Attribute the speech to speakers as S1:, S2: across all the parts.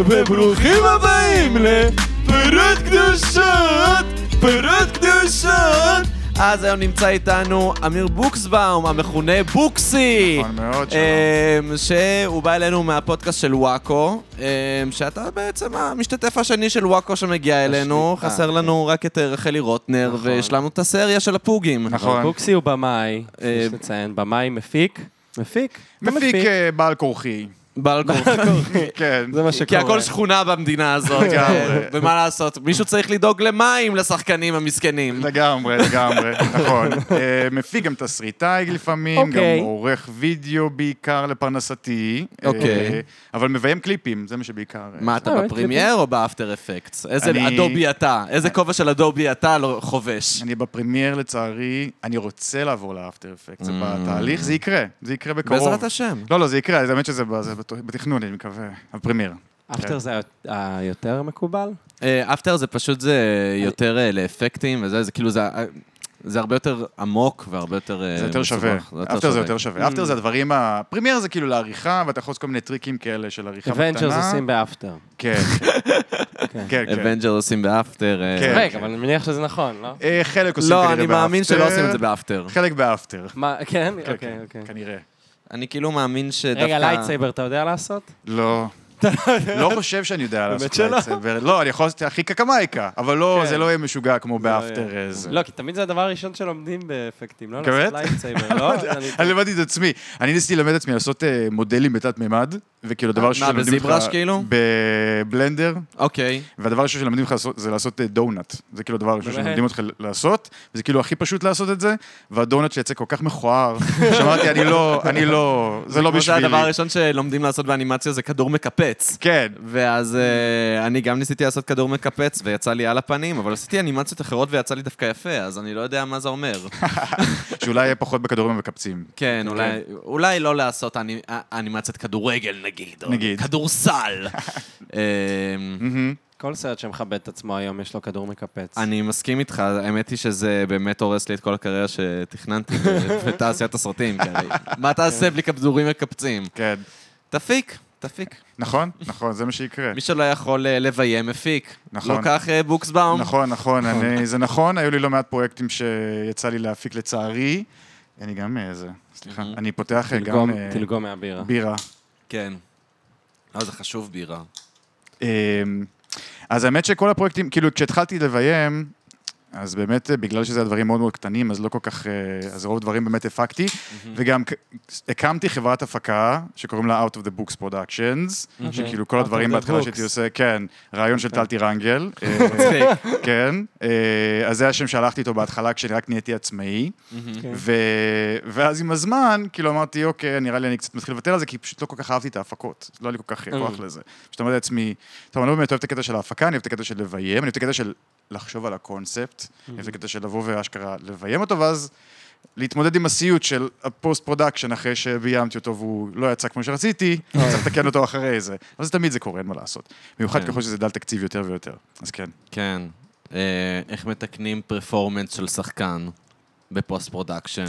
S1: וברוכים הבאים לפירוט קדושות, פירוט קדושות. אז היום נמצא איתנו אמיר בוקסבאום, המכונה בוקסי.
S2: נכון מאוד, שלום.
S1: אמ, שהוא בא אלינו מהפודקאסט של וואקו, אמ, שאתה בעצם המשתתף השני של וואקו שמגיע אלינו.
S2: השני, אה,
S1: חסר לנו רק את אה, רחלי רוטנר,
S2: נכון.
S1: והשלמנו את הסריה של הפוגים.
S2: נכון.
S3: בוקסי הוא במאי,
S1: אה,
S3: יש לציין, במאי מפיק. מפיק? אתה
S2: מפיק אה, בעל כורחי.
S1: בעל כורחי.
S2: כן.
S3: זה מה
S1: כי
S3: שקורה.
S1: הכל שכונה במדינה הזאת,
S2: לגמרי.
S1: ומה לעשות, מישהו צריך לדאוג למים לשחקנים המסכנים.
S2: לגמרי, לגמרי, נכון. אה, מפיק גם תסריטאי לפעמים, גם
S3: אוקיי.
S2: עורך וידאו בעיקר לפרנסתי. אה,
S1: אוקיי.
S2: אבל מביים קליפים, זה מה שבעיקר. אה,
S1: מה, אתה
S3: אה,
S1: בפרימייר או באפטר אפקטס? איזה
S2: אני-
S1: אדובי אתה? איזה כובע של אדובי אתה לא חובש?
S2: אני בפרמייר לצערי, אני רוצה לעבור לאפטר אפקט, זה בתהליך, זה יקרה, זה יקרה בקרוב.
S1: Mm. בעזרת השם.
S2: לא, לא, זה יקרה, זה האמת שזה ב- זה בת- בתכנון, אני מקווה, הפרמייר.
S3: אפטר זה היותר מקובל?
S1: אה, אפטר זה פשוט זה יותר אה, לאפקטים וזה, זה כאילו זה... אה, זה הרבה יותר עמוק והרבה יותר... אה,
S2: זה יותר שווה.
S1: מסובך.
S2: אפטר זה יותר שווה. אפטר זה הדברים ה... פרמייר זה כאילו לעריכה, ואתה יכול לעשות כל מיני טריקים כאלה של עריכה בקטנה.
S3: אבנג'רס עושים באפטר.
S2: כן,
S3: כן.
S2: כן, כן.
S1: אבנג'ר עושים באפטר. אה,
S2: כן.
S3: רגע, אבל אני מניח שזה נכון, לא?
S2: אה, חלק עושים
S1: לא,
S2: כנראה באפטר.
S1: אני מאמין שלא עושים את זה באפטר.
S2: חלק באפטר.
S3: מה, כן?
S2: כן,
S3: אוקיי,
S2: כן,
S3: אוקיי.
S2: כנראה.
S1: אני כאילו מאמין שדווקא...
S3: רגע, לייטסייבר אתה יודע לעשות?
S2: לא. לא חושב שאני יודע לעשות
S3: שלא.
S2: לייטסייבר. לא, אני יכול לעשות הכי קקמייקה, אבל לא,
S3: כן.
S2: זה לא יהיה משוגע כמו
S3: לא
S2: באפטר איזה.
S3: לא, כי תמיד זה הדבר הראשון שלומדים באפקטים, לא?
S2: באמת?
S3: לעשות לייטסייבר, לא? אני-
S2: אני לימדתי את עצמי. אני ניסיתי ללמד את עצמי לעשות אה, מודלים בתת מימד, וכאילו הדבר
S1: אה, מה,
S2: הראשון שלמדים אותך...
S1: בזיברש כאילו?
S2: בבלנדר,
S1: אוקיי.
S2: והדבר הראשון שלמדים אותך לעשות זה לעשות אה, דונאט. זה כאילו הדבר הראשון
S3: באמת?
S2: שלמדים אותך לעשות, וזה כאילו הכי פשוט לעשות את זה, והדונאט שיצא כל כך מכוער, שאמרתי, אני לא, אני לא, זה לא
S1: כמו
S2: בשבילי.
S1: שהדבר הראשון שלומדים לעשות באנימציה זה כדור מקפץ.
S2: כן.
S1: ואז אה, אני גם ניסיתי לעשות כדור מקפץ ויצא לי על הפנים, אבל עשיתי אנימציות אחרות ויצא לי דווקא יפה, אז אני לא יודע מה זה אומר.
S2: שאולי יהיה פחות בכדורים מקפצים.
S1: כן, אולי- אולי לא לעשות אני- אה, אנימציית כדורגל נגיד, או
S2: נגיד.
S1: כדורסל. אה,
S2: מהמם.
S3: כל סרט שמכבד את עצמו היום, יש לו כדור מקפץ.
S1: אני מסכים איתך, האמת היא שזה באמת הורס לי את כל הקריירה שתכננתי בתעשיית הסרטים. כי הרי מה תעשה בלי כדורים מקפצים?
S2: כן.
S1: תפיק, תפיק.
S2: נכון, נכון, זה מה שיקרה.
S1: מי שלא יכול אה, לביים, מפיק.
S2: נכון.
S1: לא כך אה, בוקסבאום.
S2: נכון, נכון, אני- זה נכון, היו לי לא מעט פרויקטים שיצא לי להפיק לצערי. אני גם אה, זה, סליחה,
S1: Mhm.
S2: אני פותח אה, גם
S3: תלגום-
S2: אה,
S3: תלגום מהבירה.
S2: בירה.
S1: כן. לא, זה חשוב בירה.
S2: אה, אז האמת שכל הפרויקטים, כאילו כשהתחלתי לביים, אז באמת אה, בגלל שזה הדברים מאוד מאוד קטנים, אז לא כל כך, אה, אז רוב הדברים באמת הפקתי, וגם ק- הקמתי חברת הפקה שקוראים לה Out of the Books Productions, שכאילו כל
S3: אוקיי. Out of
S2: הדברים
S3: the
S2: בהתחלה
S3: Books. אוקיי.
S2: שהייתי עושה, כן, רעיון של טל טירנגל. אה,
S1: מצחיק.
S2: כן, אה, אז זה השם שהלכתי איתו בהתחלה כשרק נהייתי עצמאי,
S3: כן.
S2: ו... ואז עם הזמן, כאילו אמרתי, אוקיי, נראה לי אני קצת מתחיל לוותר על זה, כי פשוט לא כל כך אהבתי את ההפקות, לא היה לי כל כך אה, כוח לזה. פשוט אמרתי לעצמי, טוב, אני לא באמת אוהב את הקטע של ההפקה, אני אוהב את הקטע של לביים, אני אוהב את הקטע של לחשוב על הקונספט, אני אוהב את הקטע של לבוא ואשכרה לביים אותו, ואז להתמודד עם הסיוט של הפוסט פרודקשן אחרי שביימתי אותו והוא לא יצא כמו שרציתי, צריך לתקן אותו אחרי זה. אבל זה תמיד זה קורה, אין מה לעשות. במיוחד
S1: כן.
S2: ככל שזה דל תקציב יותר ויותר, אז כן.
S1: כן. אה, איך מתקנים פרפורמנס של שחקן בפוסט פרודקשן?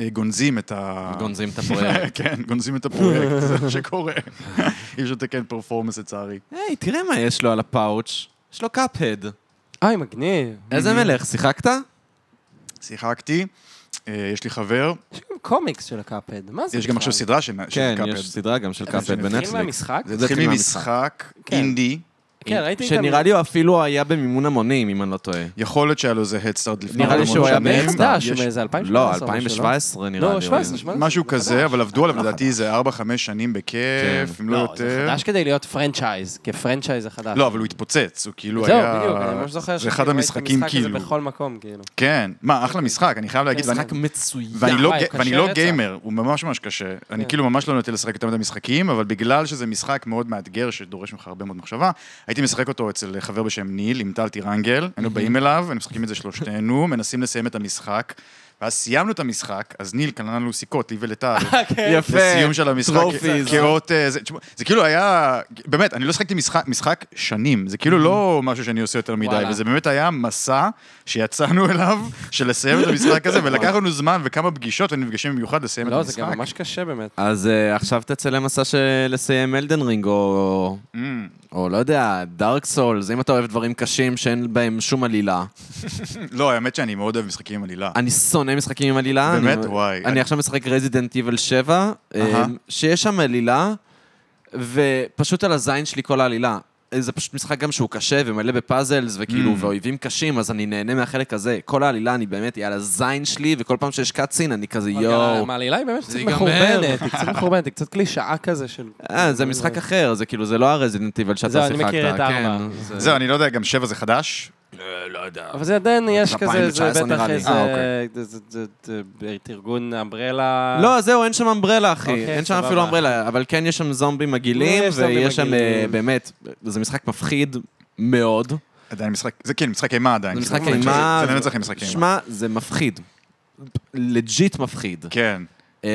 S2: אה, גונזים את ה...
S1: גונזים את הפרויקט.
S2: כן, גונזים את הפרויקט, זה מה שקורה. אי אפשר לתקן פרפורמנס לצערי.
S1: היי, תראה מה יש לו על הפאוץ'. יש לו קאפהד.
S2: Mm-hmm.
S3: אוי, אה, מגניב.
S2: אה-
S1: איזה מלך, שיחקת?
S2: שיחקתי, אה, יש לי חבר,
S3: יש גם קומיקס של הקאפד, מה זה
S2: יש גם עכשיו סדרה של של
S1: כן,
S2: קאפד.
S1: יש סדרה גם של
S2: זה
S1: קאפהד
S2: נתחיל
S3: נתחיל
S1: בנטפליקס.
S3: מהמשחק?
S2: זה
S1: זה
S2: התחיל
S1: התחיל
S2: ממשחק
S3: כן.
S2: אינדי,
S3: כן, ראיתי את
S1: שנראה לי הוא אפילו היה במימון המונים, אם אני לא טועה.
S2: יכול להיות שהיה לו איזה הדסטארט לפני
S1: נראה לי
S2: המון
S1: שהוא היה
S2: שנים.
S1: באקסטאר,
S3: חדש,
S2: יש-
S3: מאיזה 2017.
S1: לא,
S3: משהו,
S1: 2017 נראה לי.
S3: לא, 17, 17.
S2: משהו
S3: זה
S2: כזה,
S3: חדש.
S2: אבל עבדו עליו
S3: לא
S2: לדעתי איזה 4-5 שנים
S1: כן.
S2: בכיף, אם לא
S3: לא, זה
S2: יותר.
S3: חדש כדי להיות פרנצ'ייז, כפרנצ'ייז החדש.
S2: לא, אבל הוא התפוצץ, הוא כאילו
S3: זהו,
S2: היה...
S3: בדיוק, אני ממש זוכר
S2: זה
S3: שכאילו
S2: אחד
S3: ראיתי את
S2: המשחקים
S3: המשחק הזה
S2: כאילו.
S3: בכל כן. מקום, כאילו.
S2: כן, מה, אחלה משחק, אני חייב להגיד, ואני-
S1: משחק מצוין.
S2: ואני לא,
S3: וואי,
S2: ג...
S3: הוא קשה
S2: ואני לא
S3: רצח. כן.
S2: גיימר, הוא ממש ממש קשה. אני כאילו ממש לא נוטה לשחק יותר מדי משחקים, אבל בגלל שזה משחק מאוד מאתגר, שדורש ממך הרבה מאוד מחשבה, הייתי משחק אותו אצל חבר בשם ניל, עם טל טירנגל, היינו באים אליו, היינו משחקים את זה שלושתנו, מנסים לסיים את המשחק, ואז סיימנו את המשחק, אז ניל קנה לנו סיכות, לי ולטל.
S3: אה, כן.
S1: יפה.
S2: בסיום של המשחק,
S1: טרופיז.
S2: כאות... אה, זה, תשמע, זה כאילו היה, באמת, אני לא שחקתי משחק, משחק שנים, זה כאילו לא משהו שאני עושה יותר מדי,
S3: וואלה.
S2: וזה באמת היה מסע שיצאנו אליו, של לסיים את המשחק הזה, ולקח לנו זמן וכמה פגישות, היינו נפגשים במיוחד לסיים את
S3: לא, זה
S2: המשחק.
S3: גם ממש קשה באמת.
S1: אז אה, עכשיו תצא למסע של לסיים אלדן רינג, או
S2: Mm,
S1: או לא יודע, דארק סולס, אם אתה אוהב דברים קשים שאין בהם שום עלילה.
S2: לא, האמת שאני מאוד אוהב משחקים עם עלילה.
S1: אני שונא משחקים עם עלילה.
S2: באמת?
S1: אני-
S2: וואי.
S1: אני עכשיו משחק רזידנט איבל 7,
S2: אהה.
S1: אמ, שיש שם עלילה, ופשוט על הזין שלי כל העלילה. אה, זה פשוט משחק גם שהוא קשה ומלא בפאזלס וכאילו,
S2: Mm.
S1: ואויבים קשים, אז אני נהנה מהחלק הזה. כל העלילה, אני באמת, היא על הזין שלי, וכל פעם שיש קאצין, אני כזה יואו.
S3: מעלילה היא באמת קצת
S1: זה ייגמר.
S3: מחורבנת, היא קצת מחורבנת, היא קצת קלישאה כזה של...
S1: אה, זה משחק אחר, זה כאילו, זה לא הרזידנט איבל שאתה
S3: זהו,
S1: שיחקת.
S3: אני מכיר את הארבע.
S1: כן, זה-
S2: זהו, אני לא יודע, גם שבע זה חדש?
S1: אה, לא יודע.
S3: אבל זה עדיין, יש כזה, זה
S1: 2019
S3: בטח
S1: נראה לי.
S3: איזה...
S2: אה, אוקיי.
S3: זה- זה- זה- זה- זה- ארגון אמברלה...
S1: לא, אז זהו, אין שם אמברלה, אחי.
S3: אוקיי,
S1: אין שם
S3: סבבה.
S1: אפילו אמברלה, אבל כן יש שם זומבים מגעילים,
S3: יש זומבים
S1: ויש שם, אה,
S3: מגעילים.
S1: באמת, זה משחק מפחיד מאוד.
S2: עדיין משחק, זה כן, משחק אימה עדיין.
S1: זה משחק
S2: כאילו,
S1: אימה.
S2: זה לנצח עם משחק אימה.
S1: שמע, זה מפחיד. לג'יט מפחיד.
S2: כן.
S1: אמ,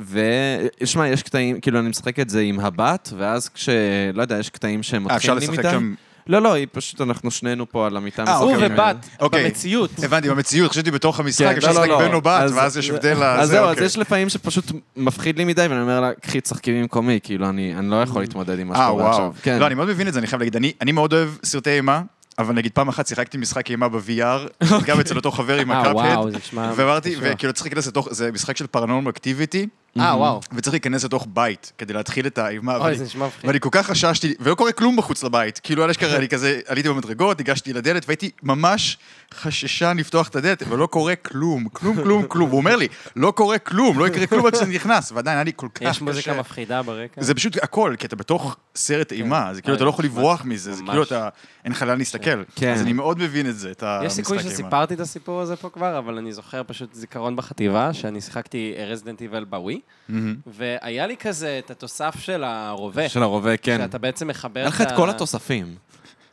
S1: ו- שמע, יש קטעים, כאילו, אני משחק את זה עם הבת, ואז כש... לא יודע, יש קטעים שהם
S2: אה, אפשר
S1: מתחילים
S2: לשחק
S1: איתם.
S2: שם...
S1: לא, לא, היא פשוט, אנחנו שנינו פה על המיטה.
S2: אה,
S3: הוא
S1: משחקים.
S2: אוקיי,
S3: ובת,
S2: אוקיי.
S3: במציאות.
S2: הבנתי, במציאות, חשבתי בתוך המשחק,
S1: כן,
S2: אפשר
S1: לא, לא,
S2: לשחק
S1: לא.
S2: בן או בת,
S1: אז-
S2: ואז יש הבדל לזה,
S1: אז זהו, אז
S2: אוקיי.
S1: יש לפעמים שפשוט מפחיד לי מדי, ואני אומר לה, קחי, תשחקי במקומי, כאילו, אני אני לא יכול להתמודד עם מה
S2: אה,
S1: שקורה עכשיו.
S2: וואו.
S1: כן.
S2: לא, אני מאוד מבין את זה, אני חייב להגיד. אני- אני מאוד אוהב סרטי אימה, אבל נגיד פעם אחת שיחקתי משחק אימה ב-VR, גם אצל אותו חבר עם
S3: אוקיי. אה,
S2: הקאפהד,
S3: וואו, זה נשמע...
S2: ואמרתי,
S3: קשוח.
S2: וכאילו צריך להיכנס לתוך, זה משחק של פרנורמל אקטיביטי,
S3: אה, וואו.
S2: וצריך להיכנס לתוך בית כדי להתחיל את האימה.
S3: אוי,
S2: ואני-
S3: זה נשמע מפחיד.
S2: ואני כל כך חששתי, ולא קורה כלום בחוץ לבית. כאילו, על אשכרה, אני כזה, עליתי במדרגות, ניגשתי לדלת, והייתי ממש חששן לפתוח את הדלת, ולא קורה כלום, כלום, כלום, כלום. הוא אומר לי, לא קורה כלום, לא יקרה כלום עד שאני נכנס, ועדיין היה לי כל כך
S3: יש
S2: קשה.
S3: מוזיקה מפחידה ברקע.
S2: זה פשוט הכל, כי אתה בתוך סרט אימה, זה כאילו,
S3: כן. אה,
S2: אתה לא יכול
S3: ממש.
S2: לברוח מזה, זה כאילו,
S3: ממש.
S2: אתה, אין לך לאן להסתכל.
S1: כן.
S2: אז אני מאוד מבין את זה, את המשחק אימה.
S3: יש סיכוי שסיפרתי את הסיפור הזה פה כבר, אבל אני זוכר פשוט זיכרון בחטיבה, שאני שיחקתי רזידנט איבל בווי,
S2: מהמם.
S3: והיה לי כזה את התוסף של הרובה.
S1: של הרובה, כן.
S3: שאתה בעצם מחבר
S1: היה לך את כל התוספים.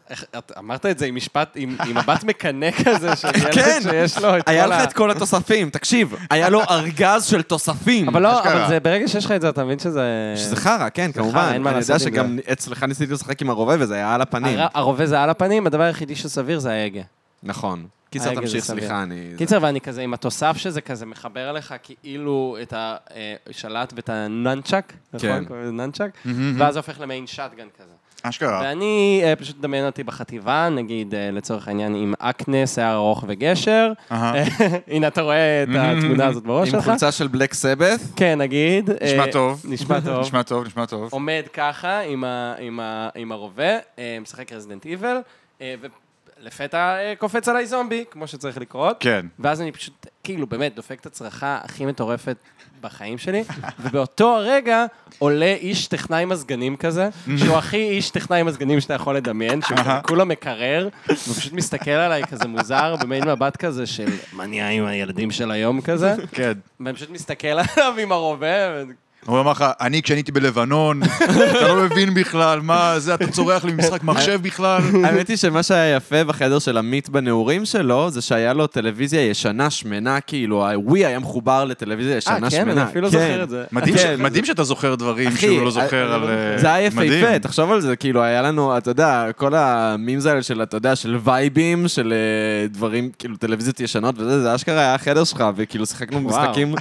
S3: איך- את- אמרת את זה עם משפט, עם עם מבט מקנא כזה, של
S1: כן.
S3: ילד שיש לו את כל ה...
S1: היה לך את כל התוספים, תקשיב, היה לו ארגז של תוספים.
S3: אבל לא,
S2: אשכרה.
S3: אבל זה- ברגע שיש לך את זה, אתה מבין שזה...
S1: שזה חרא, כן, כמובן.
S3: אין מה
S1: אני יודע
S3: לעשות עם
S1: שגם אצלך ניסיתי לשחק עם הרובה וזה היה על הפנים.
S3: הר- הרובה זה על הפנים, הדבר היחידי שסביר זה ההגה.
S1: נכון. קיצר,
S3: ההגה אה, זה
S1: תמשיך,
S3: סביר.
S1: סליחה, אני...
S3: קיצר, ואני כזה עם התוסף שזה כזה מחבר לך כאילו את השלט ואת הננצ'ק,
S1: כן.
S3: נכון? קוראים לזה ננצ'ק, ואז זה הופך למעין שטגן כזה.
S2: אשכרה.
S3: ואני, אה, פשוט דמיין אותי בחטיבה, נגיד, אה, לצורך העניין, עם אקנה, שיער ארוך וגשר. אה,
S2: אהה.
S3: הנה, אתה רואה את התמונה הזאת בראש
S1: עם
S3: שלך?
S1: חולצה של בלק סבת.
S3: כן, נגיד. אה,
S2: נשמע טוב.
S3: נשמע טוב.
S2: נשמע טוב, נשמע טוב.
S3: עומד ככה עם, ה, עם, ה, עם הרובה, אה, משחק רזידנט איבל, אה, ולפתע אה, קופץ עליי זומבי, כמו שצריך לקרות.
S2: כן.
S3: ואז אני פשוט, כאילו, באמת, דופק את הצרחה הכי מטורפת בחיים שלי, ובאותו הרגע עולה איש טכנאי מזגנים כזה, שהוא הכי איש טכנאי מזגנים שאתה יכול לדמיין, שהוא כזה כולו מקרר, והוא פשוט מסתכל עליי כזה מוזר, במעין מבט כזה של מה נהיה עם הילדים של היום כזה,
S2: כן.
S3: ואני פשוט מסתכל עליו עם הרובה, ו-
S2: הוא אמר לך, אני כשאני הייתי בלבנון, אתה לא מבין בכלל, מה זה, אתה צורח לי ממשחק מחשב בכלל.
S1: האמת היא שמה שהיה יפה בחדר של עמית בנעורים שלו, זה שהיה לו טלוויזיה ישנה, שמנה, כאילו, הווי היה מחובר לטלוויזיה
S3: אה,
S1: ישנה,
S3: כן, אני
S1: שמנה.
S3: אפילו
S1: כן.
S3: זוכר את זה.
S2: מדהים ש-
S1: כן.
S2: מדהים שאתה זוכר דברים
S1: אחי,
S2: שהוא לא
S1: אה,
S2: זוכר על... אה,
S1: זה היה יפהפה,
S2: מדהים.
S1: תחשוב על זה, כאילו, היה לנו, אתה יודע, כל המימס האלה של, אתה יודע, של וייבים, של אה, דברים, כאילו, טלוויזיות ישנות וזה, זה אשכרה היה החדר שלך, וכאילו, שיחקנו
S3: וואו.
S1: משחקים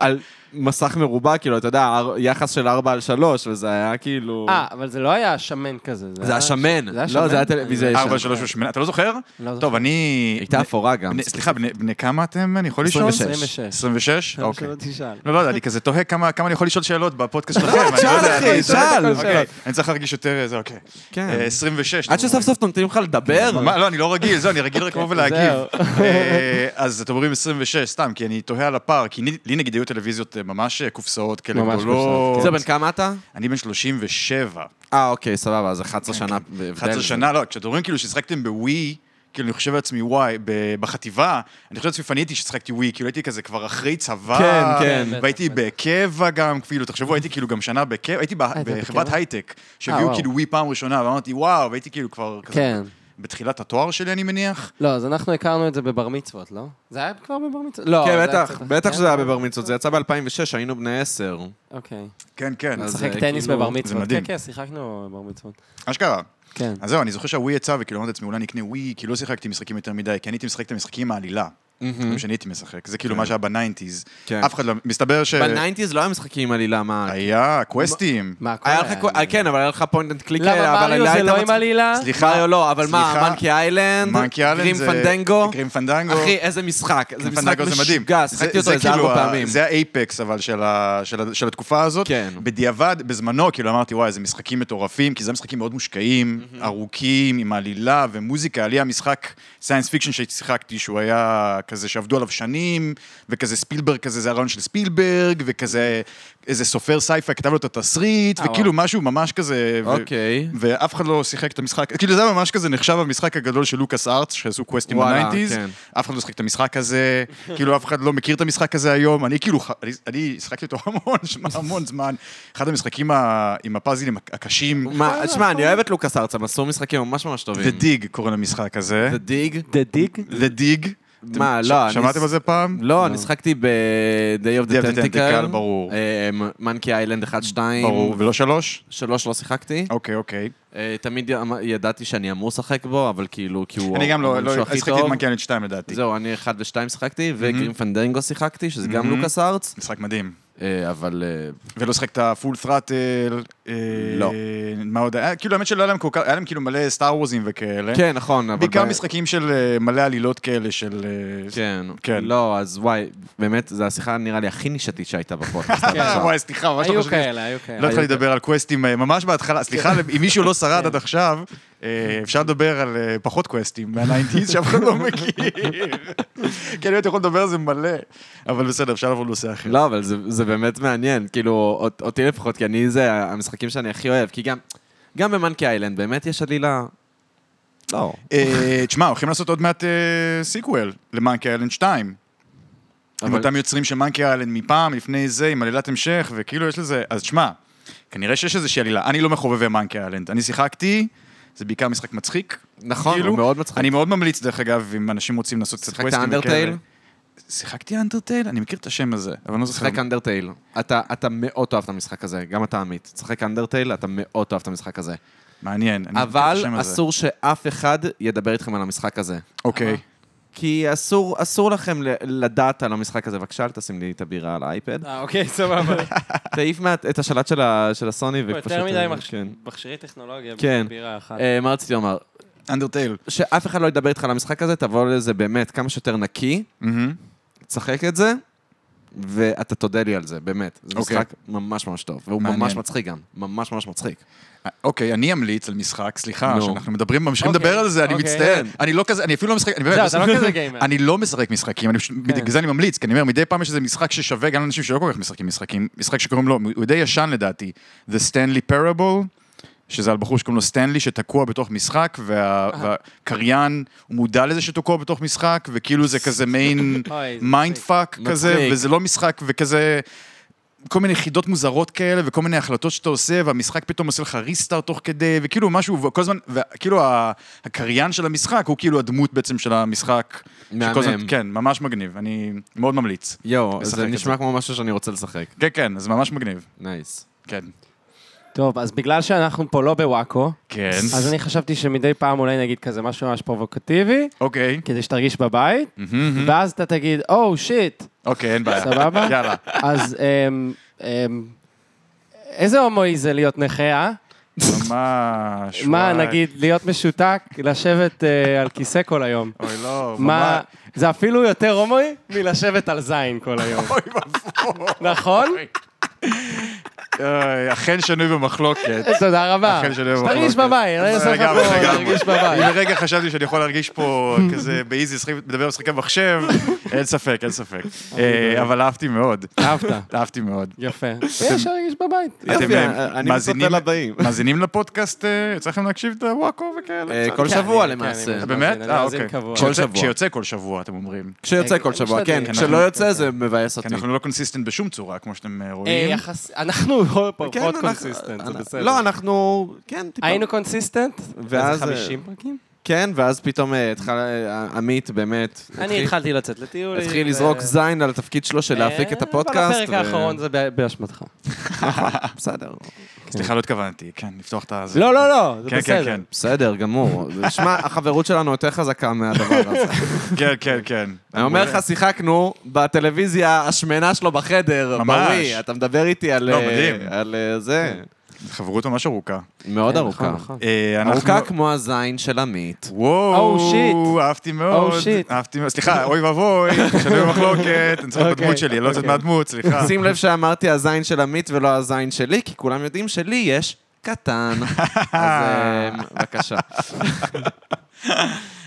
S1: על מסך מרובע, כאילו, אתה יודע, אר- יחס של 4 על 3, וזה היה כאילו...
S3: אה, אבל זה לא היה שמן כזה.
S1: זה היה שמן.
S3: זה היה
S1: לא,
S3: שמן?
S1: זה היה טלוויזיה
S3: אני-
S1: ישנה.
S2: ארבע, שלוש ושמונה, אתה לא זוכר?
S3: לא זוכר.
S2: טוב, אני...
S1: הייתה
S2: בני-
S1: אפורה גם.
S2: בני- סליחה, בני בני כמה אתם? אני
S3: לא
S2: יכול לשאול?
S1: 26.
S3: 26.
S2: 26?
S3: טוב,
S2: אוקיי.
S3: שלא תשאל.
S2: לא, לא יודע, אני כזה תוהה כמה כמה אני יכול לשאול שאלות בפודקאסט שלכם. אני לא
S1: שאל,
S2: יודע,
S1: אחי,
S2: אני-
S1: שאל.
S2: אוקיי, אני צריך להרגיש יותר אה, זה, אוקיי.
S1: כן.
S2: אה, 26.
S1: עד
S2: אתם
S1: שסוף סוף נותנים לך לדבר?
S2: מה, לא, אני לא רגיל, זהו, אני רגיל רק לבוא ולהגיב.
S3: זהו.
S2: אה, אז אתם אומרים 26, סתם, כי אני תוהה על הפער, כי לי- לי נגיד היו טלוויזיות אה, ממש אה, קופסאות כאלה
S3: ממש
S2: גדולות.
S1: זה בן כמה אתה?
S2: אני בן 37.
S1: אה, אוקיי, סבבה, אז 11 שנה. בהבדל.
S2: 11 שנה, לא, כשאתם אומרים כאילו ששחקתם בווי, כאילו אני חושב לעצמי, וואי, ב- בחטיבה, אני חושב לעצמי, פניתי ששחקתי ווי, כאילו הייתי כזה כבר אחרי צבא,
S1: כן, כן.
S3: בטח,
S2: והייתי
S3: בטח.
S2: בקבע גם, כאילו, תחשבו, הייתי כאילו גם שנה בקבע, הייתי ב-
S3: היית
S2: בחברת
S3: בקבע?
S2: הייטק,
S3: אה,
S2: שהביאו
S3: וואו.
S2: כאילו ווי פעם ראשונה, ואמרתי, וואו, והייתי כאילו כבר כזה,
S3: כן.
S2: בתחילת התואר שלי, אני מניח.
S3: לא, אז אנחנו הכרנו את זה בבר מצוות, לא? זה היה כבר בבר מצוות? לא. זה
S1: כן,
S3: היה
S1: בטח,
S3: קצת-
S1: בטח
S3: כן?
S1: שזה היה בבר מצוות, זה יצא ב-2006, היינו בני 10.
S3: אוקיי.
S2: כן, כן,
S1: אז-
S2: אז
S1: זה
S3: משחק טניס
S1: כאילו-
S3: בבר
S1: זה
S3: מצוות.
S2: מדהים.
S3: כן, כן, שיחקנו בבר מצוות.
S2: אשכרה.
S3: כן.
S2: אז זהו, אני זוכר שהווי יצא, וכאילו אמרתי לעצמי, אולי אני אקנה ווי, כי לא שיחקתי משחקים יותר מדי, כי אני הייתי משחק את המשחקים עם העלילה. גם שאני הייתי משחק, זה כאילו מה שהיה בניינטיז.
S1: כן.
S2: אף אחד לא... מסתבר ש...
S1: בניינטיז לא היה משחקים עם עלילה, מה?
S2: אה, היה קווסטים.
S3: מה,
S1: היה לך קו- אה, כן, אבל היה לך פוינט אנד קליק,
S3: למה מריו זה לא עם עלילה?
S2: סליחה.
S1: מריו לא, אבל מה,
S2: סליחה.
S1: מנקי איילנד,
S2: מנקי איילנד
S1: גרים
S2: זה-
S1: פנדנגו.
S2: גרים פנדנגו.
S1: אחי, איזה משחק. זה משחק
S2: פנדנגו זה מדהים.
S1: משוגע,
S2: זה-
S1: שיחקתי אותו
S2: זה
S1: איזה
S2: כאילו
S1: ארבע
S2: ה-
S1: פעמים.
S2: זה האייפקס אבל של ה- של ה- של התקופה הזאת.
S1: כן.
S2: בדיעבד, בזמנו, כאילו אמרתי, וואי, איזה משחקים מטורפים, כי זה משחקים מאוד מושקעים, ארוכים, עם עלילה ומוזיקה. לי המשחק סיינס פיקשן ששיחקתי, שהוא היה כזה שעבדו עליו שנים, וכזה ספילברג כזה, זה הרעיון של ספילברג, וכזה איזה סופר סייפה כתב לו את התסריט,
S3: אה,
S2: וכאילו משהו ממש כזה... ו-
S1: אוקיי.
S2: ואף אחד לא שיחק את המשחק, כאילו זה היה ממש כזה נחשב המשחק הגדול של לוקאס ארטס, שעשו קווסטים
S1: וואלה,
S2: בניינטיז,
S1: כן.
S2: אף אחד לא שיחק את המשחק הזה, כאילו אף אחד לא מכיר את המשחק הזה היום, אני כאילו, ח- אני- אני שיחקתי אותו המון, שמע, המון זמן, אחד המשחקים ה- עם הפאזלים הקשים,
S1: מה, שמע, אני אוהב את לוקאס ארץ, הם עשו משחקים ממש ממש טובים.
S2: The Dig קוראים למשחק הזה,
S1: The Dig?
S3: דה דיג?
S2: The Dig,
S1: מה,
S2: אתם-
S1: לא,
S2: ש-
S1: אני-
S2: שמעתם על זה פעם?
S1: לא, אני שחקתי ב-Day of
S2: Day of the
S1: the Tentacle. אה,
S2: Tentacle, ברור.
S1: מנקי איילנד 1, 2.
S2: ברור, ולא שלוש?
S1: שלוש לא שיחקתי.
S2: אוקיי, אוקיי.
S1: אה, תמיד י- אמ- ידעתי שאני אמור לשחק בו, אבל כאילו, כי הוא
S2: אני גם לא,
S1: הוא שהוא
S2: לא- אני
S1: הכי
S2: שיחקתי את Mhm.
S1: טוב.
S2: מנקיינד 2 לדעתי.
S1: זהו, אני אחד ושתיים שיחקתי, וגרים פנדנגו שיחקתי, שזה
S2: Mhm.
S1: גם לוקאס ארץ,
S2: משחק מדהים.
S1: אה, אבל... אה,
S2: ולא שחק את הפול תראטל. אה,
S1: לא.
S2: מה עוד? היה? כאילו, האמת שלא היה להם כל כך, היה להם כאילו מלא סטאר וורזים וכאלה.
S1: כן, נכון, אבל...
S2: בעיקר
S1: ב-
S2: משחקים של אה, מלא עלילות כאלה של... אה,
S1: כן.
S2: כן.
S1: לא, אז וואי, באמת, זו השיחה נראה לי הכי נישתית שהייתה בפודקאסט. עד עכשיו.
S2: וואי, סליחה, ממש לא
S3: כן. היו
S2: חשבתי.
S3: כאלה, היו
S2: לא
S3: כאלה. כן.
S2: התחלתי לדבר על קווסטים אה, ממש בהתחלה, סליחה אם מישהו לא שרד עד עכשיו, אה, אפשר לדבר על אה, פחות קווסטים מהניינטיז שאף אחד לא מכיר. כי אני הייתי יכול לדבר על זה מלא, אבל בסדר, אפשר לעבור לנושא אחר.
S1: לא, אבל זה, זה באמת מעניין, כאילו, אות- אותי לפחות, כי אני, זה המשחקים שאני הכי אוהב, כי גם, גם במאנקי איילנד באמת יש עלילה... לא.
S2: אה, תשמע, הולכים לעשות עוד מעט אה, סיקוול למאנקי איילנד 2. עם
S1: אבל-
S2: אותם יוצרים של מאנקי איילנד מפעם, לפני זה, עם עלילת המשך, וכאילו יש לזה... אז תשמע, כנראה שיש איזושהי עלילה. אני לא מחובבי מאנקי איילנד. אני שיחקתי, זה בעיקר משחק מצחיק. כאילו,
S1: נכון, הוא מאוד מצחיק.
S2: אני מאוד ממליץ, דרך אגב, אם אנשים רוצים לעשות קצת
S1: שיחקת
S2: קווסטים
S1: אנדרטייל?
S2: וכאלה. שיחקתי אנדרטייל? אני מכיר את השם הזה, אבל אני לא זוכר.
S1: תשחק אנדרטייל. אתה, אתה מאוד תאהב את המשחק הזה, גם אתה עמית. תשחק אנדרטייל, אתה מאוד תאהב את המשחק הזה.
S2: מעניין, אני מכיר את
S1: אבל
S2: השם הזה.
S1: אסור שאף אחד ידבר איתכם על המשחק הזה.
S2: אוקיי.
S1: כי אסור, אסור לכם ל- לדעת על המשחק הזה. בבקשה, אל תשים לי את הבירה על האייפד.
S3: אה, אוקיי, סבבה.
S1: תעיף מה- את השלט של, ה, של הסוני ופשוט...
S3: יותר מדי
S1: אה,
S3: מכשי-
S1: כן.
S3: מכשירי טכנולוגיה
S1: כן.
S3: בבירה אחת.
S1: אה, מה רציתי לומר? אה.
S2: אנדרטייל.
S1: שאף אחד לא ידבר איתך על המשחק הזה, תבוא לזה באמת כמה שיותר נקי,
S2: מהמם.
S1: תשחק את זה, ואתה תודה לי על זה, באמת. זה
S2: אוקיי.
S1: משחק ממש ממש טוב, והוא
S2: מעניין.
S1: ממש מצחיק גם, ממש ממש מצחיק.
S2: אוקיי, אני אמליץ על משחק, סליחה,
S1: נו.
S2: שאנחנו מדברים, ממשיכים
S3: אוקיי,
S2: לדבר על זה, אני
S3: אוקיי.
S2: מצטער. אני לא כזה, אני אפילו לא משחק, אני באמת...
S3: זהו, אתה לא כזה גיימר. אוקיי.
S2: אני לא משחק משחקים, אני פשוט- בגלל זה אני ממליץ, כי אני אומר, מדי פעם יש איזה משחק ששווה גם לאנשים שלא כל כך משחקים משחקים, משחק שקוראים לו, הוא די ישן לדעתי, The Stanley Parable, שזה על בחור שקוראים לו סטנלי, שתקוע בתוך משחק, וה-
S3: אה.
S2: והקריין, הוא מודע לזה שתקוע בתוך משחק, וכאילו זה כזה מעין
S3: אוי, זה
S2: מיינד
S3: מצחיק.
S2: פאק כזה,
S1: מצחיק.
S2: וזה לא משחק, וכזה... כל מיני יחידות מוזרות כאלה, וכל מיני החלטות שאתה עושה, והמשחק פתאום עושה לך ריסטארט תוך כדי, וכאילו משהו, וכל הזמן, וכאילו ה- הקריין של המשחק הוא כאילו הדמות בעצם של המשחק.
S1: מהמם.
S2: שכל הזמן- כן, ממש מגניב, אני מאוד ממליץ.
S1: יואו,
S2: לשחק
S1: זה
S2: את
S1: נשמע כמו משהו שאני רוצה לשחק.
S2: כן, כן, זה ממש מגניב,
S1: נייס.
S2: כן.
S3: טוב, אז בגלל שאנחנו פה לא בוואקו,
S2: כן.
S3: אז אני חשבתי שמדי פעם אולי נגיד כזה משהו ממש פרובוקטיבי,
S2: אוקיי,
S3: כדי שתרגיש בבית,
S2: מהמם.
S3: ואז אתה תגיד, "Oh, או, שיט,
S2: אוקיי, אין בעיה.
S3: סבבה?
S2: יאללה.
S3: אז אמ, אמ, איזה הומואי זה להיות נכה, אה?
S2: ממש.
S3: מה,
S2: וואי.
S3: נגיד, להיות משותק, לשבת אה, על כיסא כל היום?
S2: אוי, לא,
S3: מה,
S2: ממש.
S3: זה אפילו יותר הומואי מלשבת על זין כל היום. נכון?
S2: אוי, אכן שנוי במחלוקת.
S3: תודה רבה.
S2: אכן שלא יהיה
S3: שתרגיש
S2: מחלוקת.
S3: בבית, אני אעשה לך
S2: לגמרי,
S3: פה,
S2: לגמרי.
S3: תרגיש
S2: אם
S3: בבית.
S2: לרגע חשבתי שאני יכול להרגיש פה כזה באיזי, לשחק- לדבר על משחקי מחשב, אין ספק, אין ספק. אה, אבל אהבתי מאוד,
S3: אהבת.
S2: אהבתי מאוד.
S3: יפה. יש להרגיש בבית.
S2: אתם,
S1: יופי,
S2: אה,
S1: אני
S2: מאזינים-
S1: מצפה לבאים.
S2: מאזינים לפודקאסט, אה, יצא לכם להקשיב את הוואקו וכאלה?
S1: אה,
S2: קצת?
S1: כל
S3: כן,
S1: שבוע
S3: אני- כן,
S1: למעשה.
S3: אני-
S2: באמת?
S3: מאזין,
S2: אה,
S3: מאזין
S2: אוקיי.
S3: קבוע.
S2: כשיוצא-
S1: כל שבוע.
S2: כשיוצא כל שבוע, אתם אומרים.
S1: כשיוצא כל
S3: אני
S1: שבוע,
S3: משתדל.
S1: כן, כשלא
S2: אנחנו-
S1: יוצא זה מבאס
S2: כי
S1: אותי.
S2: אנחנו לא קונסיסטנט בשום צורה, כמו שאתם אה,
S3: אה,
S2: רואים.
S3: יחס- אנחנו פה
S1: כן,
S3: פחות
S1: אנחנו- לא,
S3: קונסיסטנט, זה
S1: אנחנו-
S3: בסדר.
S1: לא, אנחנו... כן, טיפה.
S3: היינו קונסיסטנט?
S1: ואז, אה,
S3: ואז... 50 פרקים?
S1: כן, ואז פתאום אה, התחל- אה, עמית באמת...
S3: אני
S1: התחיל-
S3: התחלתי לצאת לטיולים.
S1: התחיל
S3: ו-
S1: לזרוק זין על התפקיד שלו של להפיק את
S3: אה, אבל
S1: הפודקאסט.
S3: הפרק
S1: ו-
S3: האחרון זה ב- באשמתך.
S1: בסדר.
S2: סליחה, לא התכוונתי, כן, לפתוח את ה...
S3: לא, לא, לא, זה
S2: כן, כן,
S3: בסדר.
S2: כן,
S1: בסדר, גמור. שמע, החברות שלנו יותר חזקה מהדבר הזה.
S2: כן, כן, כן.
S1: אני אומר לך, שיחקנו בטלוויזיה השמנה שלו בחדר,
S2: ממש.
S1: בריא. אתה מדבר איתי על...
S2: לא,
S1: אה,
S2: מדהים.
S1: על אה, זה.
S2: חברות ממש ארוכה.
S1: מאוד
S3: כן,
S1: ארוכה.
S3: נכון, נכון.
S2: אה, אנחנו-
S1: ארוכה כמו הזין של עמית.
S2: וואו,
S3: Oh, shit.
S2: אהבתי מאוד.
S3: Oh, shit.
S2: אהבתי מאוד. סליחה, אוי ואבוי, שנוי במחלוקת, אני צריך את
S3: אוקיי,
S2: הדמות שלי, אני לא יוצאת
S3: אוקיי.
S2: מהדמות, סליחה.
S1: שים לב שאמרתי הזין של עמית ולא הזין שלי, כי כולם יודעים שלי יש קטן. אז אה, בבקשה.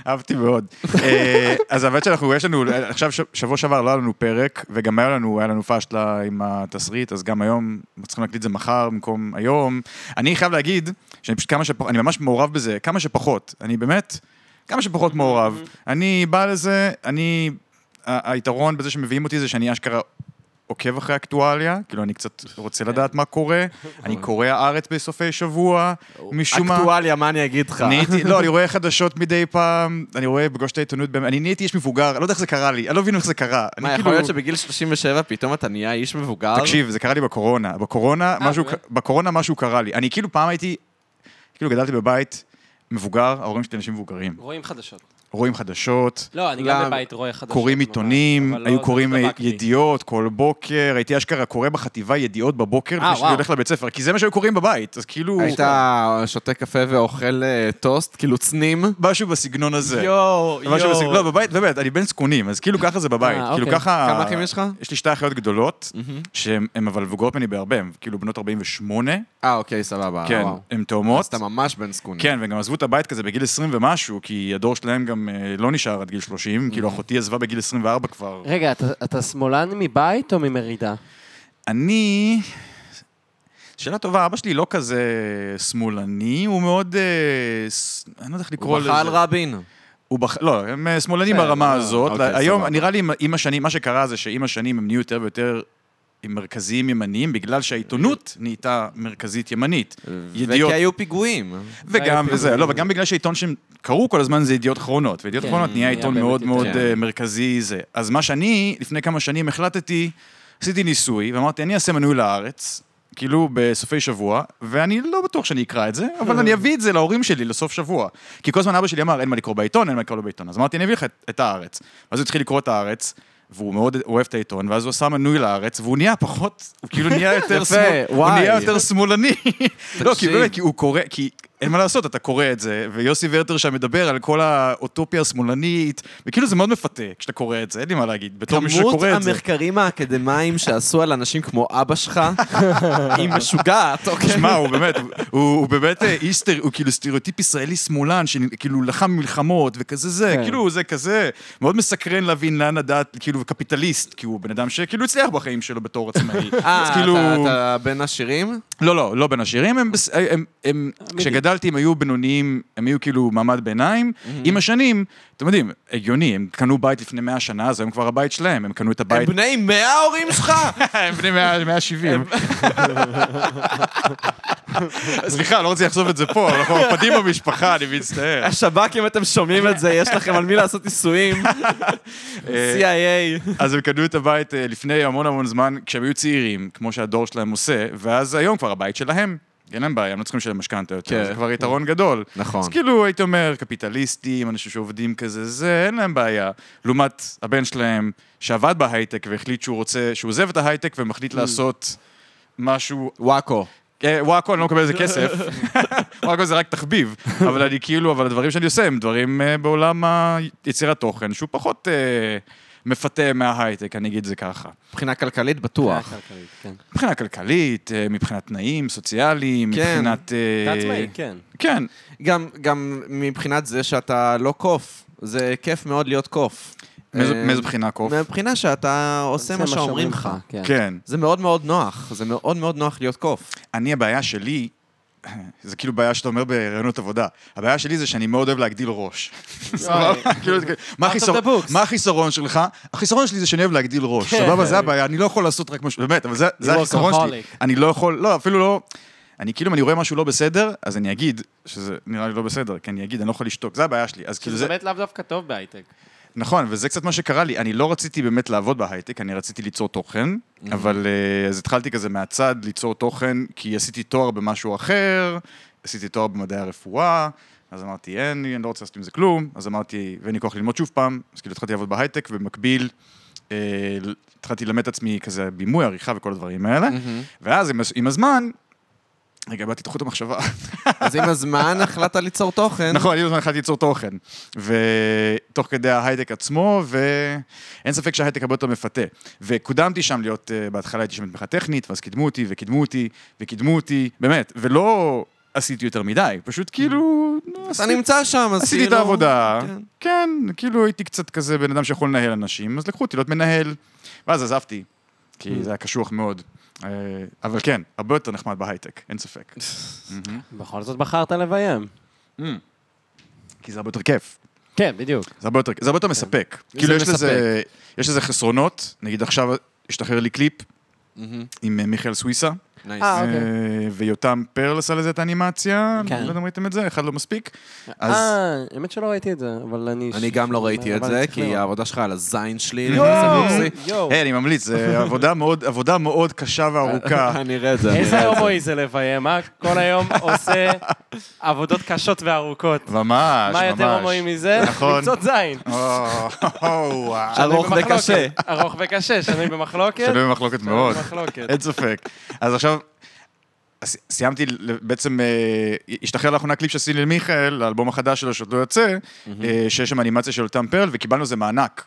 S2: אהבתי מאוד. אה, אז האמת שאנחנו, יש לנו, עכשיו ש- שבוע שעבר לא היה לנו פרק, וגם היה לנו, היה לנו פאשלה עם התסריט, אז גם היום, צריכים להקליט את זה מחר במקום היום. אני חייב להגיד, שאני פשוט כמה שפחות, אני ממש מעורב בזה, כמה שפחות. אני באמת, כמה שפחות מעורב. אני בא לזה, אני, ה- היתרון בזה שמביאים אותי זה שאני אשכרה... עוקב אחרי אקטואליה, כאילו אני קצת רוצה לדעת מה קורה, אני קורא הארץ בסופי שבוע, משום מה...
S1: אקטואליה, מה אני אגיד לך?
S2: נהייתי, לא, אני רואה חדשות מדי פעם, אני רואה פגוש את העיתונות, באמת, אני נהייתי איש מבוגר, אני לא יודע איך זה קרה לי, אני לא מבין איך זה קרה. אני
S1: מה, יכול להיות שבגיל 37 פתאום אתה נהיה איש מבוגר?
S2: תקשיב, זה קרה לי בקורונה, בקורונה משהו,
S3: אה, באמת?
S2: בקורונה משהו קרה לי. אני כאילו פעם הייתי, כאילו גדלתי בבית מבוגר, ההורים שלי אנשים מבוגרים,
S3: רואים חדשות.
S2: רואים חדשות.
S3: לא, אני
S1: למה?
S3: גם בבית רואה חדשות.
S2: קוראים
S3: ממש,
S2: עיתונים,
S3: אבל לא,
S2: היו
S3: זה
S2: קוראים
S1: אה,
S2: אה,
S3: לא דבק לי.
S2: ידיעות כל בוקר, הייתי אשכרה קורא בחטיבה ידיעות בבוקר, לפני שאני
S3: אה, וואו.
S2: הולך לבית ספר, כי זה מה שהיו קוראים בבית, אז כאילו,
S1: היית שותה קפה ואוכל אה, טוסט, כאילו צנים?
S2: משהו בסגנון הזה.
S3: יואו,
S2: ממש
S3: יואו.
S2: בסגנון, לא, בבית, באמת, אני בן זקונים, אז כאילו ככה זה בבית.
S3: אה,
S2: כאילו
S3: אוקיי.
S2: ככה...
S1: כמה אחים יש לך?
S2: יש לי שתי אחיות גדולות, שהן הן אבל מבוגרות ממני בהרבה, הן כאילו בנות 48,
S1: אה, אוקיי, סבבה.
S2: כן,
S1: וואו.
S2: הן
S1: אז
S2: תאומות.
S1: אתה ממש בן זקונים.
S2: כן, והם גם עזבו את הבית כזה בגיל 20 ומשהו, כי הדור שלהם גם אה, לא נשאר עד גיל 30, כאילו אחותי עזבה בגיל 24 כבר.
S3: רגע, אתה- אתה שמאלן מבית או ממרידה?
S2: אני... שאלה טובה, אבא שלי לא כזה שמאלני, הוא מאוד... אה, ס- אני לא יודע איך לקרוא
S1: הוא
S2: לזה.
S1: בחל רבין.
S2: הוא בח... לא, הם אה, שמאלנים
S1: כן,
S2: ברמה
S1: לא,
S2: הזאת.
S1: אוקיי,
S2: היום,
S1: סבבה.
S2: נראה לי עם- עם השנים, מה שקרה זה שעם השנים הם נהיו יותר ויותר עם מרכזיים ימניים, בגלל שהעיתונות נהייתה מרכזית ימנית. ידיעות,
S1: וכי היו פיגועים.
S2: וגם
S3: והיו
S2: וזה, לא, וגם בגלל שהעיתון שהם קראו כל הזמן זה ידיעות אחרונות, וידיעות
S3: כן,
S2: אחרונות נהיה
S3: נהיה
S2: עיתון
S3: באמת
S2: מאוד
S3: יותר.
S2: מאוד
S1: כן.
S2: אה, מרכזי זה. אז מה שאני, לפני כמה שנים החלטתי, עשיתי ניסוי, ואמרתי, אני אעשה מנוי לארץ. כאילו בסופי שבוע, ואני לא בטוח שאני אקרא את זה, אבל אני אביא את זה להורים שלי לסוף שבוע. כי כל הזמן אבא שלי אמר, אין מה לקרוא בעיתון, אין מה לקרוא בעיתון. אז אמרתי, אני אביא לך את, את הארץ. ואז הוא התחיל לקרוא את הארץ, והוא מאוד אוהב את העיתון, ואז הוא עשה מנוי לארץ, והוא נהיה פחות, הוא כאילו נהיה יותר
S1: יפה,
S2: שמאל- הוא
S1: וואי.
S2: נהיה יותר שמאלני. לא, כי
S1: תקשיב.
S2: באמת, כי הוא קורא, כי אין מה לעשות, אתה קורא את זה, ויוסי ורטר שם מדבר על כל האוטופיה השמאלנית, וכאילו זה מאוד מפתה כשאתה קורא את זה, אין לי מה להגיד, בתור מי
S1: כמות
S2: שקורא את זה.
S1: המחקרים האקדמיים שעשו על אנשים כמו אבא שלך, היא משוגעת, אוקיי?
S2: שמע, הוא באמת, הוא- הוא באמת אה, איש, סטר- הוא כאילו סטריאוטיפ ישראלי שמאלן, שכאילו לחם מלחמות וכזה זה,
S3: כן.
S2: כאילו זה כזה, מאוד מסקרן להבין לאן הדעת, כאילו קפיטליסט, כי הוא בן אדם שכאילו הצליח בחיים שלו בתור עצמאי. אז
S1: אה,
S2: כאילו...
S1: אתה- אתה בין השירים?
S2: לא, לא, לא בין עשירים, הם, בס- הם, הם
S3: אמיתי.
S2: כשגדלתי הם היו בינוניים, הם היו כאילו מעמד ביניים. עם השנים, אתם יודעים, הגיוני, הם קנו בית לפני 100 שנה, אז היום כבר הבית שלהם, הם קנו את
S1: הם
S2: הבית...
S1: בני 100 ההורים שלך?
S2: הם בני 100 170. סליחה, לא רוצה לחשוף את זה פה, אנחנו מרפדים במשפחה, אני מצטער.
S1: השב"כ, אם אתם שומעים את זה, יש לכם על מי לעשות ניסויים.
S2: אה,
S1: CIA.
S2: אז הם קנו את הבית אה, לפני המון המון זמן, כשהם היו צעירים, כמו שהדור שלהם עושה, ואז היום כבר הבית שלהם. אין להם בעיה, הם לא צריכים לשלם משכנתה יותר,
S1: כן.
S2: זה כבר יתרון גדול.
S1: נכון.
S2: אז כאילו, הייתי אומר, קפיטליסטים, אנשים שעובדים כזה, זה, אין להם בעיה. לעומת הבן שלהם, שעבד בהייטק והחליט שהוא רוצה, שהוא עוזב את ההייטק ומחליט
S1: Mm.
S2: לעשות משהו
S1: וואקו.
S2: אה, וואקו, אני לא מקבל על זה כסף. וואקו זה רק תחביב. אבל אני כאילו, אבל הדברים שאני עושה הם דברים אה, בעולם היצירת תוכן, שהוא פחות אה, מפתה מההייטק, אני אגיד את זה ככה.
S1: מבחינה כלכלית בטוח.
S3: כלכלית, כן.
S2: מבחינה כלכלית, אה, מבחינת תנאים, סוציאליים,
S1: כן.
S2: מבחינת... אה,
S3: אתה עצמאי, כן.
S2: כן.
S1: גם, גם מבחינת זה שאתה לא קוף. זה כיף מאוד להיות קוף.
S2: מאיזו-
S1: אה,
S2: מאיזו בחינה קוף?
S1: מהבחינה שאתה עושה מה שאומרים לך.
S3: כן.
S2: כן.
S1: זה מאוד מאוד נוח. זה מאוד מאוד נוח להיות קוף.
S2: אני, הבעיה שלי, זה כאילו בעיה שאתה אומר בראיונות עבודה. הבעיה שלי זה שאני מאוד אוהב להגדיל ראש. סבבה? כאילו, זה כאילו, מה
S3: Out of
S2: החיסור-
S3: the books.
S2: מה החיסרון שלך? החיסרון שלי זה שאני אוהב להגדיל ראש.
S3: כן.
S2: סבבה, זה הבעיה, אני לא יכול לעשות רק משהו, באמת, אבל זה- זה
S3: You
S2: החיסרון שלי.
S3: workaholic.
S2: אני לא יכול, לא, אפילו לא... אני כאילו, אם אני רואה משהו לא בסדר, אז אני אגיד שזה נראה לי לא בסדר, כי אני אגיד, אני לא יכול לשתוק, זה הבעיה שלי. אז כאילו
S3: שזה
S2: זה,
S3: באמת לאו דווקא טוב בהייטק.
S2: נכון, וזה קצת מה שקרה לי. אני לא רציתי באמת לעבוד בהייטק, אני רציתי ליצור תוכן, אבל אה, אז התחלתי כזה מהצד ליצור תוכן, כי עשיתי תואר במשהו אחר, עשיתי תואר במדעי הרפואה, אז אמרתי, אין, לי, אני לא רוצה לעשות עם זה כלום, אז אמרתי, ואין לי כוח ללמוד שוב פעם, אז כאילו התחלתי לעבוד בהייטק, ובמקביל אה, התחלתי ללמד את עצמי כזה בימוי, עריכה וכל הדברים האלה,
S1: Mm-hmm.
S2: ואז עם, הז- עם הזמן, רגע, איבדתי את חוט המחשבה.
S1: אז עם הזמן החלטת ליצור תוכן.
S2: נכון, אני בזמן התחלתי ליצור תוכן. ותוך כדי ההייטק עצמו, ואין ספק שההייטק הרבה יותר מפתה. וקודמתי שם להיות, אה, בהתחלה הייתי שם בתמיכה טכנית, ואז קידמו אותי, וקידמו אותי, וקידמו אותי, באמת, ולא עשיתי יותר מדי, פשוט כאילו... נו,
S1: אתה
S2: עשיתי-
S1: נמצא שם, אז
S2: עשיתי את
S1: כאילו-
S2: העבודה,
S1: כן.
S2: כן, כאילו הייתי קצת כזה בן אדם שיכול לנהל אנשים, אז לקחו אותי להיות מנהל, ואז עזבתי,
S1: Mm. Hmm.
S2: כי זה היה קשוח מאוד. אה, אבל כן, הרבה יותר נחמד בהייטק, אין ספק.
S1: Mm-hmm.
S3: בכל זאת בחרת לביים.
S2: Mm-hmm. כי זה הרבה יותר כיף.
S3: כן, בדיוק.
S2: זה הרבה יותר, זה הרבה יותר מספק. כאילו
S3: כן. זה
S2: יש לזה, יש לזה חסרונות, נגיד עכשיו השתחרר לי קליפ
S1: מהמם.
S2: עם אה, מיכאל סוויסה,
S1: נייס.
S3: אה, אוקיי.
S2: אה, ויותם פרל עשה לזה את האנימציה,
S3: כן.
S2: לא יודע אם ראיתם את זה, אחד לא מספיק. אז
S3: אה, האמת שלא ראיתי את זה, אבל אני...
S1: אני גם לא ראיתי את
S3: אבל
S1: זה,
S3: צריך
S1: כי אוקיי.
S3: לראות.
S1: העבודה שלך על הזין שלי.
S2: יואו!
S1: נכנסת לבוקסי.
S3: יואו.
S2: היי, אה, אני ממליץ, זה עבודה מאוד- עבודה מאוד קשה וארוכה.
S1: אני אראה את זה. אני אראה
S3: איזה
S1: את זה.
S3: הומואי זה לביים, אה? כל היום עושה עבודות קשות וארוכות.
S2: ממש,
S3: מה יותר הומואי
S2: ממש.
S3: מזה?
S2: נכון.
S3: למצוא זין.
S2: או, או, וואו.
S3: שנוי
S1: ארוך
S3: במחלוקת.
S1: וקשה.
S3: ארוך וקשה, שנוי במחלוקת.
S2: שנוי במחלוקת מאוד.
S3: במחלוקת.
S2: אין ספק. אז עכשיו, ס- סיימתי, ל- בעצם, אה, השתחרר לאחרונה קליפ שעשיתי למיכאל, לאלבום החדש שלו שעוד לא יוצא, אה, שיש שם אנימציה של אותם פרל, וקיבלנו איזה מענק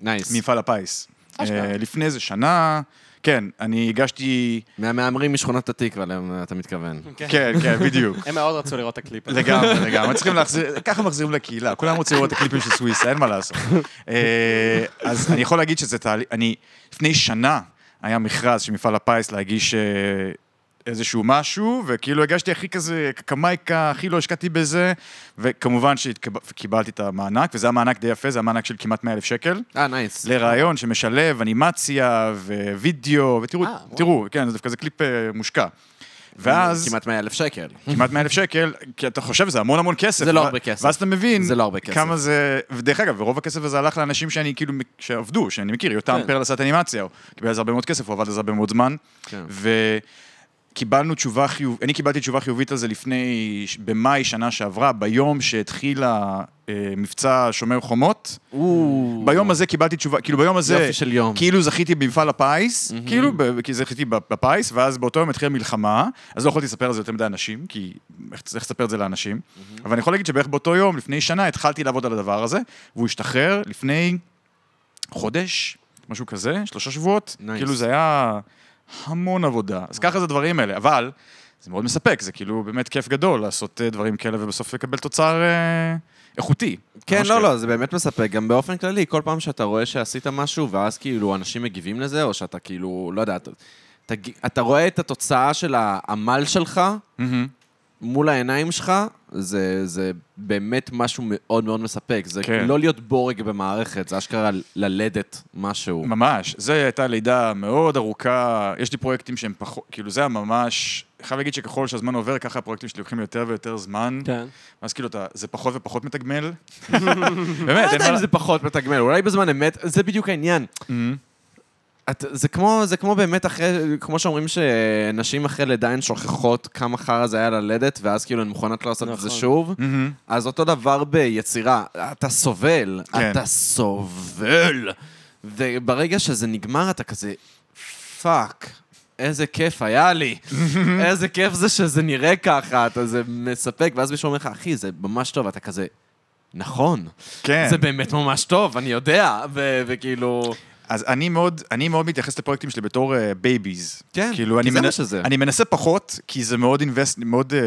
S1: נייס.
S2: ממפעל הפיס.
S3: אשכרה.
S2: אה, לפני איזה שנה, כן, אני הגשתי...
S1: מהמהמרים משכונת התקווה, למה אתה מתכוון.
S2: כן, כן, בדיוק.
S3: הם מאוד רצו לראות את הקליפ הזה.
S2: לגמרי, לגמרי. צריכים להחזיר, ככה מחזירים לקהילה. כולם רוצים לראות את הקליפים של סוויסה, אין מה לעשות. אה, אז אני יכול להגיד שזה תהליך, אני, לפני שנה היה מכרז של מפעל הפיס להגיש אה, איזשהו משהו, וכאילו הגשתי הכי כזה, קקמייקה, הכי לא השקעתי בזה, וכמובן שקיבלתי את המענק, וזה היה מענק די יפה, זה היה מענק של כמעט 100 אלף שקל.
S1: אה, נייס.
S2: לרעיון שמשלב אנימציה ווידאו, ותראו,
S1: אה, וואו.
S2: תראו, כן, זה דווקא זה קליפ אה, מושקע. ואז...
S1: כמעט 100 אלף שקל.
S2: כמעט 100 אלף שקל, כי אתה חושב, זה המון המון כסף.
S1: זה לא
S2: ו-
S1: הרבה כסף.
S2: ואז אתה מבין
S1: זה לא הרבה כסף.
S2: כמה זה... ודרך אגב, ורוב הכסף הזה הלך לאנשים שאני כאילו, מק- שעבדו, שאני מכיר, יותם
S3: כן.
S2: פרל עשה את האנימציה, הוא קיבל על זה הרבה מאוד כסף, הוא עבד על זה הרבה מאוד זמן.
S1: כן.
S2: וקיבלנו תשובה חיובית, אני קיבלתי תשובה חיובית על זה לפני, ש- במאי שנה שעברה, ביום שהתחיל המבצע שומר חומות. ביום הזה קיבלתי תשובה, כאילו ביום הזה...
S1: יופי של יום.
S2: כאילו זכיתי במפעל הפיס, כאילו, ב- כי זכיתי בפיס, ואז באותו יום התחילה מלחמה, אז לא יכולתי לספר על זה יותר מדי אנשים, כי איך צריך לספר את זה לאנשים. אבל אני יכול להגיד שבערך באותו יום, לפני שנה, התחלתי לעבוד על הדבר הזה, והוא השתחרר לפני חודש, משהו כזה, שלושה שבועות.
S1: Nice.
S2: כאילו זה היה המון עבודה. אז ככה זה הדברים האלה, אבל זה מאוד מספק, זה כאילו באמת כיף גדול לעשות אה, דברים כאלה ובסוף לקבל תוצר אה, איכותי.
S1: כן,
S2: ממש
S1: לא,
S2: כיף.
S1: לא, זה באמת מספק. גם באופן כללי, כל פעם שאתה רואה שעשית משהו, ואז כאילו אנשים מגיבים לזה, או שאתה כאילו, לא יודע, אתה, אתה, אתה רואה את התוצאה של העמל שלך
S2: מהמם.
S1: מול העיניים שלך, זה, זה באמת משהו מאוד מאוד מספק. זה
S2: כן.
S1: לא להיות בורג במערכת, זה אשכרה ללדת משהו.
S2: ממש. זו הייתה לידה מאוד ארוכה, יש לי פרויקטים שהם פחות, כאילו זה היה ממש, חייב להגיד שככל שהזמן עובר, ככה הפרויקטים שלי לוקחים יותר ויותר זמן.
S3: כן.
S2: אז כאילו, אתה, זה פחות ופחות מתגמל. באמת,
S1: לא
S2: אין
S1: יודע אם
S2: מה...
S1: זה פחות מתגמל, אולי בזמן אמת, זה בדיוק העניין.
S2: Mm-hmm.
S1: את, זה, כמו, זה כמו באמת אחרי, כמו שאומרים שנשים אחרי לידה הן שוכחות כמה חרא זה היה ללדת, ואז כאילו הן מוכנות לעשות את זה
S3: נכון.
S1: שוב.
S2: מהמם.
S1: אז אותו דבר ביצירה, אתה סובל,
S2: כן.
S1: אתה סובל. וברגע שזה נגמר אתה כזה, פאק, איזה כיף היה לי. איזה כיף זה שזה נראה ככה, אתה זה מספק, ואז מישהו אומר לך, אחי, זה ממש טוב, אתה כזה, נכון.
S2: כן.
S1: זה באמת ממש טוב, אני יודע, ו- וכאילו...
S2: אז אני מאוד, אני מאוד מתייחס לפרויקטים שלי בתור בייביז.
S1: כן, כי זה
S2: אני
S1: מה
S2: מנ-
S1: שזה.
S2: אני מנסה פחות, כי זה מאוד אינבסט, מאוד, אה,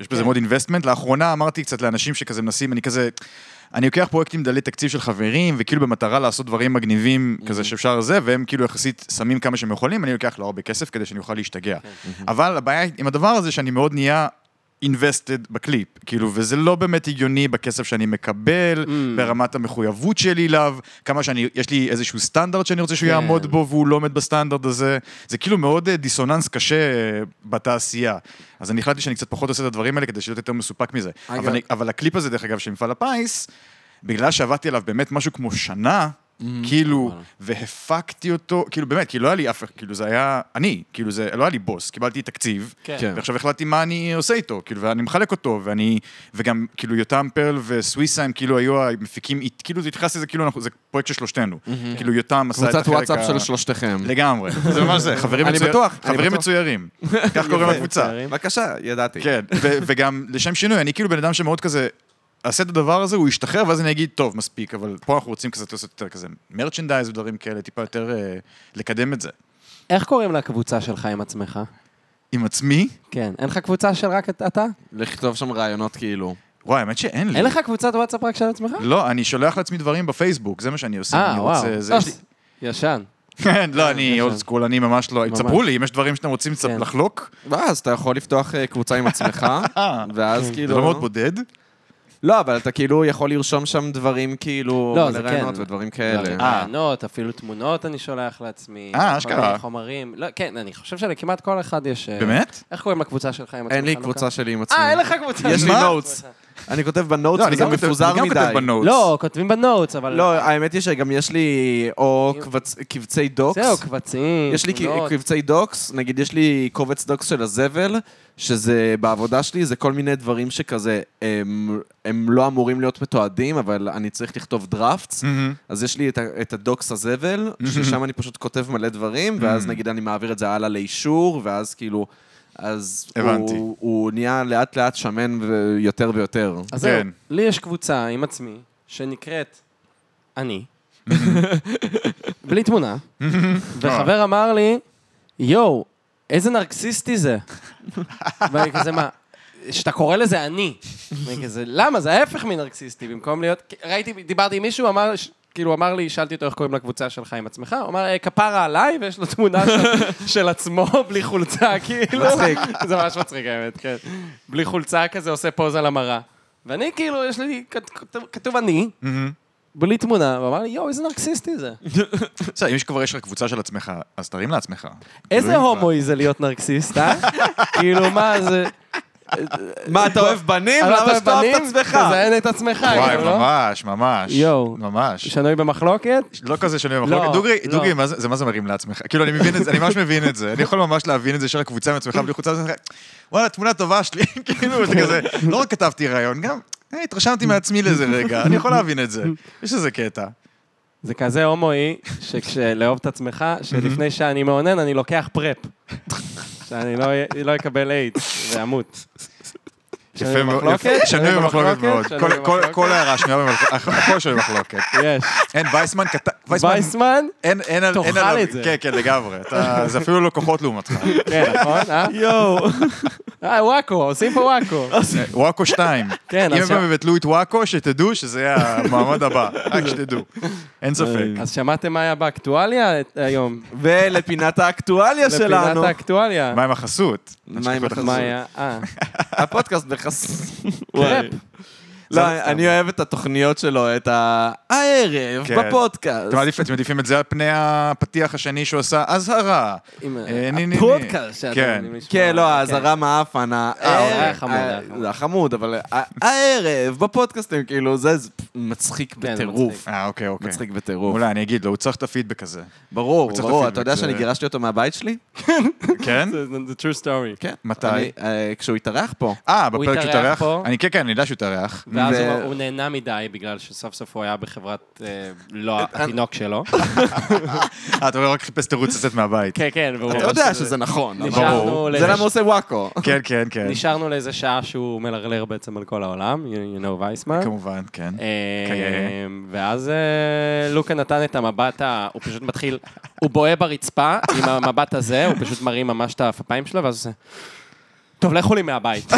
S2: יש בזה
S3: כן.
S2: מאוד אינבסטמנט. לאחרונה אמרתי קצת לאנשים שכזה מנסים, אני כזה, אני לוקח פרויקטים דלי תקציב של חברים, וכאילו במטרה לעשות דברים מגניבים כזה שאפשר זה, והם כאילו יחסית שמים כמה שהם יכולים, אני לוקח לא הרבה כסף כדי שאני אוכל להשתגע. אבל הבעיה עם הדבר הזה שאני מאוד נהיה invested בקליפ, כאילו, וזה לא באמת הגיוני בכסף שאני מקבל, ברמת המחויבות שלי אליו, כמה שאני, יש לי איזשהו סטנדרט שאני רוצה שהוא
S3: כן.
S2: יעמוד בו והוא לא עומד בסטנדרט הזה, זה כאילו מאוד אה, דיסוננס קשה אה, בתעשייה. אז אני החלטתי שאני קצת פחות עושה את הדברים האלה כדי להיות יותר מסופק מזה.
S1: אגב-
S2: אבל, אני- אבל הקליפ הזה, דרך אגב, של מפעל הפיס, בגלל שעבדתי עליו באמת משהו כמו שנה, כאילו, והפקתי אותו, כאילו באמת, כי לא היה לי אף, כאילו זה היה אני, כאילו זה, לא היה לי בוס, קיבלתי תקציב,
S1: כן.
S2: ועכשיו החלטתי מה אני עושה איתו, כאילו, ואני מחלק אותו, ואני, וגם, כאילו, יותם פרל וסוויסה הם כאילו היו המפיקים, אית- כאילו, זה התייחס לזה, כאילו, אנחנו, זה פרויקט של שלושתנו, כאילו, יותם עשה את
S1: קבוצת
S2: החלק
S1: וואטסאפ
S2: ה-
S1: של שלושתכם.
S2: לגמרי, זה ממש זה, חברים
S1: אני
S2: מצויר-
S1: בטוח, אני
S2: חברים
S1: בטוח.
S2: מצוירים, כך קוראים לקבוצה.
S3: מצוירים.
S1: בבקשה, ידעתי.
S2: כן, ו- וגם לשם שינוי, אני כאילו בן אדם שמאוד כזה, אעשה את הדבר הזה, הוא ישתחרר, ואז אני אגיד, טוב, מספיק, אבל פה אנחנו רוצים כזה לעשות יותר כזה מרצ'נדייז ודברים כאלה, טיפה יותר אה, לקדם את זה.
S3: איך קוראים לקבוצה שלך עם עצמך?
S2: עם עצמי?
S3: כן. אין לך קבוצה של רק את- אתה?
S1: לכתוב שם רעיונות כאילו.
S2: וואי, האמת שאין לי.
S3: אין לך קבוצת וואטסאפ רק של עצמך?
S2: לא, אני שולח לעצמי דברים בפייסבוק, זה מה שאני עושה.
S3: אה,
S2: אני
S3: וואו.
S2: רוצה- זה- יש לי-
S3: ישן.
S2: כן, לא, אני אולד סקול, אני ממש לא...
S3: ממש.
S2: תספרו לי, אם יש דברים שאתם רוצים קצת
S3: כן.
S2: לחלוק,
S1: ואז אתה יכול לפתוח אה, קבוצה עם עצמך, ואז
S2: זה לא
S1: כאילו...
S2: מאוד בודד.
S3: כן.
S1: לא, אבל אתה כאילו יכול לרשום שם דברים כאילו...
S3: לא, זה
S1: מלא רעיונות
S3: כן.
S1: ודברים כאלה.
S2: אה.
S3: רעיונות, אפילו תמונות אני שולח לעצמי.
S2: אה,
S3: כל
S2: אשכרה.
S3: מיני חומרים. לא, כן, אני חושב שלכמעט כל אחד יש... אה,
S2: באמת?
S3: איך קוראים לקבוצה שלך
S2: אה,
S3: עם עצמך?
S1: אין לי
S2: לא
S3: לוקה?
S1: קבוצה שלי עם עצמי.
S3: אה, אין לך קבוצה.
S1: יש לי
S2: מה?
S1: נוטס. אני כותב בנוטס,
S2: לא, אני
S1: וזה
S2: גם כותב-
S1: מפוזר
S2: אני גם כותב
S1: מדי.
S2: בנוטס.
S3: לא, כותבים בנוטס, אבל...
S1: לא, האמת היא שגם יש לי או קבצ- קבצי דוקס.
S3: זהו, קבצים,
S1: יש לי
S3: תמונות.
S1: ק- קבצי דוקס, נגיד יש לי קובץ דוקס של הזבל, שזה בעבודה שלי, זה כל מיני דברים שכזה, הם, הם לא אמורים להיות מתועדים, אבל אני צריך לכתוב דראפטס,
S2: מהמם.
S1: אז יש לי את, ה- את הדוקס הזבל, ששם אני פשוט כותב מלא דברים, ואז נגיד אני מעביר את זה הלאה לאישור, ואז כאילו... אז
S2: הבנתי.
S1: הוא, הוא נהיה לאט לאט שמן ויותר ויותר.
S3: אז זהו,
S2: כן.
S3: לי יש קבוצה עם עצמי, שנקראת אני, בלי תמונה, וחבר אמר לי, יואו, איזה נרקסיסטי זה. ואני כזה, מה? שאתה קורא לזה אני. ואני כזה, למה? זה ההפך מנרקסיסטי, במקום להיות... כי ראיתי, דיברתי עם מישהו, אמר... ש- כאילו, אמר לי, שאלתי אותו איך קוראים לקבוצה שלך עם עצמך, הוא אמר, "אה, כפרה עליי, ויש לו תמונה של, של עצמו בלי חולצה, כאילו.
S1: מצחיק.
S3: זה ממש מצחיק, האמת, כן. בלי חולצה כזה, עושה פוזה למראה. ואני, כאילו, יש לי, כת- כתוב- כתוב אני,
S2: מהמם.
S3: בלי תמונה, הוא אמר לי, יואו, איזה נרקסיסטי זה.
S2: בסדר, אם יש כבר יש לך קבוצה של עצמך, אז תרים לעצמך.
S3: איזה
S2: אלוהים
S3: הומואי זה להיות נרקסיסט, אה? כאילו, מה זה...
S1: מה, אתה אוהב בנים? למה שאתה אוהב את עצמך?
S3: תזיין את עצמך,
S2: וואי,
S3: כאילו, לא?
S2: ממש, ממש.
S3: יואו.
S2: ממש.
S3: שנוי במחלוקת?
S2: לא כזה שנוי במחלוקת.
S3: לא,
S2: דוגרי,
S3: לא.
S2: דוגרי, מה זה זה מה זה מרים לעצמך? כאילו, אני מבין את זה, אני ממש מבין את זה. אני יכול ממש להבין את זה, של הקבוצה עם עצמך בלי חולצה, זה כזה, וואלה, תמונה טובה שלי. כאילו, זה כזה, לא רק כתבתי רעיון, גם אה, התרשמתי מעצמי לזה רגע, אני יכול להבין את זה. יש איזה קטע.
S3: זה כזה הומואי, שכשלאהוב את עצמך, שלפני שאני מאונן, אני לוקח פרפ. שאני לא אהיה- לא אקבל איידס, ואמות.
S2: יפה מאוד,
S3: במחלוקת?
S2: יפה, שנוי במחלוקת מאוד.
S3: שנוי
S2: כל- כל-
S3: במחלוקת?
S2: כל ההערה שנויה במחלוקת, הכל שנוי במחלוקת.
S3: יש.
S2: אין, וייסמן כתב, וייסמן,
S3: וייסמן?
S2: אין, אין, על- אין
S3: תאכל
S2: עליו,
S3: את זה.
S2: כן, כן, לגמרי. אתה- זה אפילו לא כוחות לעומתך.
S3: כן, נכון, אה?
S1: יואו.
S3: אה, וואקו, עושים פה וואקו.
S2: וואקו 2.
S3: כן,
S2: אם
S3: אז
S2: הם
S3: ש-
S2: יבטלו את וואקו, שתדעו שזה המעמד הבא, רק שתדעו. אין ספק.
S3: אז שמעתם מה היה באקטואליה את- היום?
S1: ולפינת האקטואליה שלנו.
S3: לפינת האקטואליה.
S2: מה עם החסות?
S1: מה עם
S3: מה
S1: החסות?
S3: היה? אה,
S1: הפודקאסט בחסות.
S3: קרפ.
S1: לא, אני אוהב את התוכניות שלו, את ה- הערב
S2: כן.
S1: בפודקאסט.
S2: אתם מעדיפ- אתם מעדיפים את זה על פני הפתיח השני שהוא עשה אזהרה.
S3: עם
S2: אה, ני, ני, ני.
S3: הפודקאסט שאתם
S2: כן.
S3: יודעים לשמוע.
S1: כן, לא, האזהרה מהאפן,
S3: זה היה
S1: הערב,
S3: אה, חמוד, היה
S1: ה-
S3: חמוד.
S1: זה היה חמוד, אבל ה- הערב בפודקאסטים, כאילו, זה זה מצחיק
S3: כן, זה
S1: בטירוף.
S3: מצחיק.
S2: אה, אוקיי, אוקיי.
S1: מצחיק בטירוף.
S2: אולי אני אגיד לו, הוא צריך את הפידבק הזה.
S1: ברור,
S2: הוא צריך
S1: ברור,
S2: לשים
S1: אתה
S2: את
S1: יודע
S2: זה.
S1: שאני גירשתי אותו מהבית שלי?
S2: כן?
S3: זה זה true story.
S1: כן.
S2: מתי?
S1: אני- אה, כשהוא התארח פה.
S2: אה, בפרק
S3: התארח
S2: שהוא התארח?
S3: פה.
S2: אני, כן, כן, אני יודע שהוא התארח.
S3: ואז
S1: ו-
S3: הוא- הוא נהנה מדי, בגלל שסוף סוף הוא היה בחברת, אה, לא, התינוק שלו.
S2: אה, אתה אומר, רק חיפש תירוץ לצאת מהבית.
S3: כן, כן, והוא...
S1: אתה יודע שזה נכון, אבל-
S3: נשארנו
S1: זה למה
S3: לאיזה-
S1: הוא עושה וואקו.
S2: כן, כן, כן.
S3: נשארנו לאיזה שעה שהוא מלרלר בעצם על כל העולם, you you know וייסמן.
S2: כמובן, כן.
S3: אה,
S2: כיאה.
S3: ואז אה, לוקה נתן את המבט, ה- הוא פשוט מתחיל, הוא בוהה ברצפה עם המבט הזה, הוא פשוט מרים ממש את העפפיים שלו, ואז הוא עושה... טוב, לכו לי מהבית.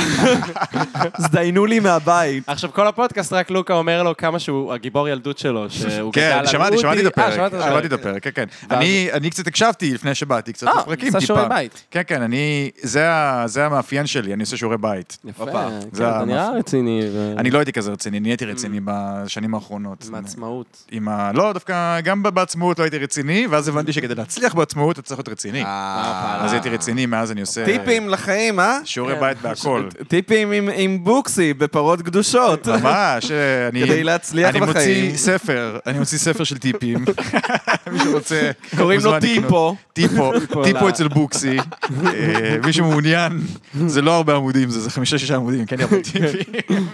S1: הזדיינו לי מהבית.
S3: עכשיו, כל הפודקאסט, רק לוקה אומר לו כמה שהוא הגיבור ילדות שלו, שהוא גדל
S2: כן,
S3: על
S2: שמעתי, שמעתי את
S3: אודי. אה,
S2: הפרק,
S3: שמעת
S2: שמעתי את הפרק, כן, כן. אני אני קצת הקשבתי לפני שבאתי, קצת
S3: אה,
S2: לפרקים
S3: עשה
S2: טיפה.
S3: שיעורי בית.
S2: כן, כן, אני, זה ה- זה המאפיין שלי, אני עושה שיעורי בית.
S3: יפה,
S1: הופה.
S3: כן,
S2: זה
S3: אתה נראה
S2: המפ-
S3: רציני.
S2: אני לא הייתי כזה רציני, נהייתי רציני בשנים האחרונות.
S3: מעצמאות.
S2: עם ה... לא, דווקא גם ב- בעצמאות לא הייתי רציני, ואז הבנתי שכדי להצליח בעצמאות אתה צריך להיות רציני. אה,
S3: אה,
S2: אז הייתי רציני, מאז אני עושה...
S1: אה, טיפים לחיים, אה?
S2: שיעורי
S3: כן.
S2: בית בהכל.
S1: טיפים עם- עם בוקסי בפרות קדושות.
S2: ממש, אה, אני...
S1: כדי להצליח
S2: אני
S1: בחיים.
S2: מוציא ספר, אני מוציא ספר של טיפים. מי שרוצה...
S1: קוראים לו
S2: מוזמן לקנות.
S1: טיפו.
S2: טיפו,
S3: לה-
S2: טיפו אצל בוקסי. אה, מי שמעוניין, זה לא הרבה עמודים, זה זה חמישה-שישה עמודים, כן, הרבה טיפים.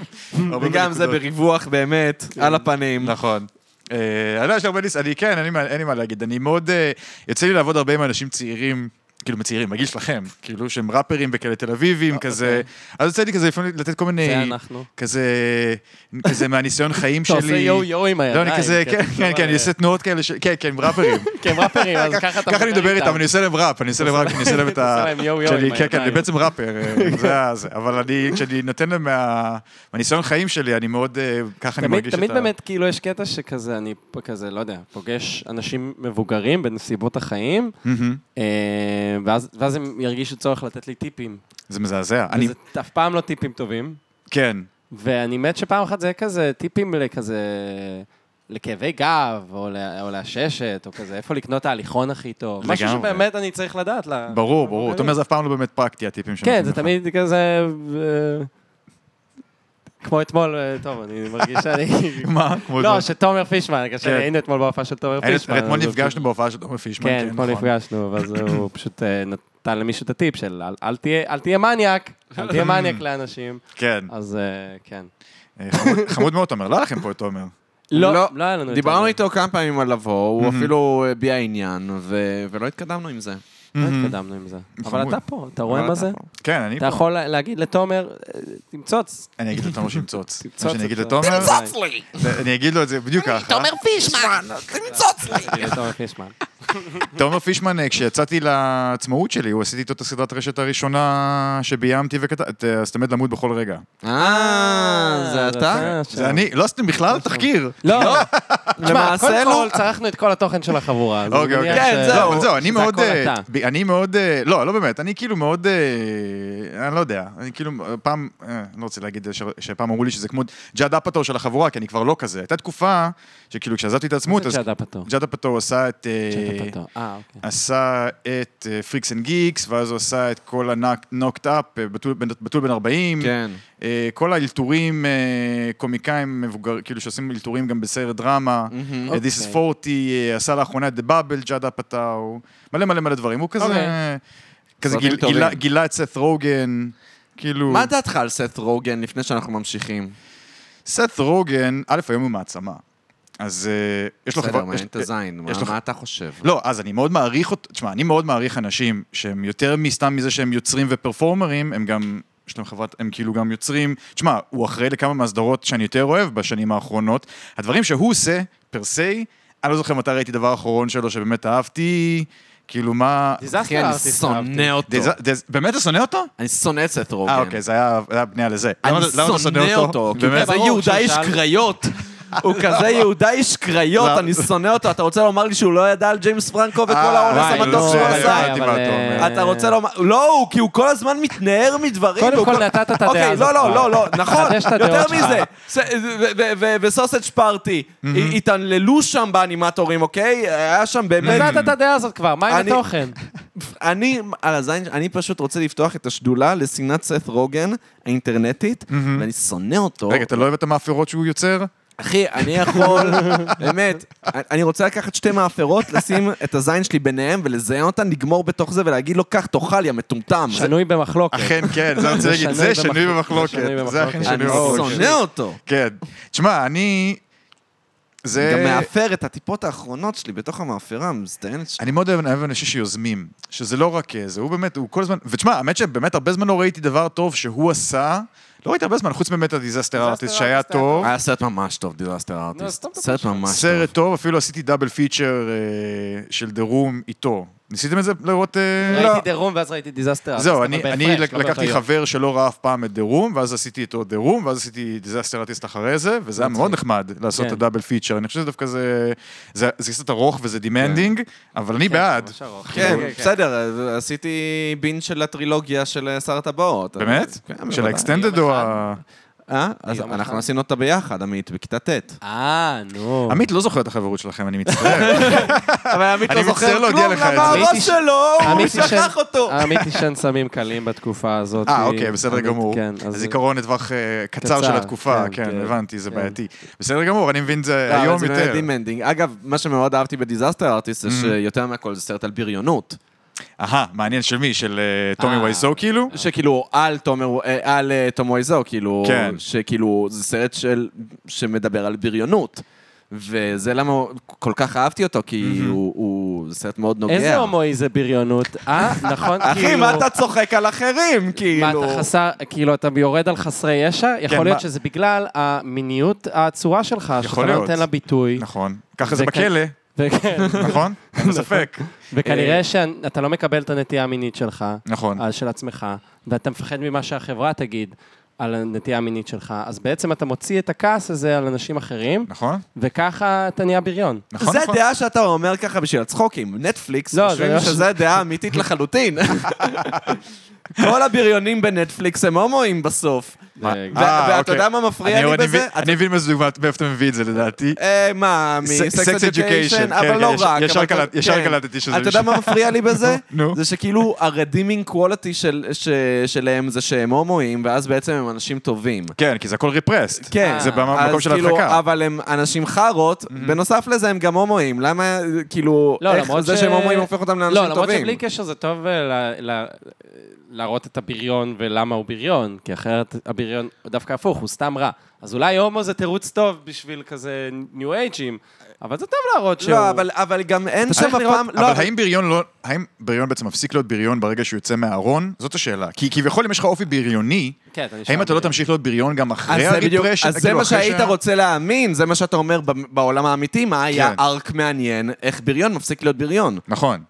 S2: הרבה
S1: וגם זה
S2: בנקודות.
S1: בריווח באמת, על הפנים.
S2: כן. נכון. אה, אני לא, יש לי הרבה ניס... אני כן, אין לי מה- אין לי מה להגיד. אני מאוד... אה, יוצא לי לעבוד הרבה עם אנשים צעירים. כאילו מצעירים, בגיל שלכם, כאילו שהם ראפרים וכאלה תל אביבים, כזה. אז יוצא לי כזה לפעמים לתת כל מיני...
S3: זה אנחנו.
S2: כזה, כזה מהניסיון חיים
S3: אתה
S2: שלי.
S3: עושה יו יו עם הידיים.
S2: לא, אני כזה,
S3: כי
S2: כן,
S3: אתה
S2: כן,
S3: מדבר-
S2: כן, אני עושה תנועות כאלה, ש- כן, כן, עם ראפרים.
S3: כי הם ראפרים, אז ככה אתה
S2: ככה אני מדבר איתם, אני עושה להם ראפ, אני עושה להם ראפ, אני עושה להם את ה...
S3: עושה להם יו-יו
S2: כשאני- כן,
S3: עם
S2: כן, אני
S3: הידיים.
S2: בעצם ראפר, אה, זה ה- זה. אבל אני, כשאני נותן להם מה- מהניסיון חיים שלי, אני מאוד, אה, ככה אני
S3: תמיד-
S2: מרגיש את ה...
S3: תמיד באמת, כאילו, יש קטע שכזה, אני פה כזה, לא יודע, פוגש אנשים מבוגרים בנסיבות החיים,
S2: מהמם.
S3: אה, ואז ואז הם ירגישו צורך לתת לי טיפים.
S2: זה מזעזע. אני,
S3: וזה אף פעם לא טיפים טובים,
S2: כן.
S3: ואני מת שפעם אחת זה יהיה כזה טיפים לכזה... לכאבי גב, או ל- או לעששת, או כזה, איפה לקנות את ההליכון הכי טוב. משהו
S2: לגמרי.
S3: שבאמת אני צריך לדעת. ל-
S2: ברור, ברור. אתה אומר, זה אף פעם לא באמת פרקטי, הטיפים שלנו.
S3: אה, כן, זה תמיד כזה... אה, כמו אתמול, אה, טוב, אני מרגיש שאני...
S2: מה? כמו
S3: לא,
S2: אתמול.
S3: שתומר פישמן, כאשר
S2: כן.
S3: היינו אתמול בהופעה של תומר
S2: היינו-
S3: פישמן.
S2: אתמול
S3: אז הוא
S2: נפגשנו בהופעה של תומר פישמן.
S3: כן, אתמול
S2: נכון.
S3: נפגשנו, ואז הוא פשוט אה, נתן למישהו את הטיפ של אל- אל תהיה- אל תהיה מניאק, אל תהיה מניאק לאנשים.
S2: כן.
S3: אז אה, כן.
S2: אה, חמוד- חמוד מאוד, תומר. לא היה לכם פה את תומר.
S3: לא,
S1: לא.
S3: לא היה לנו... את
S1: דיברנו
S3: זה.
S1: איתו כמה פעמים על לבוא, הוא
S2: Mhm.
S1: אפילו הביע עניין, ו- ולא התקדמנו עם זה.
S3: לא התקדמנו עם זה. אבל
S2: חמוד.
S3: אתה פה, אתה רואה מה זה?
S2: כן, אני
S3: אתה
S2: פה.
S3: יכול לה- להגיד לתומר, אה, תמצוץ.
S2: אני אגיד לתומר שימצוץ.
S3: תמצוץ
S2: מה שאני אגיד
S3: אותו.
S2: לתומר,
S3: תמצוץ
S4: לי!
S2: אני אגיד לו את זה בדיוק ככה.
S4: תומר פישמן! תמצוץ לי!
S3: לתומר פישמן.
S2: תומר פישמן, אה, כשיצאתי לעצמאות שלי, הוא עשיתי איתו את הסדרת רשת הראשונה שביימתי וכתבת, אז תמיד למות בכל רגע.
S3: כן.
S1: אה, זה אתה?
S2: זה אני, לא עשיתם בכלל תחקיר.
S3: לא, תשמע,
S1: למעשה
S3: קודם
S1: לא.
S3: כל צרכנו את כל התוכן של החבורה. אז
S2: אוקיי,
S3: אני
S2: אוקיי.
S3: מניח
S1: כן,
S3: ש-
S1: זהו.
S2: לא, אבל זהו, אני
S3: שזה
S2: מאוד...
S3: הכל
S2: אה,
S3: אתה.
S2: ב- אני מאוד... אה, לא, לא באמת, אני כאילו מאוד... אה, אני לא יודע, אני כאילו אה, פעם... אה, אני לא רוצה להגיד ש- שפעם אמרו לי שזה כמו ג'אד אפאטור של החבורה, כי אני כבר לא כזה. הייתה תקופה שכאילו כשעזבתי את העצמאות,
S3: זה
S2: אז
S3: צ'אדה פטור.
S2: ג'אד אפאטור עשה את... אה,
S3: צ'אדה פטור. אה, אוקיי.
S2: עשה את אה, פריקס אנד גיקס, ואז הוא עשה את כל הנוקט אפ, בתול אה, בן 40.
S1: כן.
S2: אה, כל האלתורים, אה, קומיקאים מבוגר, כאילו שעושים אלתורים גם בסרט דרמה.
S1: Mm-hmm.
S2: אה, This is
S1: אוקיי.
S2: 40, אה, עשה לאחרונה את The Bubble, ג'אדה פטאו, מלא מלא מלא דברים. הוא כזה...
S3: אוקיי.
S2: כזה
S1: סרטים
S2: גיל-
S1: טובים.
S2: גילה- גילה את סת רוגן, כאילו...
S1: מה דעתך על סט רוגן לפני שאנחנו ממשיכים?
S2: סת רוגן, א', היום הוא מעצמה. אז אה, יש לו
S1: בסדר,
S2: חברה...
S1: מעניין
S2: יש-
S1: את הזין,
S2: יש
S1: מה-
S2: לו-
S1: מה אתה חושב?
S2: לא, אז אני מאוד מעריך אותו, תשמע, אני מאוד מעריך אנשים שהם יותר מסתם מזה שהם יוצרים ופרפורמרים, הם גם, יש להם חברת, הם כאילו גם יוצרים, תשמע, הוא אחראי לכמה מהסדרות שאני יותר אוהב בשנים האחרונות. הדברים שהוא עושה, פר סי, אני לא זוכר מתי ראיתי דבר אחרון שלו שבאמת אהבתי, כאילו מה...
S1: אחי, אני שונא אותו.
S2: דז- דז- באמת אתה שונא אותו?
S1: אני שונא את סט רוגן.
S2: אה, אוקיי, זה היה זה היה בנייה לזה. למה
S1: כן. אני
S2: אתה- למה אתה
S1: שונא אותו, כי הוא
S2: באמת?
S1: כזה
S3: ברור,
S1: יהודה איש
S3: כשהוא שאל-
S1: קריות. הוא כזה יהודה איש קריות,
S2: לא.
S1: אני שונא אותו. אתה רוצה לומר לי שהוא לא ידע על ג'יימס פרנקו וכל
S2: אה,
S1: האונס
S2: וואי,
S1: המטוס
S2: לא,
S1: שהוא
S2: זה-
S1: עשה? אה,
S2: הבנתי מה אתה אומר.
S1: אתה רוצה לומר... לא, הוא- כי הוא כל הזמן מתנער מדברים.
S3: אה. קודם
S1: והוא
S3: כל
S1: כל-
S3: נתת את הדעה
S1: אוקיי,
S3: הזאת
S1: לא, לא,
S3: כבר.
S1: לא, לא, נכון,
S3: חדש את הדעות
S1: יותר
S3: שלך.
S1: מזה. ס- ו- ו- ו- וסוסג' פארטי, התעללו שם באנימטורים, אוקיי? היה שם באמת...
S3: לא נתת את הדעה הזאת כבר, מה עם
S1: אני-
S3: התוכן?
S1: אני, על הזין, אני פשוט רוצה לפתוח את השדולה לשנאת סת רוגן האינטרנטית, ואני שונא אותו.
S2: רגע, אתה לא אוהב את המאפרות שהוא יוצר?
S1: אחי, אני יכול, באמת, אני רוצה לקחת שתי מאפרות, לשים את הזין שלי ביניהם ולזיין אותן, לגמור בתוך זה ולהגיד לו, קח, תאכל, יא מטומטם.
S3: שנוי במחלוקת.
S2: אכן, כן, זה אני רוצה
S3: זה
S2: להגיד,
S3: שנוי
S2: זה שנוי
S3: במחלוקת.
S2: במחלוקת.
S3: זה שנוי
S2: זה
S3: במחלוקת.
S2: אכן
S1: אני
S2: שנוי
S3: לא-
S2: במחלוקת.
S1: שונא אותו.
S2: כן. תשמע, אני...
S3: אה,
S2: זה...
S1: גם מאפר את הטיפות האחרונות שלי בתוך המאפרה המזדיינת שלי.
S2: אני מאוד אוהב אוהב אנשים שיוזמים, שזה לא רק אה, זה, הוא באמת, הוא כל הזמן, ותשמע, האמת שבאמת הרבה זמן לא ראיתי דבר טוב שהוא עשה, לא ראיתי הרבה זמן, חוץ באמת הדיזסטר ארטיסט שהיה
S3: ארטיסט היה
S2: טוב,
S1: היה סרט ממש טוב, לא, דיזסטר ארטיסט.
S3: סתום את
S1: סרט ממש טוב.
S2: סרט טוב, אפילו עשיתי דאבל פיצ'ר אה, של דה רום איתו, ניסיתם את זה לראות... אה,
S3: ראיתי דה רום ואז ראיתי דיזסטר.
S2: זהו, אני, אני
S3: לא
S2: לק- לקחתי חבר שלא ראה אף פעם את The Room, ואז עשיתי איתו The Room, ואז עשיתי דיזסטר ארטיסט אחרי זה, וזה היה מאוד נחמד לעשות את
S3: כן.
S2: הדאבל פיצ'ר. אני חושב שדווקא זה... זה זה קצת ארוך וזה דימנדינג, אבל אני בעד.
S1: כן,
S3: כן, כן.
S1: בסדר, אז עשיתי בין של הטרילוגיה של אה, שר הטבעות. אז-
S2: באמת?
S1: כן, בוודאי.
S2: של האקסטנדד
S3: יום
S2: או
S3: אחד.
S2: ה...
S1: אה? אז
S3: יום
S1: אנחנו
S3: אחד.
S1: עשינו אותה ביחד, עמית, בכיתה ט'.
S3: אה, נו.
S2: עמית לא זוכר את החברות שלכם, אני מצטער.
S1: אבל עמית
S2: אני
S1: לא
S2: מצטער
S1: זוכר
S2: להודיע
S1: כלום,
S2: לך את
S1: למה
S2: זה.
S1: הראש
S3: עמית
S1: שלו, הוא
S3: עמית
S1: שכח
S3: עישן-
S1: אותו.
S3: עמית עישן סמים קלים בתקופה הזאת.
S2: אה, אוקיי, בסדר
S3: עמית,
S2: גמור.
S3: כן, אז-
S2: הזיכרון לטווח אה, קצר
S3: קצר,
S2: של התקופה,
S3: כן,
S2: כן,
S3: כן.
S2: הבנתי, זה
S3: כן. אה,
S2: בעייתי. בסדר גמור, אני מבין את זה
S1: לא, אבל
S2: היום
S1: זה באמת
S2: יותר.
S1: דימנדינג. אגב, מה שמאוד אהבתי בדיזסטר ארטיסט זה שיותר מהכל זה סרט על בריונות.
S2: אהה, מעניין של מי? של אה, טומי
S3: אה.
S2: וייזו כאילו?
S1: שכאילו על תומר, אה, על אה, תום וויזו, כאילו,
S2: כן.
S1: שכאילו זה סרט של, שמדבר על בריונות. וזה למה כל כך אהבתי אותו, כי הוא, הוא זה סרט מאוד נוגע.
S3: איזה הומואי זה בריונות? אה, נכון,
S1: אחי, מה אתה צוחק על אחרים?
S3: מה,
S1: כאילו...
S3: אתה חסר, כאילו, אתה יורד על חסרי ישע?
S2: כן, מה-
S3: יכול להיות שזה בגלל המיניות העצורה שלך, שאתה לא
S2: להיות.
S3: נותן לה ביטוי.
S2: נכון. ככה זה
S3: וכן-
S2: בכלא,
S3: וכן,
S2: נכון? אין ספק.
S3: וכנראה שאתה לא מקבל את הנטייה המינית שלך,
S2: נכון.
S3: אה, של עצמך, ואתה מפחד ממה שהחברה תגיד על הנטייה המינית שלך, אז בעצם אתה מוציא את הכעס הזה על אנשים אחרים,
S2: נכון?
S3: וככה אתה נהיה בריון.
S2: נכון,
S1: זה
S2: נכון.
S1: הדעה שאתה אומר ככה בשביל הצחוקים. נטפליקס,
S3: לא, זה
S1: חושבים
S3: לא-
S1: שזו הדעה האמיתית לחלוטין. כל הבריונים בנטפליקס הם הומואים בסוף.
S2: מה?
S3: אה,
S1: ו-
S2: אה,
S1: ואתה
S2: אוקיי.
S1: יודע מה מפריע
S2: אני-
S1: לי
S2: אני
S1: בזה?
S2: מבין- אני מבין מאיזה דוגמא, מאיפה אתה מביא את זה לדעתי.
S1: אה, מה, מסקס אדיוקיישן,
S2: כן,
S1: אבל
S2: כן,
S1: לא
S2: יש-
S1: רק.
S2: ישר
S1: אבל-
S2: קלט- ישר
S1: כן.
S2: קלטתי שזה
S1: אתה יודע
S2: משם.
S1: מה מפריע לי בזה?
S2: נו.
S1: זה שכאילו הרדימינג קוולטי שלהם זה שהם הומואים, ואז בעצם הם אנשים טובים.
S2: כן, כי זה הכל ריפרסט.
S1: כן.
S2: זה במקום
S1: אז
S2: של
S1: כאילו,
S2: ההדחקה.
S1: אבל הם אנשים חארות, בנוסף לזה הם גם הומואים. למה, כאילו,
S3: לא,
S1: איך
S3: למרות
S1: זה
S3: ש-
S1: שהם הומואים הופך אותם לאנשים
S3: לא, למרות
S1: טובים?
S3: שבלי קשר זה טוב אה, ל- ל- להראות את הבריון ולמה הוא בריון, כי אחרת הבריון הוא דווקא הפוך, הוא סתם רע. אז אולי הומו זה תירוץ טוב בשביל כזה ניו אייג'ים, אבל זה טוב להראות שהוא...
S1: לא, אבל- אבל גם אין
S3: צריך
S1: שם אף
S3: לראות-
S1: פעם... לא,
S2: אבל האם בריון לא... האם בריון בעצם מפסיק להיות בריון ברגע שהוא יוצא מהארון? זאת השאלה. כי כביכול אם יש לך אופי בריוני,
S3: כן, אתה נשאר
S2: האם אתה לא
S3: בריון.
S2: תמשיך להיות בריון גם
S1: אז
S2: אחרי
S1: זה בדיוק,
S2: הריפרשן?
S1: אז זה מה שהיית רוצה להאמין, זה מה שאתה אומר ב- בעולם האמיתי, מה היה
S2: כן.
S1: ארק מעניין, איך בריון מפסיק להיות בריון.
S2: נכון,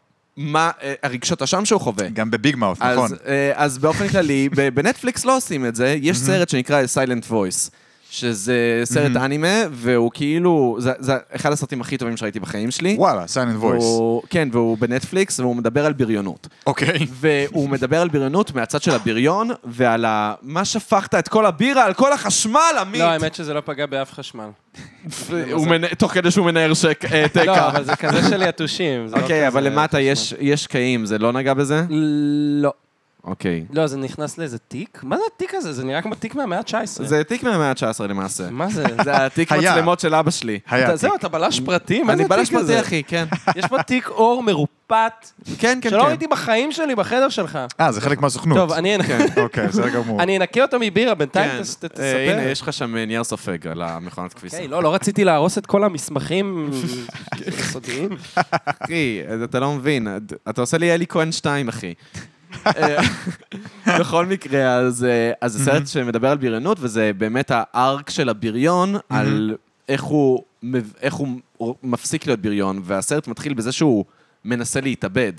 S1: מה אה, הרגשות אשם שהוא חווה.
S2: גם בביג מאוף,
S1: אז,
S2: נכון.
S1: אה, אז באופן כללי, ב- בנטפליקס לא עושים את זה, יש סרט שנקרא Silent Voice, שזה סרט אנימה, והוא כאילו, זה, זה אחד הסרטים הכי טובים שראיתי בחיים שלי.
S2: וואלה, סיינד וויס.
S1: והוא- כן, והוא בנטפליקס, והוא מדבר על בריונות.
S2: אוקיי.
S1: והוא מדבר על בריונות מהצד של הבריון, ועל ה... מה שפכת את כל הבירה, על כל החשמל, עמית!
S3: לא, האמת שזה לא פגע באף חשמל.
S1: הוא מנ- תוך כדי שהוא מנער שק... אה,
S3: לא,
S1: תקע.
S3: אבל זה כזה של יתושים. זה לא
S1: אוקיי, אבל
S3: כזה
S1: למטה
S3: חשמל.
S1: יש- יש קעים, זה לא נגע בזה?
S3: לא.
S1: אוקיי.
S3: לא, זה נכנס לאיזה תיק? מה זה התיק הזה? זה נראה כמו תיק מהמאה ה-19.
S1: זה תיק מהמאה ה-19 למעשה.
S3: מה זה?
S1: זה התיק
S2: היה.
S1: מצלמות של אבא שלי.
S2: היה
S3: אתה-
S2: תיק.
S3: זהו, אתה בלש פרטי? מה זה
S1: אני
S3: התיק הזה?
S1: בלש מתי, אחי, כן.
S3: יש פה תיק אור מרופט,
S1: כן, כן,
S3: שלא
S1: כן.
S3: ראיתי בחיים שלי בחדר שלך.
S2: אה, זה חלק מהסוכנות.
S3: טוב, אני
S2: אוקיי, בסדר גמור.
S3: אני אנקה אותו מבירה,
S1: כן.
S3: בינתיים תס- ת-
S1: אה,
S3: תספר.
S1: הנה, יש לך שם נייר סופג על המכונת כביסה.
S3: אוקיי, לא, לא רציתי להרוס את כל המסמכים הסודיים.
S1: אחי, אתה לא מבין, אתה עושה לי אלי כהן 2, אחי. אה, בכל מקרה, אז אה, אז זה
S3: Mhm.
S1: סרט שמדבר על בריונות, וזה באמת הארק של הבריון,
S3: Mhm.
S1: על איך הוא מב- איך הוא מפסיק להיות בריון, והסרט מתחיל בזה שהוא מנסה להתאבד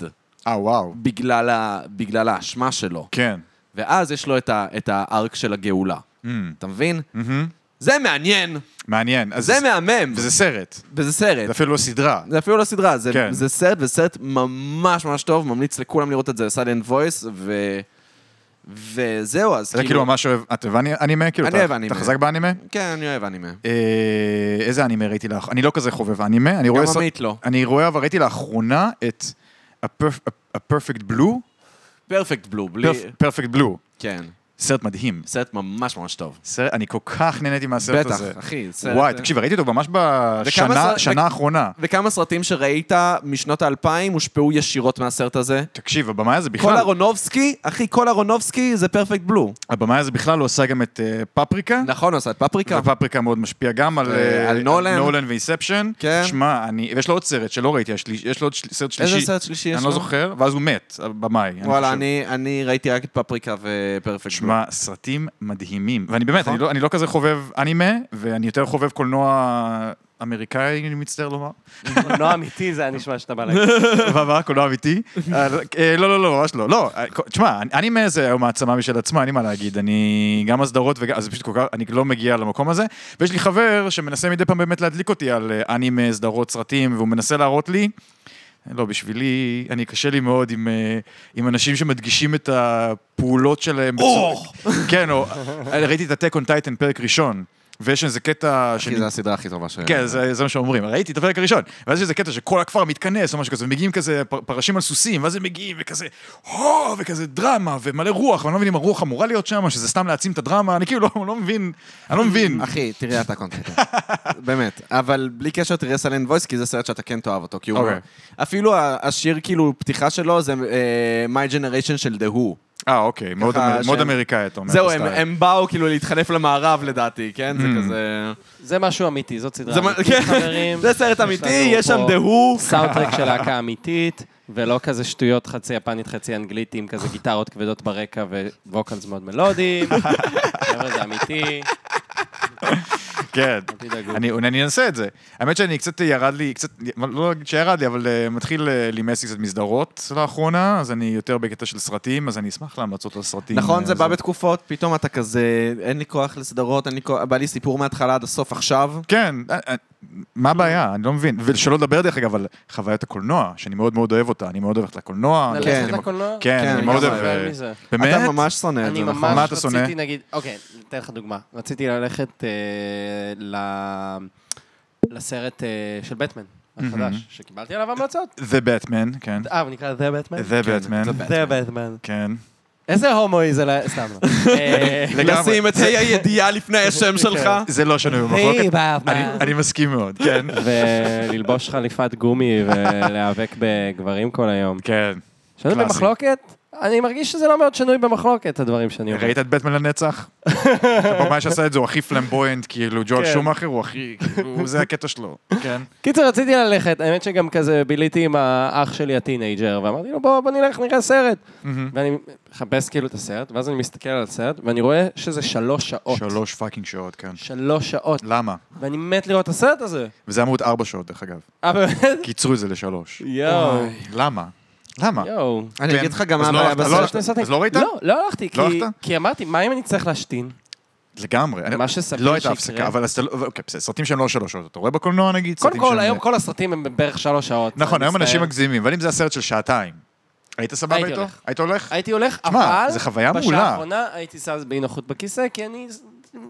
S2: אה, וואו.
S1: בגלל ה- בגלל האשמה שלו.
S2: כן.
S1: ואז יש לו את ה- את הארק של הגאולה. אתה מבין?
S2: Mm. מהמם.
S1: זה מעניין,
S2: מעניין. אז
S1: זה מהמם,
S2: וזה סרט.
S1: וזה
S2: זה
S1: סרט.
S2: אפילו לא סדרה.
S1: זה אפילו לא סדרה, זה,
S2: כן.
S1: זה סרט, וזה סרט ממש ממש טוב, ממליץ לכולם לראות את זה, סיילנט וויס, ו... וזהו, אז
S2: זה כאילו ממש אוהב... את אוהב אני- אנימה? כאילו,
S1: אני
S2: אתה-
S1: אוהב אנימה.
S2: אתה חזק באנימה?
S1: כן, אני אוהב אנימה.
S2: אה, איזה אנימה ראיתי לאח... אני לא כזה חובב אנימה. אני רואה...
S1: גם
S2: ס-
S1: עמית לא.
S2: אני רואה, אבל ראיתי לאחרונה את A Perf- A- A Perfect Blue.
S1: פרפקט בלו, בלי...
S2: Perf- Perfect Blue.
S1: כן,
S2: סרט מדהים.
S1: סרט ממש ממש טוב.
S2: סרט- אני כל כך נהניתי מהסרט
S1: בטח,
S2: הזה.
S1: אחי, סרט...
S2: וואי, תקשיב, ראיתי אותו ממש בשנה
S1: סרט-
S2: שנה האחרונה.
S1: וכמה סרטים שראית משנות האלפיים הושפעו ישירות מהסרט הזה?
S2: תקשיב, הבמאי הזה
S1: כל
S2: בכלל...
S1: אהרונובסקי, אחי, כל אהרונובסקי זה פרפקט בלו.
S2: הבמאי הזה בכלל הוא עשה גם את אה, פפריקה.
S1: נכון, הוא עשה את פפריקה.
S2: ופפריקה מאוד משפיע גם על,
S1: אה,
S2: אה,
S1: על נולן.
S2: נולן ואיספשן.
S1: כן.
S2: שמע, אני... ויש לו עוד סרט שלא ראיתי, השלי- יש לו עוד של- סרט שלישי.
S1: איזה סרט שלישי יש
S2: אני לא
S1: לו?
S2: זוכר, ואז הוא מת, אה, במאי. אני
S1: וואלה,
S2: חושב.
S1: אני, אני ראיתי רק את פפריקה ופרפקט בלו.
S2: שמע, סרטים מדהימים. ואני באמת,
S1: נכון.
S2: אני לא, אני לא כזה חובב אנימה, ואני יותר חובב קולנוע אמריקאי, אני מצטער לומר.
S3: לא אמיתי, זה היה נשמע שאתה בא להגיד.
S2: ומה, קולנוע אמיתי? אה, אה, לא, לא, לא, ממש לא. לא, אה, ק- תשמע, אני- אני מאיזה היום מעצמה משל עצמה, אין לי מה להגיד. אני גם הסדרות וגם... אז פשוט כל כך... אני לא מגיע למקום הזה. ויש לי חבר שמנסה מדי פעם באמת להדליק אותי על אה, אנימה, סדרות, סרטים, והוא מנסה להראות לי. לא, בשבילי, אני קשה לי מאוד עם, אה, עם אנשים שמדגישים את הפעולות שלהם. בצורה- כן, או... ראיתי את הטק און טייטן פרק ראשון, ויש איזה קטע...
S1: כי זו הסדרה הכי טובה ש...
S2: כן, זה, זה מה שאומרים, ראיתי את הפרק הראשון. ואז יש איזה קטע שכל הכפר מתכנס או משהו כזה, ומגיעים כזה פר, פרשים על סוסים, ואז הם מגיעים וכזה, הו, וכזה דרמה, ומלא רוח, ואני לא מבין אם הרוח אמורה להיות שם, שזה סתם להעצים את הדרמה, אני כאילו לא, לא מבין, אני לא מבין.
S1: אחי, תראה אתה קונקרטי. באמת. אבל בלי קשר תראה סלנט וויס, כי זה סרט שאתה כן תאהב אותו. כי הוא...
S2: אוקיי.
S1: אפילו ה- השיר, כאילו, פתיחה שלו זה אה, My Generation של The Who.
S2: אה, אוקיי, מאוד,
S1: ככה
S2: אמר, מאוד
S1: שהם-
S2: אמריקאי, אתה אומר.
S1: זהו,
S2: הסטייל. Hmm.
S1: הם- הם באו כאילו להתחנף למערב לדעתי, כן? זה כזה...
S3: זה משהו אמיתי, זאת סדרה
S1: זה מה-
S3: אמיתית,
S1: כן.
S3: חברים.
S1: זה סרט
S3: יש
S1: אמיתי,
S3: לנו
S1: יש שם
S3: פה
S1: The Who.
S3: סאוטטרק של להקה אמיתית, ולא כזה שטויות חצי יפנית, חצי אנגלית, עם כזה גיטרות כבדות ברקע ווקלס מאוד מלודיים. חבר'ה, זה אמיתי,
S1: אה,
S2: כן.
S3: תדאגו.
S2: אני, אני אנסה את זה. האמת שאני קצת ירד לי, קצת, לא אגיד שירד לי, אבל אה, מתחיל אה, להימס לי קצת מסדרות לאחרונה, אז אני יותר בקטע של סרטים, אז אני אשמח להמלצות על סרטים.
S1: נכון,
S2: אה,
S1: זה בא בתקופות, פתאום אתה כזה, אין לי כוח לסדרות, אין לי כוח, בא לי סיפור מההתחלה עד הסוף עכשיו.
S2: כן, אה, אה,
S3: Mm.
S2: מה הבעיה? אני לא מבין. ושלא לדבר, דרך אגב, על חוויית הקולנוע, שאני מאוד מאוד אוהב אותה. אני מאוד אוהב ללכת לקולנוע.
S3: ללכת
S2: אני-
S3: לקולנוע?
S2: כן,
S1: כן,
S2: אני מאוד
S1: גם
S2: אוהב...
S3: אני
S2: אה,
S3: מזה.
S2: באמת?
S1: אתה ממש שונא את
S3: אני
S1: זה,
S3: ממש
S1: נכון?
S2: מה אתה שונא?
S3: רציתי, נגיד, אוקיי, אתן לך דוגמה. רציתי ללכת אה, ל- לסרט אה, של בטמן החדש, שקיבלתי עליו המלצות.
S2: The Batman, כן.
S3: אה, הוא נקרא The Batman?
S2: The Batman,
S3: The Batman.
S2: כן.
S3: איזה הומואי זה, ל- סתם לא. אה,
S2: לגמרי.
S1: לשים את ה' הידיעה לפני השם שלך.
S2: זה לא שנוי
S3: היי,
S2: במחלוקת.
S3: באבמן.
S2: אני- אני מסכים מאוד, כן.
S3: וללבוש חליפת גומי ולהיאבק בגברים כל היום.
S2: כן.
S3: שנוי
S2: קלאסי.
S3: במחלוקת? אני מרגיש שזה לא מאוד שנוי במחלוקת, הדברים שאני אומר.
S2: ראית את בטמן לנצח? הבמאי שעשה את זה הוא הכי פלמבויינט, כאילו, ג'ואל
S3: כן.
S2: שומאכר הוא הכי, כאילו, זה הקטע שלו. כן.
S3: קיצר, רציתי ללכת, האמת שגם כזה ביליתי עם האח שלי הטינג'ר, ואמרתי לו, בוא, בוא נלך, נראה סרט. ואני מחפש כאילו את הסרט, ואז אני מסתכל על הסרט, ואני רואה שזה שלוש שעות.
S2: שלוש פאקינג שעות, כן.
S3: שלוש שעות.
S2: למה?
S3: ואני מת לראות את הסרט הזה.
S2: וזה אמור להיות ארבע שעות, דרך אגב.
S3: אה, באמת?
S2: קיצרו את זה לשלוש.
S3: יואו.
S2: למה? למה?
S3: יואו.
S1: אני
S2: כן.
S1: אגיד לך גם
S2: אז
S1: מה
S2: לא
S1: הבעיה
S2: הלכת- לא
S1: בסרט.
S2: הלכת- אז לא ראית?
S3: לא, לא הלכתי,
S2: לא
S3: כי-
S2: הלכת?
S3: כי אמרתי, מה אם אני צריך להשתין?
S2: לגמרי. אני-
S3: מה שסביר
S2: לא הייתה
S3: שיקרה.
S2: הפסקה, אבל אז אתה לא... אוקיי, בסדר, סרטים שהם לא שלוש שעות. אתה רואה בקולנוע נגיד?
S3: קודם
S2: סרטים
S3: כל,
S2: שהם-
S3: היום כל הסרטים הם בערך שלוש שעות.
S2: נכון,
S3: אני
S2: היום אנשים
S3: מצטער.
S2: מגזימים, אבל אם זה הסרט של שעתיים, היית סבבה
S3: הייתי
S2: איתו?
S3: הולך.
S2: היית הולך?
S3: הייתי הולך,
S2: תשמע,
S3: אבל...
S2: זה חוויה
S3: בשעה
S2: מעולה.
S3: האחרונה הייתי זז באי נוחות בכיסא, כי אני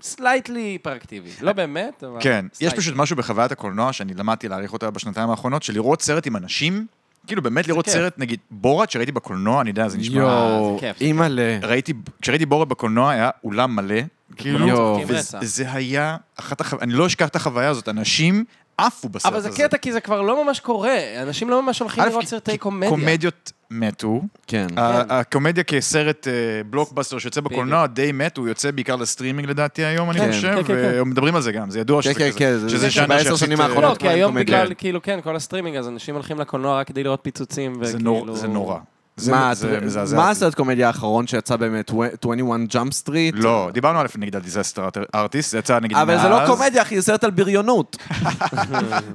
S3: סלייטלי היפראקטיבי. לא באמת, אבל...
S2: כן. יש
S3: slightly.
S2: פשוט משהו בחוויית הקולנוע שאני למדתי להעריך אותה בשנתיים האחרונות, של לראות סרט עם אנשים, כאילו באמת לראות
S3: כיף.
S2: סרט, נגיד, בורת שראיתי בקולנוע, אני יודע, זה נשמע...
S1: יואו,
S3: זה כיף, זה
S1: אימא'לה.
S2: ראיתי, כשראיתי בורת בקולנוע היה אולם מלא, כאילו,
S1: יואו.
S3: צוחקים רצח.
S2: וזה היה אחת החוויות, אני לא אשכח את החוויה הזאת, אנשים עפו בסרט
S3: אבל
S2: הזה.
S3: זה קטע, כי זה כבר לא ממש קורה. אנשים לא ממש הולכים
S2: א',
S3: לראות
S2: כי-
S3: סרטי
S2: כי
S3: קומדיה.
S2: קומדיות מתו,
S1: כן.
S2: ה- הקומדיה כסרט אה, בלוקבאסטר שיוצא בקולנוע די מת, הוא יוצא בעיקר לסטרימינג לדעתי היום, אני
S1: כן,
S2: חושב,
S3: כן, כן, כן.
S2: ומדברים על זה גם, זה ידוע
S1: כן,
S2: שזה
S1: כן,
S2: כזה.
S1: כן, זה- זה
S2: ז'אנר
S1: שבעשר
S2: שיחסית,
S1: שנים
S2: אה,
S1: האחרונות
S3: לא, כי היום
S1: קומדיה.
S3: בגלל, כאילו, כן, כל הסטרימינג, אז אנשים הולכים לקולנוע רק כדי לראות פיצוצים,
S2: זה
S3: וכאילו... לא,
S2: נור- זה נורא. זה-
S1: מה,
S2: זה
S1: אתה-
S2: מזעזע.
S1: מה
S2: אותי.
S1: הסרט קומדיה האחרון שיצא באמת? 21 ג'אמפ סטריט?
S2: לא, דיברנו על נגיד הדיזסטר ארטיסט, זה יצא נגיד מאז.
S1: אבל זה לא קומדיה, אחי, זה סרט על בריונות.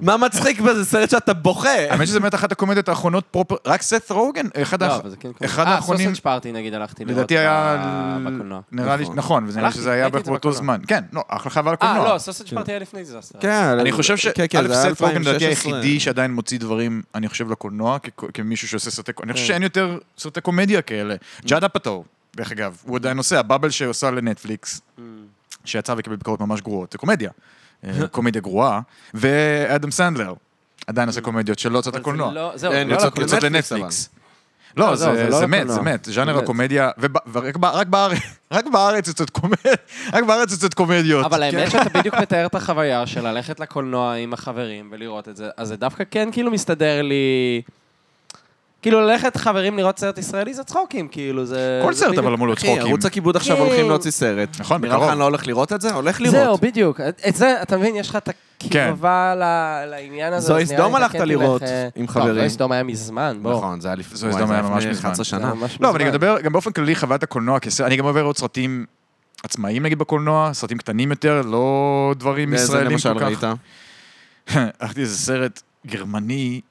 S1: מה מצחיק בזה? סרט שאתה בוכה.
S2: האמת שזה באמת אחת הקומדיות האחרונות פרופר, רק סת רוגן, אחד
S3: לא,
S2: האח-
S3: אבל זה כן קומדיה.
S2: אחד
S3: אה,
S2: האחרונים,
S3: סוסג' פארטי, נגיד, הלכתי לראות
S2: לדעתי היה,
S3: ב- בקולנוע.
S2: נראה לי,
S1: נכון.
S2: נכון, וזה נראה לי
S3: הלכתי,
S2: שזה היה
S3: ראיתי את זה
S2: באותו
S3: בקולנוע.
S2: זמן, כן, לא, אחלה חוויה על
S3: אה,
S2: קולנוע.
S3: לא, סוסג' פארטי היה לפני זה, הסרט.
S1: כן,
S2: אני חושב ש...
S1: כן, כן,
S2: א',
S1: זה היה
S2: סט פוגן לדעתי
S1: 2016.
S2: היחידי שעדיין מוציא דברים, אני חושב, לקולנוע, כ- כמישהו שעושה סרטי קומדיה. אני
S3: כן.
S2: חושב שאין יותר סרטי קומדיה כאלה.
S3: Mm.
S2: ג'אד אפטו, דרך אגב, הוא עדיין עושה, הבאבל שעושה לנטפליקס,
S3: Mm.
S2: שיצא וקיבל ביקורות ממש גרועות, זה קומדיה. אה, קומדיה גרועה. ואדם סנדלר, עדיין עושה קומדיות שלא יוצאות
S3: Mm. אבל זה
S2: לקולנוע.
S3: לא- זהו,
S2: כן,
S1: אין,
S3: לא
S1: יוצאות-
S3: לקולנוע.
S2: יוצאות
S1: לנטפליקס,
S2: לנטפליקס.
S3: לא,
S2: לא,
S3: לא, זה
S2: זה
S3: לא
S2: זה מת,
S3: לקולנוע.
S2: זה מת,
S3: זה
S2: ז'אנר
S3: מת.
S2: הקומדיה, וב- ורק ב- רק בארץ- רק בארץ יוצאות קומדיות, רק בארץ יוצאות קומדיות.
S3: אבל
S2: כן.
S3: האמת שאתה בדיוק מתאר את החוויה של ללכת לקולנוע עם החברים ולראות את זה, אז זה דווקא כן כאילו מסתדר לי... כאילו ללכת חברים לראות סרט ישראלי זה צחוקים, כאילו זה...
S2: כל
S3: זה
S2: סרט
S3: בדיוק-
S2: אבל אמור להיות
S1: אחי,
S2: צחוקים.
S1: ערוץ הכיבוד עכשיו
S3: כן.
S1: הולכים להוציא סרט.
S2: נכון,
S1: נראה
S2: בקרוב.
S1: לך אני לא הולך לראות את זה? הולך
S3: זהו,
S1: לראות.
S3: בדיוק. את זה, אתה מבין, יש לך את
S2: כן.
S3: הקרבה ל- לעניין הזה.
S1: זוהי
S3: אז נראה לי
S1: סדום
S3: אתה
S1: הלכת
S3: כן
S1: לראות,
S3: תלך, אה,
S1: עם
S3: לא,
S1: חברים.
S3: זוהי סדום היה מזמן, בוא.
S1: נכון, זה היה לפני
S2: זו
S1: וואי,
S2: הזדמנות
S1: זה היה
S2: ממש
S1: לפני
S2: מזמן.
S1: 11
S3: זה
S1: שנה.
S3: היה ממש
S2: לא, אבל אני
S3: מזמן.
S2: גם מדבר, גם באופן כללי חוויית הקולנוע כסרט, אני גם אוהב לראות סרטים עצמאיים נגיד בקולנוע, סרטים קטנים יותר, לא דברים
S1: ואיזה
S2: ישראלים
S1: למשל
S2: כל כך.
S1: ראית?
S2: הלכתי איזה סרט גרמני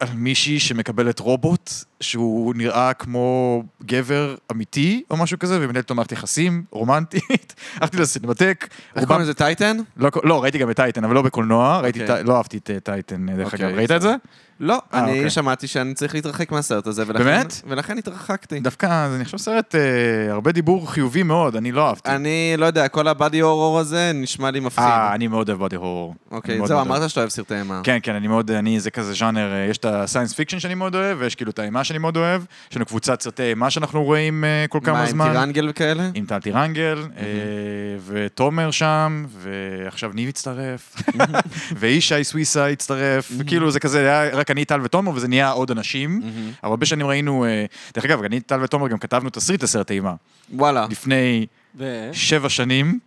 S2: על מישהי שמקבלת רובוט, שהוא נראה כמו גבר אמיתי או משהו כזה, ומנהל איתו מערכת יחסים רומנטית. הלכתי לסינמטק,
S1: איך
S2: רובם
S1: קוראים לזה טייטן?
S2: לא, לא, ראיתי גם את טייטן, אבל לא בקולנוע, ראיתי,
S1: אוקיי.
S2: טי- לא אהבתי את אה, טייטן, דרך
S1: אוקיי,
S2: אגב, ראית את זה?
S1: לא, אני
S2: אוקיי.
S1: שמעתי שאני צריך להתרחק מהסרט הזה, ולכן...
S2: באמת?
S1: ולכן התרחקתי.
S2: דווקא, זה נחשב סרט, אה, הרבה דיבור חיובי מאוד, אני לא אהבתי.
S1: אני לא יודע, כל הבאדי הורור הזה נשמע לי מפחיד.
S2: אה, אני מאוד אוהב בודי הורור. אני
S1: אוקיי,
S2: מאוד
S1: זהו,
S2: מאוד אוהב.
S1: אמרת שאתה אוהב סרטי אימה.
S2: כן, כן, אני מאוד, אני, זה כזה ז'אנר, אה, יש את הסיינס פיקשן שאני מאוד אוהב, ויש כאילו את האימה שאני מאוד אוהב, יש לנו קבוצת סרטי אימה שאנחנו רואים אה, כל כמה זמן.
S1: מה, עם טירנגל וכאלה?
S2: עם טל טירנגל, אה, ותומר שם, ועכשיו ניב הצטרף, וישי סוויסה הצטרף, כאילו זה כזה, היה רק אני, טל ותומר, וזה נהיה עוד אנשים. אבל הרבה שנים ראינו, אה, דרך אגב, אני, טל ותומר גם כתבנו תסריט לסרט אימה,
S1: אה. וואלה.
S2: לפני
S3: ו-
S2: כן? שבע שנים.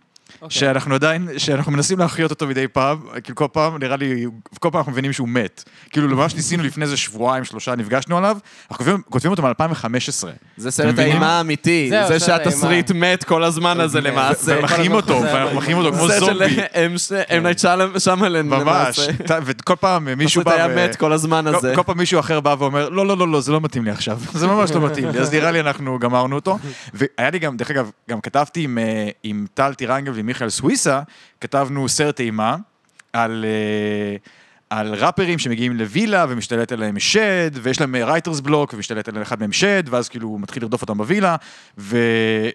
S3: אוקיי.
S2: שאנחנו עדיין, שאנחנו מנסים להחיות אותו מדי פעם, כאילו כל פעם, נראה לי, כל פעם אנחנו מבינים שהוא מת. כאילו, ממש ניסינו לפני איזה שבועיים, שלושה, נפגשנו עליו, אנחנו כותבים- כותבים אותו מ-2015.
S1: זה סרט
S2: מבינים?
S1: האימה האמיתי,
S3: זהו,
S1: זה
S3: סרט האימה.
S1: שהתסריט מת כל הזמן הזה
S3: אוקיי.
S1: למעשה.
S3: כל
S2: ומחיים
S3: הזמן
S2: אותו,
S3: חוזר,
S2: ואנחנו מחיים אותו כמו
S1: סרט של
S2: זומבי.
S1: M. ש- M. Night Shyam- Shyamalan
S2: כן. ממש,
S1: למעשה.
S2: ת- וכל פעם מישהו
S1: פשוט
S2: בא...
S1: היה
S2: ו-
S1: מת כל הזמן
S2: כל-
S1: הזה.
S2: כל פעם מישהו אחר בא ואומר, לא, לא, לא, לא, זה לא מתאים לי עכשיו. זה ממש לא מתאים לי, אז נראה לי אנחנו גמרנו אותו. והיה לי גם, דרך אגב, גם כתבתי עם, אה, עם טל טירנגל ועם מיכאל סוויסה, כתבנו סרט אימה על... אה, על ראפרים שמגיעים לווילה ומשתלט עליהם שד, ויש להם רייטרס בלוק ומשתלט עליהם אחד מהם שד, ואז כאילו הוא מתחיל לרדוף אותם בווילה, ו...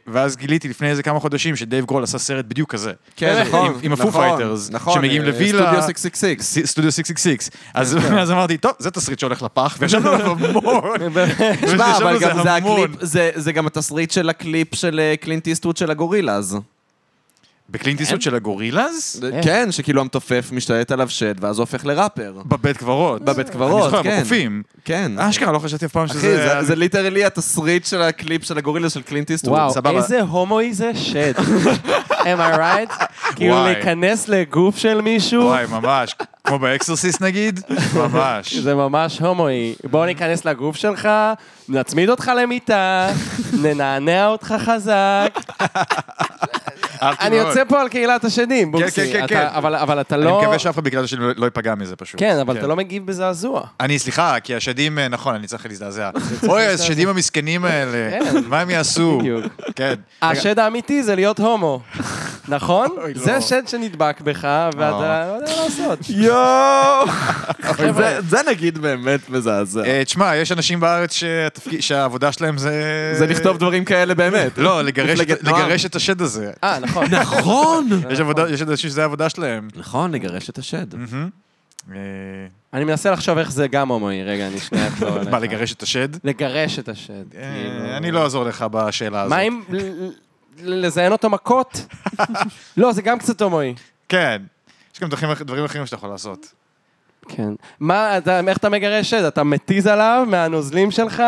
S2: ואז גיליתי לפני איזה כמה חודשים שדייב גרול עשה סרט בדיוק כזה.
S1: כן,
S2: עם-
S1: נכון,
S2: עם הפו
S1: נכון,
S2: פייטרס,
S1: נכון,
S2: שמגיעים
S1: אה,
S2: לווילה.
S1: סטודיו 666.
S2: ס- סטודיו 666. אז אז אמרתי, טוב, זה תסריט שהולך לפח, וישבנו עליו המון.
S1: תשמע,
S2: וישבנו
S1: אבל
S2: על זה
S1: גם זה
S2: המון.
S1: הקליפ, זה- זה גם התסריט של הקליפ של אה, קלינט איסטווד של הגורילאז.
S2: בקלינט איסטווד של הגורילאז?
S1: זה- כן, שכאילו המתופף משתלט עליו שד, ואז הוא הופך לראפר.
S2: בבית קברות.
S1: בבית קברות,
S2: אני זוכר,
S1: כן.
S2: בקופים.
S1: כן.
S2: אשכרה, לא חשבתי אף פעם
S1: אחי,
S2: שזה...
S1: זה- זה ליטרלי התסריט של הקליפ של הגורילאז של קלינט איסטווד.
S3: וואו,
S2: סבבה.
S3: איזה הומואי זה שד. am I right? כאילו
S2: וואי.
S3: להיכנס לגוף של מישהו,
S2: וואי, ממש. כמו באקסרסיס נגיד? ממש.
S3: זה ממש הומואי. בוא ניכנס לגוף שלך, נצמיד אותך למיטה, ננענע אותך חזק.
S2: אהבתי
S3: אני
S2: מאוד.
S3: יוצא פה על קהילת השדים, בוקסי.
S2: כן, כן,
S3: אתה-
S2: כן.
S3: אבל- אבל אתה
S2: אני
S3: לא...
S2: מקווה שאף אחד בקהילת השני לא לא ייפגע מזה פשוט.
S3: כן, אבל אתה לא מגיב בזעזוע.
S2: אני, סליחה, כי השדים, אה, נכון, אני צריך להזדעזע. אוי, השדים המסכנים האלה,
S3: כן.
S2: מה הם יעשו?
S3: בדיוק.
S2: כן.
S3: השד האמיתי זה להיות הומו, נכון?
S2: לא. אה.
S3: זה שד שנדבק בך, ואתה לא יודע מה לעשות.
S1: יואו! זה- זה נגיד באמת מזעזע.
S2: אה, תשמע, יש אנשים בארץ שהתפקיד- שהעבודה שלהם זה...
S1: זה לכתוב דברים כאלה באמת.
S2: לא, לגרש, את,
S1: מפלגת נוער.
S2: לגרש את השד הזה.
S3: אה, נכון.
S1: נכון!
S3: אה,
S2: יש עבודה, יש אנשים שזה העבודה שלהם.
S1: נכון, לגרש את השד.
S2: אה,
S3: אני מנסה לחשוב איך זה גם הומואי. רגע, לא, אני שנייה אחזור אליך.
S2: מה, לגרש את השד?
S3: לגרש את השד.
S2: אה,
S3: כאילו.
S2: אני לא אעזור לך בשאלה הזאת.
S3: מה אם ל- ל- לזיין אותו מכות? לא, זה גם קצת הומואי.
S2: כן. יש גם דרכים- דברים אחרים שאתה יכול לעשות.
S3: כן. מה, אתה, איך אתה מגרש שד? אתה מתיז עליו מהנוזלים שלך,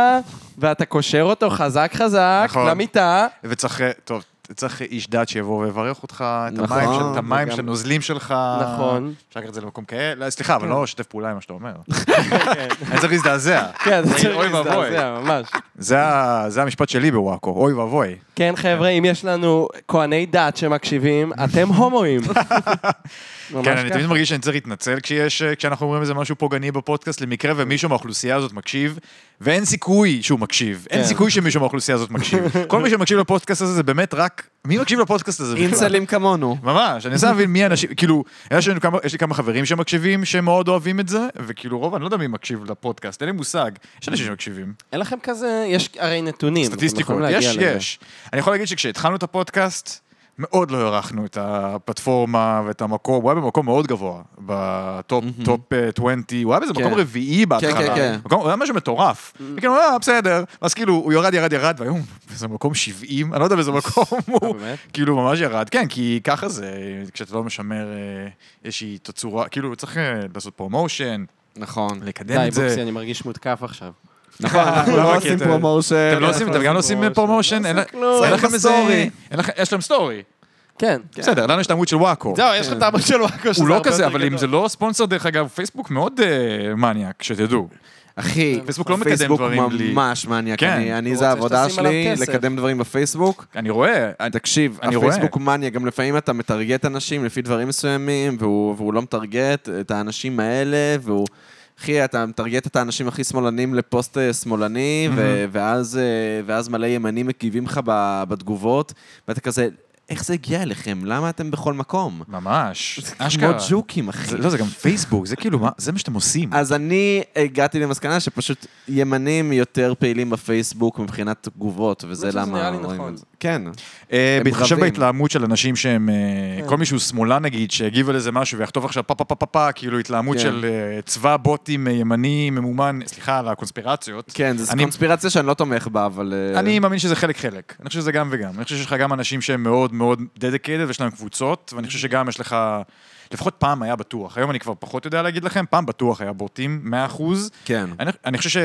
S3: ואתה קושר אותו חזק חזק
S2: נכון.
S3: למיטה.
S2: וצריך, אה, טוב, צריך איש דת שיבוא ויברך אותך, את
S1: נכון,
S2: המים של- את המים
S3: וגם-
S2: של הנוזלים שלך.
S3: נכון. כן.
S2: אפשר לקחת את זה למקום כאלה. לא, סליחה, אבל לא לשתף פעולה עם מה שאתה אומר. אני צריך להזדעזע.
S3: כן, זה צריך
S2: אוי ואבוי.
S3: להזדעזע, ממש.
S2: זה ה- זה המשפט שלי בוואקו, אוי ואבוי.
S3: כן, חבר'ה, אם יש לנו כהני דת שמקשיבים, אתם הומואים. ממש
S2: כן, אני
S3: ככה.
S2: תמיד מרגיש שאני צריך להתנצל כשיש, אה, כשאנחנו אומרים איזה משהו פוגעני בפודקאסט, למקרה ומישהו מהאוכלוסייה הזאת מקשיב, ואין סיכוי שהוא מקשיב. אין
S3: כן.
S2: סיכוי שמישהו מהאוכלוסייה הזאת מקשיב. כל מי שמקשיב לפודקאסט הזה זה באמת רק... מי מקשיב לפודקאסט הזה בכלל?
S1: אינסלים כמונו.
S2: ממש, אני מנסה להבין מי האנשים, כאילו, יש לנו כמה- יש לי כמה חברים שמקשיבים, שמאוד אוהבים את זה, וכאילו רוב, אני לא יודע מי מקשיב לפודקאסט, אין לי מושג. יש אנשים שמקשיבים.
S3: אין לכם כזה, יש הרי נתונים. אתם
S2: סטטיסטיקות,
S3: יכולים
S2: יש,
S3: להגיע לזה.
S2: יש. אני יכול להגיד שכשהתחלנו את הפודקאסט, מאוד לא הערכנו את הפלטפורמה ואת המקום, הוא היה במקום מאוד גבוה, בטופ טופ, אה, 20, הוא היה באיזה
S1: כן.
S2: מקום רביעי בהתחלה.
S1: כן, כן.
S2: מקום- הוא היה משהו מטורף. וכאילו, אה, בסדר. אז כאילו, הוא ירד, ירד, ירד, והיום, באיזה מקום 70, אני לא יודע באיזה מקום הוא.
S3: אה, באמת?
S2: כאילו, ממש ירד, כן, כי ככה זה, כשאתה לא משמר אה, איזושהי תצורה, כאילו, צריך אה, לעשות פרומושן,
S1: נכון.
S2: לקדם
S3: די,
S2: את
S3: בוקסי,
S2: זה.
S3: אני מרגיש מותקף עכשיו.
S1: נכון, אנחנו לא
S2: לא מכיר
S1: עושים
S2: את ה-
S1: פרומושן.
S2: אתם לא עושים, אתם גם לא עושים פרומושן,
S3: פרומושן. לא
S2: אין
S3: עושים כלום.
S2: אין לכם איזה...
S1: סטורי.
S2: אין לכם- יש להם סטורי.
S3: כן.
S2: בסדר, לנו יש את העמוד של וואקו.
S5: זהו, יש לך את העמוד של וואקו שזה
S2: כן. הוא לא
S5: הרבה
S2: כזה,
S5: יותר
S2: אבל אם
S5: גדול.
S2: זה לא ספונסר, דרך אגב, פייסבוק מאוד אה, מניאק, שתדעו.
S1: אחי,
S2: פייסבוק לא מקדם דברים בלי-
S1: פייסבוק כן, ממש מניאק.
S2: כן.
S1: אני, אני
S3: הוא
S1: זה
S3: רוצה
S1: העבודה
S3: שתשים עליו
S1: שלי,
S3: כסף.
S1: לקדם דברים בפייסבוק.
S2: אני רואה, אני-
S1: תקשיב,
S2: אני רואה.
S1: הפייסבוק מניה, גם לפעמים אתה מטרגט אנשים לפי דברים מסוימים, והוא, והוא לא מטרגט את האנשים האלה, והוא... אחי, אתה מטרגט את האנשים הכי שמאלנים לפוסט אה, שמאלני, ו- ואז, אה, ואז מלא ימנים מגיבים לך ב- בתגובות, ואתה כזה, איך זה הגיע אליכם? למה אתם בכל מקום?
S2: ממש,
S1: כמו
S2: אשכרה.
S1: ג'וקים, אחי.
S2: זה- לא, זה גם פייסבוק, זה כאילו, מה- זה מה שאתם עושים.
S1: אז אני הגעתי למסקנה שפשוט ימנים יותר פעילים בפייסבוק מבחינת תגובות, וזה
S3: אני חושב שזה
S1: למה
S3: נראה לי
S1: רואים
S3: נכון.
S1: את זה. כן.
S2: אה,
S1: הם
S2: בהתחשב
S1: רבים.
S2: בהתלהמות של אנשים שהם, אה, כל מי שהוא שמאלן נגיד, שהגיב על איזה משהו ויחטוף עכשיו פה פה פה פה פה, כאילו התלהמות
S1: כן.
S2: של אה, צבא בוטים אה, ימני ממומן, סליחה על הקונספירציות.
S1: כן, זו
S2: אני-
S1: קונספירציה שאני לא תומך בה, אבל... אה,
S2: אני מאמין שזה חלק חלק, אני חושב שזה גם וגם. אני חושב שיש לך גם אנשים שהם מאוד מאוד dedicated ויש להם קבוצות, ואני חושב שגם יש לך, לפחות פעם היה בטוח, היום אני כבר פחות יודע להגיד לכם, פעם בטוח היה בוטים, 100%.
S1: כן.
S2: אני, אני חושב ש...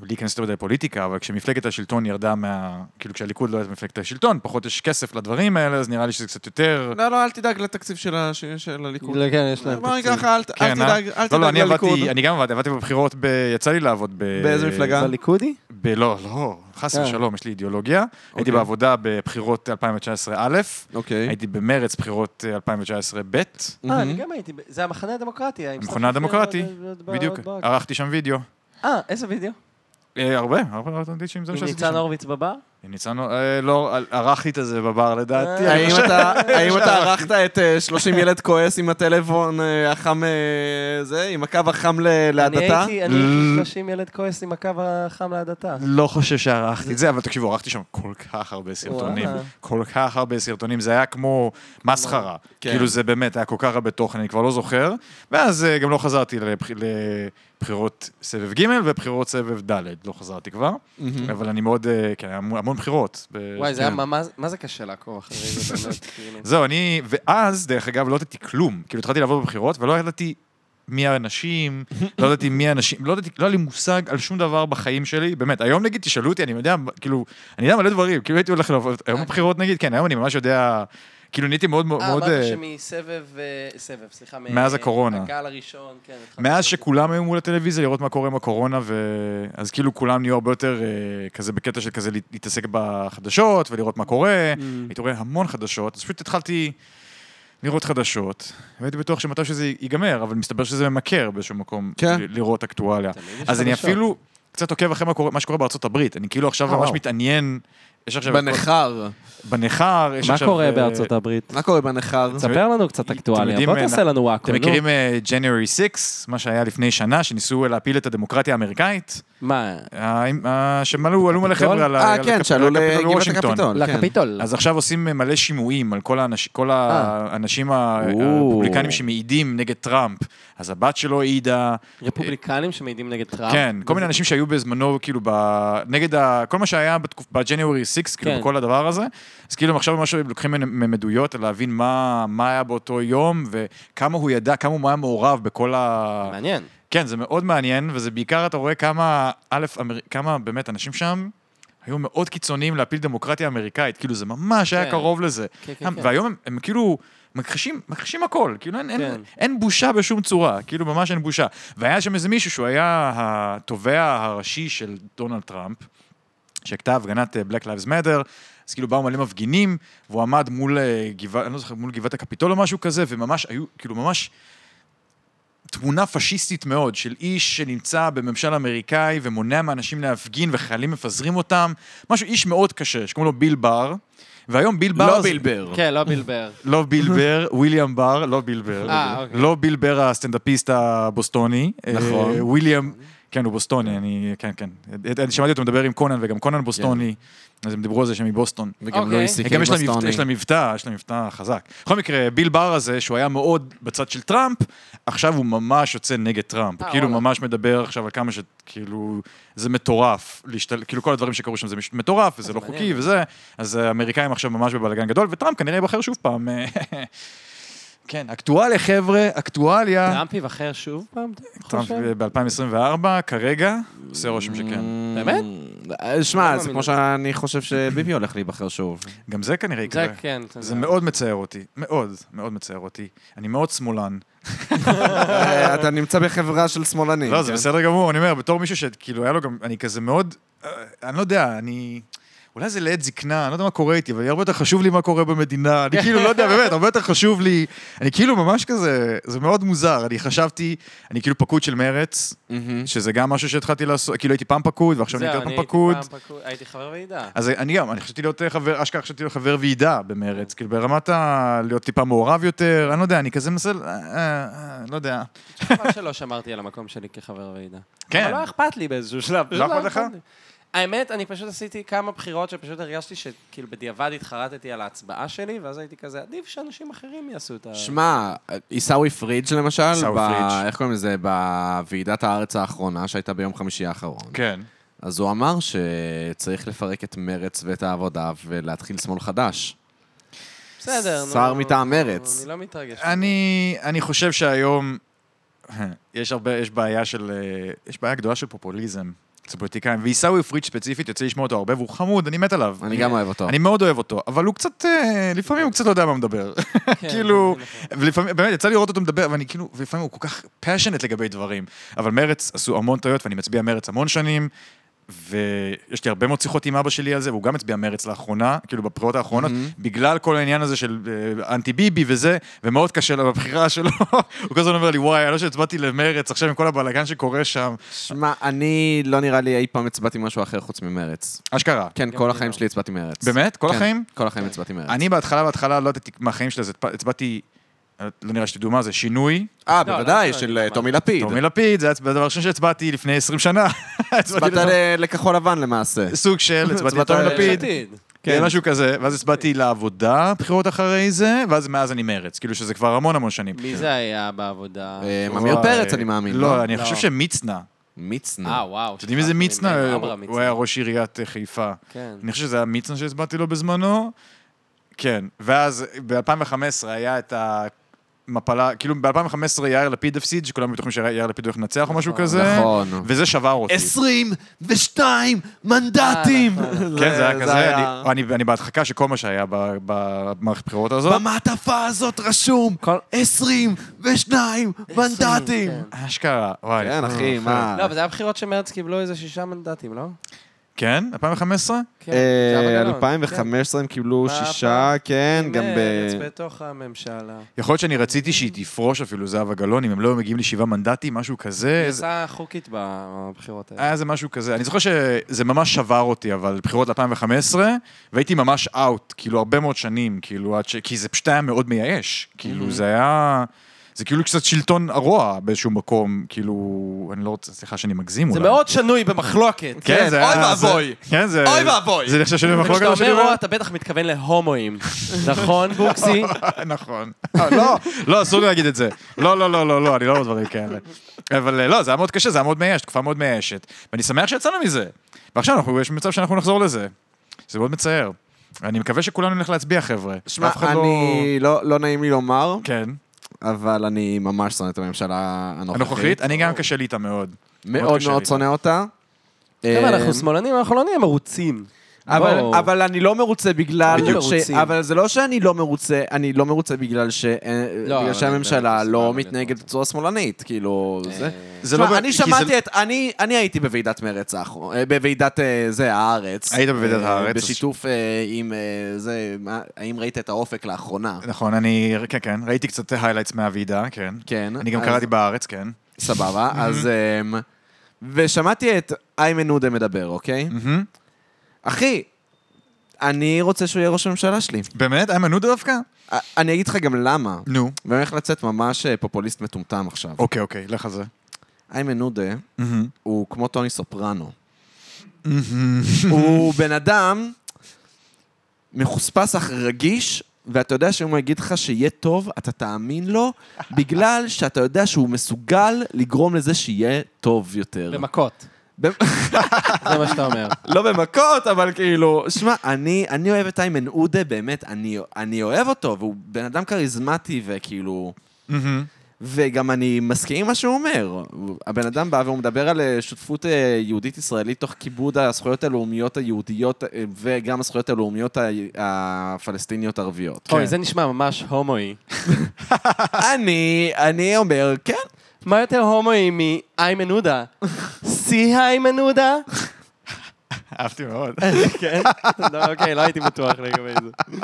S2: בלי להיכנס יותר מדי לפוליטיקה, אבל כשמפלגת השלטון ירדה מה... כאילו כשהליכוד לא היה מפלגת השלטון, פחות יש כסף לדברים האלה, אז נראה לי שזה קצת יותר...
S1: לא, לא, אל תדאג לתקציב של ה- של- של הליכוד.
S3: כן, יש להם
S1: בוא
S3: תקציב.
S1: נגיד לך, אל ת- אל
S2: לא, כן, אה?
S1: תדאג, אל
S2: לא, לא,
S1: תדאג
S2: אני
S1: לליכוד.
S2: עבדתי, אני גם עבדתי, עבדתי בבחירות, ב... יצא לי לעבוד ב...
S1: באיזה
S2: כן.
S1: מפלגה? כן.
S3: בליכודי?
S2: ב... לא, לא, חס
S3: אה.
S2: ושלום, יש לי אידיאולוגיה. הייתי
S1: אוקיי.
S2: בעבודה בבחירות 2019 א',
S1: אוקיי.
S2: הייתי במרץ בחירות אה, 2019 ב',
S3: אה,
S1: מהמם.
S3: אני גם הייתי, ב- זה המחנה הדמוקרטי. עם
S2: המכונה
S3: סטפן
S2: הדמוקרטי,
S3: פילר, עוד- עוד-
S2: בדיוק.
S3: עוד ברק.
S2: ערכתי שם וידאו.
S3: אה, איזה וידאו?
S2: אה, הרבה, הרבה, הרבה, הרבה, זה מה
S3: עם
S2: שעשיתי
S3: ניצן
S2: שם.
S3: הורוביץ בבר?
S2: עם ניצן הור- אה, לא, על- ערכתי את זה בבר לדעתי.
S3: אה,
S2: אני
S1: האם
S2: חושב-
S1: אתה- האם אתה ערכת את אה, 30 ילד כועס עם הטלפון אה, החם, אה, זה, עם הקו החם ל- להדתה?
S3: אני הייתי, אני הייתי 30 ילד כועס עם הקו החם להדתה.
S2: לא חושב שערכתי את זה, אבל תקשיבו, ערכתי שם כל כך הרבה סרטונים.
S3: וואלה.
S2: כל כך הרבה סרטונים, זה היה כמו מסחרה.
S1: כן.
S2: כאילו זה באמת, היה כל כך הרבה תוכן, אני כבר לא זוכר. ואז אה, גם לא חזרתי לבח- לבחירות סבב ג' ובחירות סבב ד', לא חזרתי כבר. אבל אני מאוד, אה, כן, היה המון המון בחירות. ב-
S3: וואי, זה
S2: כן.
S3: היה ממש, מה זה קשה לעקוב אחרי זה באמת, כאילו.
S2: זהו, אני, ואז, דרך אגב, לא ידעתי כלום. כאילו, התחלתי לעבוד בבחירות, ולא ידעתי מי האנשים, לא ידעתי מי האנשים, לא ידעתי, לא היה לי מושג על שום דבר בחיים שלי. באמת, היום נגיד, תשאלו אותי, אני יודע, כאילו, אני יודע מלא דברים, כאילו הייתי הולך לעבוד, היום בבחירות נגיד, כן, היום אני ממש יודע, כאילו, נהייתי מאוד מאוד...
S3: אה,
S2: אה,
S3: אמרת שמסבב, אה, סבב, סליחה, מ-
S2: מאז הקורונה.
S3: הגל הראשון, כן. התחלתי
S2: מאז
S3: לראות.
S2: שכולם היו מול הטלוויזיה לראות מה קורה עם הקורונה, ו... אז כאילו כולם נהיו הרבה יותר אה, כזה בקטע של כזה להת- להתעסק בחדשות ולראות מה קורה.
S1: Mm.
S2: הייתי רואה המון חדשות, אז פשוט התחלתי לראות חדשות, והייתי בטוח שמתי שזה ייגמר, אבל מסתבר שזה ממכר באיזשהו מקום,
S1: כן.
S2: ל- לראות אקטואליה.
S3: תמיד יש
S2: אז אני
S3: חדשות.
S2: אפילו קצת עוקב אחרי מה, קורה, מה שקורה בארצות הברית, אני כאילו עכשיו
S1: אה,
S2: ממש
S1: וואו.
S2: מתעניין, יש עכשיו...
S1: בניכר.
S2: בניכר, יש
S3: מה
S2: עכשיו...
S3: קורה
S2: אה,
S3: בארצות הברית?
S1: מה קורה בניכר?
S3: תספר לנו קצת
S2: אתם
S3: אקטואליה,
S2: יודעים,
S3: בוא
S2: אה,
S3: תעשה לנו וואקו.
S2: אתם
S3: נו.
S2: מכירים אה, January 6, מה שהיה לפני שנה, שניסו להפיל את הדמוקרטיה האמריקאית?
S3: מה,
S2: האם- אה, שמלו, עלו מלא חבר'ה על ה-
S1: אה,
S2: על
S1: כן,
S2: הקפ-
S1: שעלו
S2: על הקפיטול
S1: לגבעת
S2: בוושינגטון.
S1: הקפיטול.
S3: לא,
S1: כן.
S3: לקפיטול.
S2: אז עכשיו עושים מלא שימועים על כל האנש- כל האנשים ה-
S1: אה. או.
S2: הרפובליקנים שמעידים נגד טראמפ. אז הבת שלו העידה,
S3: רפובליקנים שמעידים נגד טראמפ.
S2: אה, כן, כל מיני אנשים שהיו בזמנו, כאילו, ב- נגד ה- כל מה שהיה בתקופ- ב-January 6, כאילו,
S3: כן.
S2: בכל הדבר הזה. אז כאילו, הם עכשיו ממש לוקחים מהם- מהם עדויות, להבין מה מה היה באותו יום, וכמה הוא ידע, כמה הוא היה מעורב בכל ה...
S3: מעניין.
S2: כן, זה מאוד מעניין, וזה בעיקר, אתה רואה כמה, א', אמר... כמה באמת אנשים שם היו מאוד קיצוניים להפיל דמוקרטיה אמריקאית, כאילו זה ממש היה
S3: כן.
S2: קרוב לזה.
S3: כן, כן,
S2: הם-
S3: כן.
S2: והיום הם, הם כאילו מכחישים, מכחישים הכל, כאילו אין,
S3: כן.
S2: אין, אין בושה בשום צורה, כאילו ממש אין בושה. והיה שם איזה מישהו שהוא היה התובע הראשי של דונלד טראמפ, שהכתה הפגנת אה, Black Lives Matter, אז כאילו באו מלא מפגינים, והוא עמד מול אה, גבעת, אני לא זוכר, מול גבעת הקפיטול או משהו כזה, וממש היו, כאילו ממש תמונה פשיסטית מאוד של איש שנמצא בממשל אמריקאי ומונע מאנשים להפגין וחיילים מפזרים אותם, משהו, איש מאוד קשה, שקוראים לו ביל בר, והיום ביל בר...
S1: לא
S2: זה-
S1: בילבר.
S3: כן, לא בילבר.
S2: לא ביל בר, וויליאם בר, לא ביל בר.
S3: אה, אוקיי.
S2: לא ביל בר הסטנדאפיסט הבוסטוני.
S1: נכון.
S2: אה, וויליאם, כן, הוא בוסטוני, אני, כן, כן. אני שמעתי אותו מדבר עם קונן, וגם קונן בוסטוני,
S3: כן.
S2: אז הם דיברו על זה שהם מבוסטון.
S1: וגם
S3: אוקיי.
S1: לואי סי קיי
S2: אה, גם כן, יש להם מבטא-
S1: בסטוני.
S2: יש להם מבטא, יש להם מבטא חזק. בכל מקרה, ביל בר הזה, שהוא היה מאוד בצד של טראמפ, עכשיו הוא ממש יוצא נגד טראמפ. הוא
S3: אה,
S2: כאילו
S3: וואלה.
S2: ממש מדבר עכשיו על כמה ש... כאילו, זה מטורף. להשתל... כאילו, כל הדברים שקרו שם זה מש- מטורף, וזה לא
S3: מעניין.
S2: חוקי וזה. אז האמריקאים עכשיו ממש בבלאגן גדול, וטראמפ כנראה ייבחר שוב פעם. אה, כן, אקטואליה, חבר'ה, אקטואליה.
S3: טראמפ ייבחר שוב פעם, אתה
S2: טראמפ אה,
S3: חושב? Mm,
S2: ב-2024, כרגע, עושה רושם שכן.
S3: באמת?
S1: אמ, אה, שמע, זה
S3: מאמין
S1: כמו
S3: לזה.
S1: שאני חושב שביבי הולך להיבחר שוב.
S2: גם זה כנראה
S3: זה
S2: יקרה.
S3: כן.
S2: זה מאוד מצער אותי, מאוד, מאוד מצער אותי. אני מאוד שמאלן.
S1: אה, אתה נמצא בחברה של שמאלנים.
S2: לא, זה
S1: כן?
S2: בסדר גמור, אני אומר, בתור מישהו שכאילו היה לו גם, אני כזה מאוד, אה, אני לא יודע, אני... אולי זה לעת זקנה, אני לא יודע מה קורה איתי, אבל יהיה הרבה יותר חשוב לי מה קורה במדינה, אני כאילו, לא יודע, באמת, הרבה יותר חשוב לי, אני כאילו ממש כזה, זה מאוד מוזר, אני חשבתי, אני כאילו פקוד של מרץ,
S1: מהמם.
S2: שזה גם משהו שהתחלתי לעשות, כאילו הייתי פעם פקוד, ועכשיו אני
S3: זהו,
S2: יותר
S3: אני
S2: פעם
S3: הייתי
S2: פקוד.
S3: פעם פקוד. הייתי חבר ועידה.
S2: אז אני גם, אני חשבתי להיות אה, חבר, אשכרה חשבתי להיות חבר ועידה במרץ, כאילו ברמת ה... להיות טיפה מעורב יותר, אני לא יודע, אני כזה מנסה, אה, אה, אה, לא יודע.
S3: חבל שלא שמרתי על המקום שלי כחבר ועידה.
S2: כן.
S3: אבל לא אכפת לי באיזשהו שלב. פשוט
S2: לא אכפת לך?
S3: לי. האמת, אני פשוט עשיתי כמה בחירות שפשוט הרגשתי שכאילו בדיעבד התחרטתי על ההצבעה שלי, ואז הייתי כזה, עדיף שאנשים אחרים יעשו את ה...
S1: שמע, עיסאווי פריג' למשל,
S2: עיסאווי
S1: ב-
S2: פריג'.
S1: איך קוראים לזה? בוועידת הארץ האחרונה שהייתה ביום חמישי האחרון.
S2: כן.
S1: אז הוא אמר שצריך לפרק את מרץ ואת העבודה ולהתחיל שמאל חדש.
S3: בסדר, נו.
S1: שר מטעם מרצ.
S3: אני לא מתרגש.
S2: אני, אני חושב שהיום יש הרבה, יש בעיה של, אה, יש בעיה גדולה של פופוליזם אצל פוליטיקאים, ועיסאווי פריג' ספציפית, יוצא לשמוע אותו הרבה, והוא חמוד, אני מת עליו.
S1: אני גם אוהב אותו.
S2: אני מאוד אוהב אותו, אבל הוא קצת, אה, לפעמים הוא קצת לא יודע מה הוא מדבר.
S3: כן,
S2: כאילו,
S3: זה נכון.
S2: ולפעמים, באמת, יצא לי לראות אותו מדבר, ואני כאילו, ולפעמים הוא כל כך פאשונט לגבי דברים. אבל מרץ עשו המון טעויות, ואני מצביע מרץ המון שנים, ויש לי הרבה מאוד שיחות עם אבא שלי על זה, והוא גם הצביע מרץ לאחרונה, כאילו בבחירות האחרונות,
S1: Mm-hmm.
S2: בגלל כל העניין הזה של אה, אנטי ביבי וזה, ומאוד קשה לו בבחירה שלו. הוא כל הזמן אומר לי, וואי, לא שהצבעתי למרץ, עכשיו עם כל הבלאגן שקורה שם.
S1: שמע, אני לא נראה לי אי פעם הצבעתי משהו אחר חוץ ממרץ.
S2: אשכרה.
S1: כן, כל החיים שלי הצבעתי מרץ.
S2: באמת? כל
S1: כן,
S2: החיים?
S1: כל החיים הצבעתי מרץ.
S2: אני בהתחלה, בהתחלה, לא ידעתי מהחיים שלי, אז הצבע- הצבעתי, לא נראה שתדעו מה זה, שינוי.
S1: אה,
S3: לא,
S1: בוודאי,
S3: לא,
S1: של
S3: לא,
S1: אה,
S3: לא,
S1: טומי לפיד.
S2: טומי לפיד, זה הדבר הראשון שהצבעתי לפני 20 שנה. הצבעתי
S1: הצבעת
S2: לדבר-
S1: ל- לכחול לבן למעשה.
S2: סוג של, הצבעתי
S1: הצבעת
S2: לטומי
S1: ל-
S2: לפיד,
S3: עתיד.
S2: כן, משהו כזה, ואז הצבעתי לעבודה בחירות אחרי זה, ואז מאז אני מרץ, כאילו שזה כבר המון המון שנים.
S3: מי זה היה בעבודה?
S1: אה, עמיר פרץ, אני מאמין.
S2: לא, אני
S3: לא.
S2: חושב שמצנע.
S1: מצנע.
S3: אה, וואו.
S2: אתם יודעים איזה מצנע?
S3: עמרם
S2: הוא היה ראש עיריית אה, חיפה.
S3: כן.
S2: אני חושב שזה היה מצנע שהצבעתי לו בזמנו. כן, ואז ב-2015 היה את המפלה, כאילו ב-2015 יאיר לפיד הפסיד, שכולם בטוחים שיאיר לפיד הולך לנצח או משהו כזה.
S1: נכון.
S2: וזה שבר אותי.
S1: 22 מנדטים!
S2: כן, זה היה כזה, אני- אני אני בהדחקה שכל מה שהיה ב- במערכת הבחירות הזאת.
S1: במעטפה הזאת רשום
S3: כל-
S1: 22
S3: מנדטים. כן.
S2: אשכרה, וואי.
S1: כן, אחי, מה?
S3: לא, אבל זה היה בחירות שמרצ קיבלו איזה שישה מנדטים, לא?
S2: כן? 2015?
S3: כן.
S1: אה,
S3: זהבה גלאון, כן.
S1: 2015 הם קיבלו
S3: מה, אה,
S1: שישה, כן, גם ב...
S3: מרצ בתוך הממשלה.
S2: יכול להיות שאני רציתי שהיא תפרוש אפילו זהבה גלאון, אם הם לא היו מגיעים לי שבעה מנדטים, משהו כזה.
S3: היא
S2: כן, זה-
S3: עושה חוקית בבחירות האלה.
S2: היה איזה משהו כזה. אני זוכר שזה ממש שבר אותי, אבל בחירות 2015, והייתי ממש אאוט, כאילו הרבה מאוד שנים, כאילו עד ש... כי זה פשוט היה מאוד מייאש. כאילו זה היה... זה כאילו קצת שלטון הרוע באיזשהו מקום, כאילו... אני לא רוצה, סליחה שאני מגזים
S3: זה
S2: אולי.
S3: מאוד שנוי במחלוקת.
S2: כן, זה
S1: אוי
S2: היה... זה-
S1: ואבוי.
S2: כן, זה...
S1: אוי ואבוי.
S2: זה נחשב שאני במחלוקת.
S3: כשאתה
S2: מה שאני
S3: אומר
S2: אומר?
S3: רוע, אתה בטח מתכוון להומואים. נכון, בוקסי?
S2: נכון.
S1: אה,
S2: לא, לא, אסור לי להגיד את זה. לא, לא, לא, לא, לא, אני לא אומר דברים כאלה. אבל אה, לא, זה היה מאוד קשה, זה היה מאוד מייאש, תקופה מאוד מייאשת. ואני שמח שיצאנו מזה. ועכשיו אנחנו, יש מצב שאנחנו נחזור לזה. זה מאוד מצער. אני מקווה שכולנו נלך להצביע, חבר'ה.
S1: שמע,
S2: אף אחד לא-
S1: אני... לא לא נעים לי לומר,
S2: כן.
S1: אבל אני ממש שונא את הממשלה הנוכחית.
S2: הנוכחית, אני גם קשה לי איתה מאוד. מאוד
S1: מאוד
S2: קשה
S1: מאוד
S2: לי.
S1: שונא אותה.
S3: חבר'ה,
S1: אה,
S3: אנחנו שמאלנים, אנחנו לא נהיה מרוצים.
S1: אבל,
S3: בואו.
S1: אבל אני לא מרוצה בגלל...
S3: תמיד
S1: ש...
S3: מרוצים.
S1: אבל זה לא שאני לא מרוצה, אני לא מרוצה בגלל, ש...
S3: לא,
S1: לא,
S3: אבל
S1: בגלל
S3: אני
S1: שהממשלה
S3: באמת
S1: לא
S3: מסוגל
S1: מתנהגת
S3: להיות.
S1: בצורה שמאלנית, כאילו... זה...
S2: זה
S1: תשמע,
S2: לא ב-
S1: אני
S2: כי זה-
S1: שמעתי את... אני, אני הייתי בוועידת מרץ האחרונה, בוועידת אה, זה, הארץ.
S2: היית בוועידת
S1: אה,
S2: הארץ, אז-
S1: בשיתוף אה, עם אה, זה, מה- האם ראית את האופק לאחרונה?
S2: נכון, אני... כן, כן, ראיתי קצת highlights מהוועידה, כן.
S1: כן.
S2: אני גם
S1: אז-
S2: קראתי בארץ, כן.
S1: סבבה, אז... אה, ושמעתי את איימן עודה מדבר, אוקיי?
S2: מהמם.
S1: אחי, אני רוצה שהוא יהיה ראש הממשלה שלי.
S2: באמת? איימן עודה דווקא?
S1: אה, אני אגיד לך גם למה.
S2: נו.
S1: ואני הולך לצאת ממש אה, פופוליסט מטומטם עכשיו.
S2: אוקיי, אוקיי, לך על זה.
S1: איימן עודה
S2: מהמם.
S1: הוא כמו טוני סופרנו. הוא בן אדם מחוספס אך רגיש, ואתה יודע שאם הוא יגיד לך שיהיה טוב, אתה תאמין לו, בגלל שאתה יודע שהוא מסוגל לגרום לזה שיהיה טוב יותר.
S3: במכות.
S1: במ-
S3: זה מה שאתה אומר.
S1: לא במכות, אבל כאילו... שמע, אני, אני אוהב את איימן עודה, באמת, אני, אני אוהב אותו, והוא בן אדם כריזמטי, וכאילו...
S2: מהמם.
S1: וגם אני מסכים עם מה שהוא אומר. הבן אדם בא והוא מדבר על אה, שותפות אה, יהודית-ישראלית תוך כיבוד הזכויות הלאומיות היהודיות אה, וגם הזכויות הלאומיות ה- הפלסטיניות-ערביות.
S3: אוי, זה נשמע ממש הומואי.
S1: אני, אני אומר, כן.
S3: מה יותר הומואי מאיימן עודה? שיא איימן עודה?
S2: אהבתי מאוד.
S3: כן? לא, אוקיי, לא הייתי בטוח לגבי זה.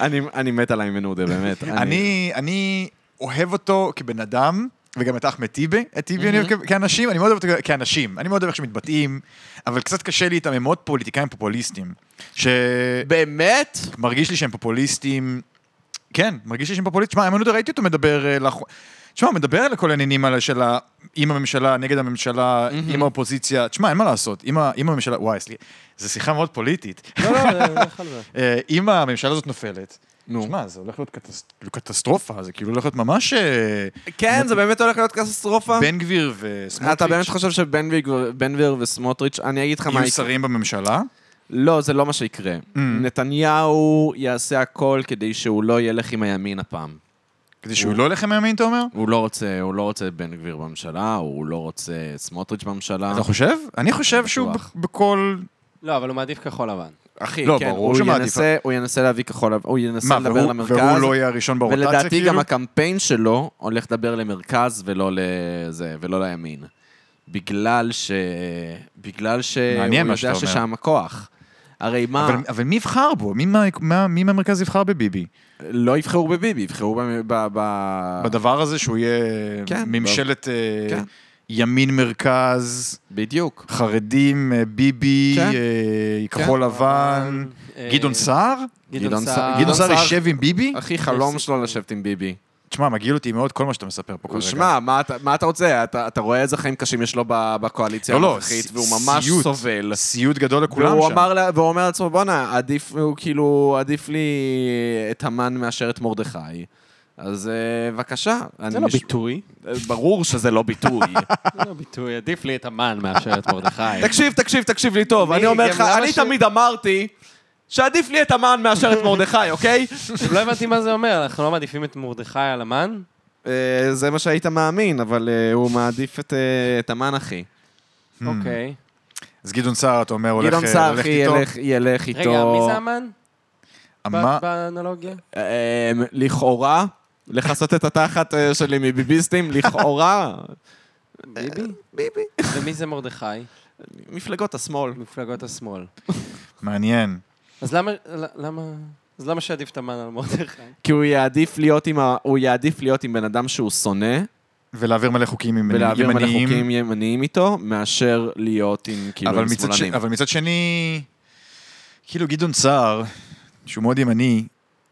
S1: אני, אני מת על איימן עודה, באמת.
S2: אני, אני אוהב אותו כבן אדם, וגם את אחמד טיבי, את טיבי אני אוהב כ- כאנשים, אני מאוד אוהב אותו כ- כאנשים, אני מאוד אוהב איך שמתבטאים, אבל קצת קשה לי איתם, הם מאוד פוליטיקאים פופוליסטים. שמרגיש
S1: באמת?
S2: לי שהם פופוליסטים, כן, מרגיש לי שהם פופוליסטים. שמע, איימן עודה, ראיתי אותו מדבר אה, לאחרונה. תשמע, הוא מדבר על כל העניינים האלה של ה... עם הממשלה, נגד הממשלה, עם האופוזיציה. תשמע, אין מה לעשות, עם, ה... עם הממשלה... וואי, סליחה, זו שיחה מאוד פוליטית.
S3: לא, לא, לא יכול להיות.
S2: אה, אם הממשלה הזאת נופלת,
S1: נו.
S2: שמע, זה הולך להיות קטס- כאילו קטסטרופה, זה כאילו הולך להיות ממש אה,
S1: כן, זה באמת הולך להיות קטסטרופה?
S2: בן גביר וסמוטריץ'.
S1: אתה באמת חושב שבן גביר- בן גביר וסמוטריץ', אני אגיד לך מה
S2: יהיו
S1: יקרה.
S2: שרים בממשלה?
S1: לא, זה לא מה שיקרה.
S2: Mm.
S1: נתניהו יעשה הכל כדי שהוא לא ילך עם הימין הפעם.
S2: כדי שהוא לא ילך עם הימין, אתה אומר?
S1: הוא לא רוצה, הוא לא רוצה בן גביר בממשלה, הוא לא רוצה סמוטריץ' בממשלה.
S2: אתה חושב? אני חושב שהוא
S1: אה. בטוח.
S2: ב- בכל...
S3: לא, אבל הוא מעדיף כחול לבן.
S1: אחי,
S2: לא,
S1: כן,
S2: ברור
S1: הוא
S2: שמעדיף-
S1: ינסה, הוא ינסה להביא כחול, לבן- הוא ינסה
S2: מה,
S1: לדבר
S2: והוא
S1: למרכז.
S2: והוא לא יהיה הראשון ברוטציה, כאילו?
S1: ולדעתי גם הקמפיין שלו הולך לדבר למרכז ולא לזה, ולא לימין. בגלל ש... בגלל שהוא
S2: מעניין מה
S1: יודע
S2: שאתה אומר.
S1: ששם הכוח. הרי מה,
S2: אבל- אבל מי יבחר בו? מי מה- מה- מי מהמרכז יבחר בביבי?
S1: לא יבחרו בביבי, יבחרו ב... ב... ב...
S2: בדבר הזה שהוא יהיה
S1: אה. כן,
S2: ממשלת אה,
S1: כן.
S2: ימין מרכז,
S1: בדיוק.
S2: חרדים, אה, ביבי,
S1: כן.
S2: אה, כחול לבן,
S3: אה,
S2: גדעון סער?
S1: גדעון
S3: גדעון
S1: סער.
S3: סער.
S2: גדעון סער
S1: סער-
S2: ישב עם ביבי?
S1: הכי חלום
S3: יש
S1: שלו לשבת עם ביבי.
S2: תשמע, מגעיל אותי מאוד כל מה שאתה מספר פה כרגע.
S1: שמע, מה אתה- מה אתה רוצה? אתה אתה רואה איזה חיים קשים יש לו ב- בקואליציה
S2: לא, לא,
S1: הנוכחית,
S2: ס-
S1: והוא ממש
S2: סיוט.
S1: סובל.
S2: סיוט גדול לכולם
S1: והוא
S2: שם.
S1: אמר לה- והוא אומר לעצמו, בואנה, עדיף, הוא כאילו, עדיף לי את המן מאשר את מרדכי. אז אה, בבקשה.
S3: זה לא ביטוי.
S1: ברור שזה לא ביטוי.
S3: זה לא ביטוי, עדיף לי את המן מאשר את מרדכי.
S1: תקשיב, תקשיב, תקשיב לי טוב.
S3: אני-
S1: אני אומר
S3: גם
S1: לך,
S3: למה
S1: אני
S3: ש-
S1: תמיד אמרתי שעדיף לי את המן מאשר את מרדכי, אוקיי?
S3: לא הבנתי מה זה אומר, אנחנו לא מעדיפים את מרדכי על המן?
S1: אה, זה מה שהיית מאמין, אבל אה, הוא מעדיף את, אה, את המן, אחי.
S3: אוקיי.
S2: אז גדעון סער, אתה אומר, הולך
S1: גדעון
S2: אה,
S1: סער,
S2: הולך
S1: אחי,
S2: איתו.
S1: ילך- ילך איתו.
S3: רגע, מי זה המן? ב-
S2: אמר-
S3: באנלוגיה?
S1: אה, לכאורה, לכסות את התחת אה, שלי מביביסטים, לכאורה,
S3: ביבי?
S1: אה, ביבי.
S3: ומי זה מרדכי?
S1: מפלגות השמאל.
S3: מפלגות השמאל.
S2: מעניין.
S3: אז למה... למה... אז למה שעדיף את המן על מרדכי?
S1: כי הוא יעדיף להיות עם, ה... הוא יעדיף להיות עם בן אדם שהוא שונא,
S2: ולהעביר מלא חוקים עם
S1: ולהעביר מלא
S2: ימניים.
S1: חוקים ימניים איתו, מאשר להיות עם כאילו
S2: אבל
S1: עם
S2: מצד ש-
S1: שמאלנים.
S2: אבל מצד שני, כאילו גדעון סער, שהוא מאוד ימני,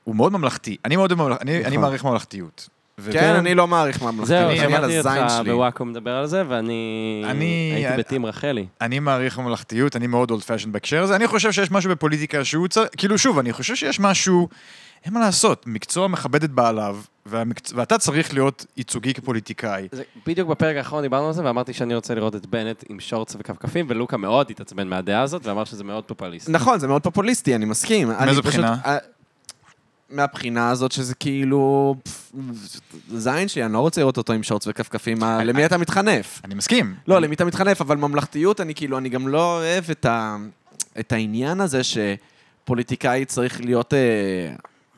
S2: הוא מאוד ממלכתי. אני מאוד ממלכתי, אני אני מעריך ממלכתיות.
S1: נכון. כן, אני לא מעריך ממלכתי,
S3: זהו,
S1: אני על
S3: שמעתי
S1: הזין
S3: אותך
S1: שלי.
S3: בוואקו מדבר על זה, ואני
S2: אני-
S3: הייתי
S2: אני-
S3: בטים רחלי.
S2: אני מעריך ממלכתיות, אני מאוד אולד פאשן בהקשר הזה. אני חושב שיש משהו בפוליטיקה שהוא צריך, כאילו שוב, אני חושב שיש משהו, אין מה לעשות, מקצוע מכבד את בעליו, והמקצוע- ואתה צריך להיות ייצוגי כפוליטיקאי.
S3: זה, בדיוק בפרק האחרון דיברנו על זה, ואמרתי שאני רוצה לראות את בנט עם שורטס וכפכפים, ולוקה מאוד התעצבן מהדעה הזאת, ואמר שזה מאוד פופוליסט.
S1: נכון, זה מאוד פופוליסטי, אני מסכים.
S2: מאיזו
S1: אני פשוט-
S2: בחינה?
S1: אה, מהבחינה הזאת שזה כאילו... פפ, זין שלי, אני לא רוצה לראות אותו עם שורטס וכפכפים, מה- למי אתה מתחנף?
S2: אני מסכים.
S1: לא, למי אתה מתחנף, אבל ממלכתיות, אני כאילו, אני גם לא אוהב את, ה, את העניין הזה שפוליטיקאי צריך להיות... אה,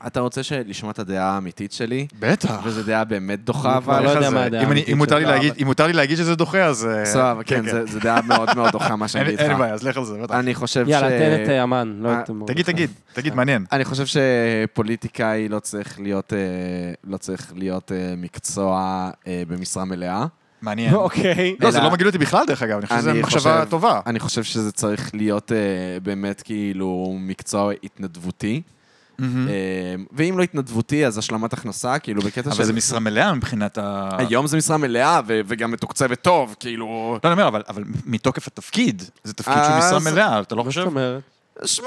S1: אתה רוצה ש- לשמוע את הדעה האמיתית שלי?
S2: בטח.
S1: וזו דעה באמת דוחה,
S3: כבר
S1: אבל...
S3: לא
S2: איך
S3: יודע
S2: זה?
S3: מה הדעה
S2: אם אני-
S3: האמיתית
S2: אם מותר לי
S3: שלך,
S2: להגיד-
S3: אבל-
S2: אם מותר לי להגיד שזה דוחה, אז... אה,
S1: סבבה, כן, זה- זה דעה מאוד מאוד דוחה, מה שאני
S2: אין
S1: אגיד
S2: אין
S1: לך.
S2: בעיה, אז לך על זה, בטח.
S1: אני חושב ש...
S3: יאללה, תן את אה, המן, לא
S1: אה,
S3: את מרדכי.
S2: תגיד, תגיד, תגיד, מעניין.
S1: אני חושב שפוליטיקאי לא צריך להיות, אה, לא צריך להיות אה, מקצוע אה, במשרה מלאה.
S2: מעניין.
S3: אוקיי.
S2: לא, זה
S1: אלא-
S2: לא מגעיל אותי בכלל, דרך אגב, אני חושב שזו
S1: אני
S2: מחשבה
S1: חושב-
S2: טובה.
S1: אני חושב שזה צריך להיות אה, באמת כאילו מקצוע התנדבותי. אה, ואם לא התנדבותי, אז השלמת הכנסה, כאילו בקטע של...
S2: אבל זה משרה מלאה מבחינת ה...
S1: היום זה משרה מלאה ו- וגם מתוקצבת טוב, כאילו...
S2: לא, אני אומר, אבל- אבל מתוקף התפקיד, זה תפקיד שהוא
S1: אז-
S2: משרה מלאה, אתה לא
S3: מה
S2: חושב?
S3: זאת אומרת?
S1: שמע,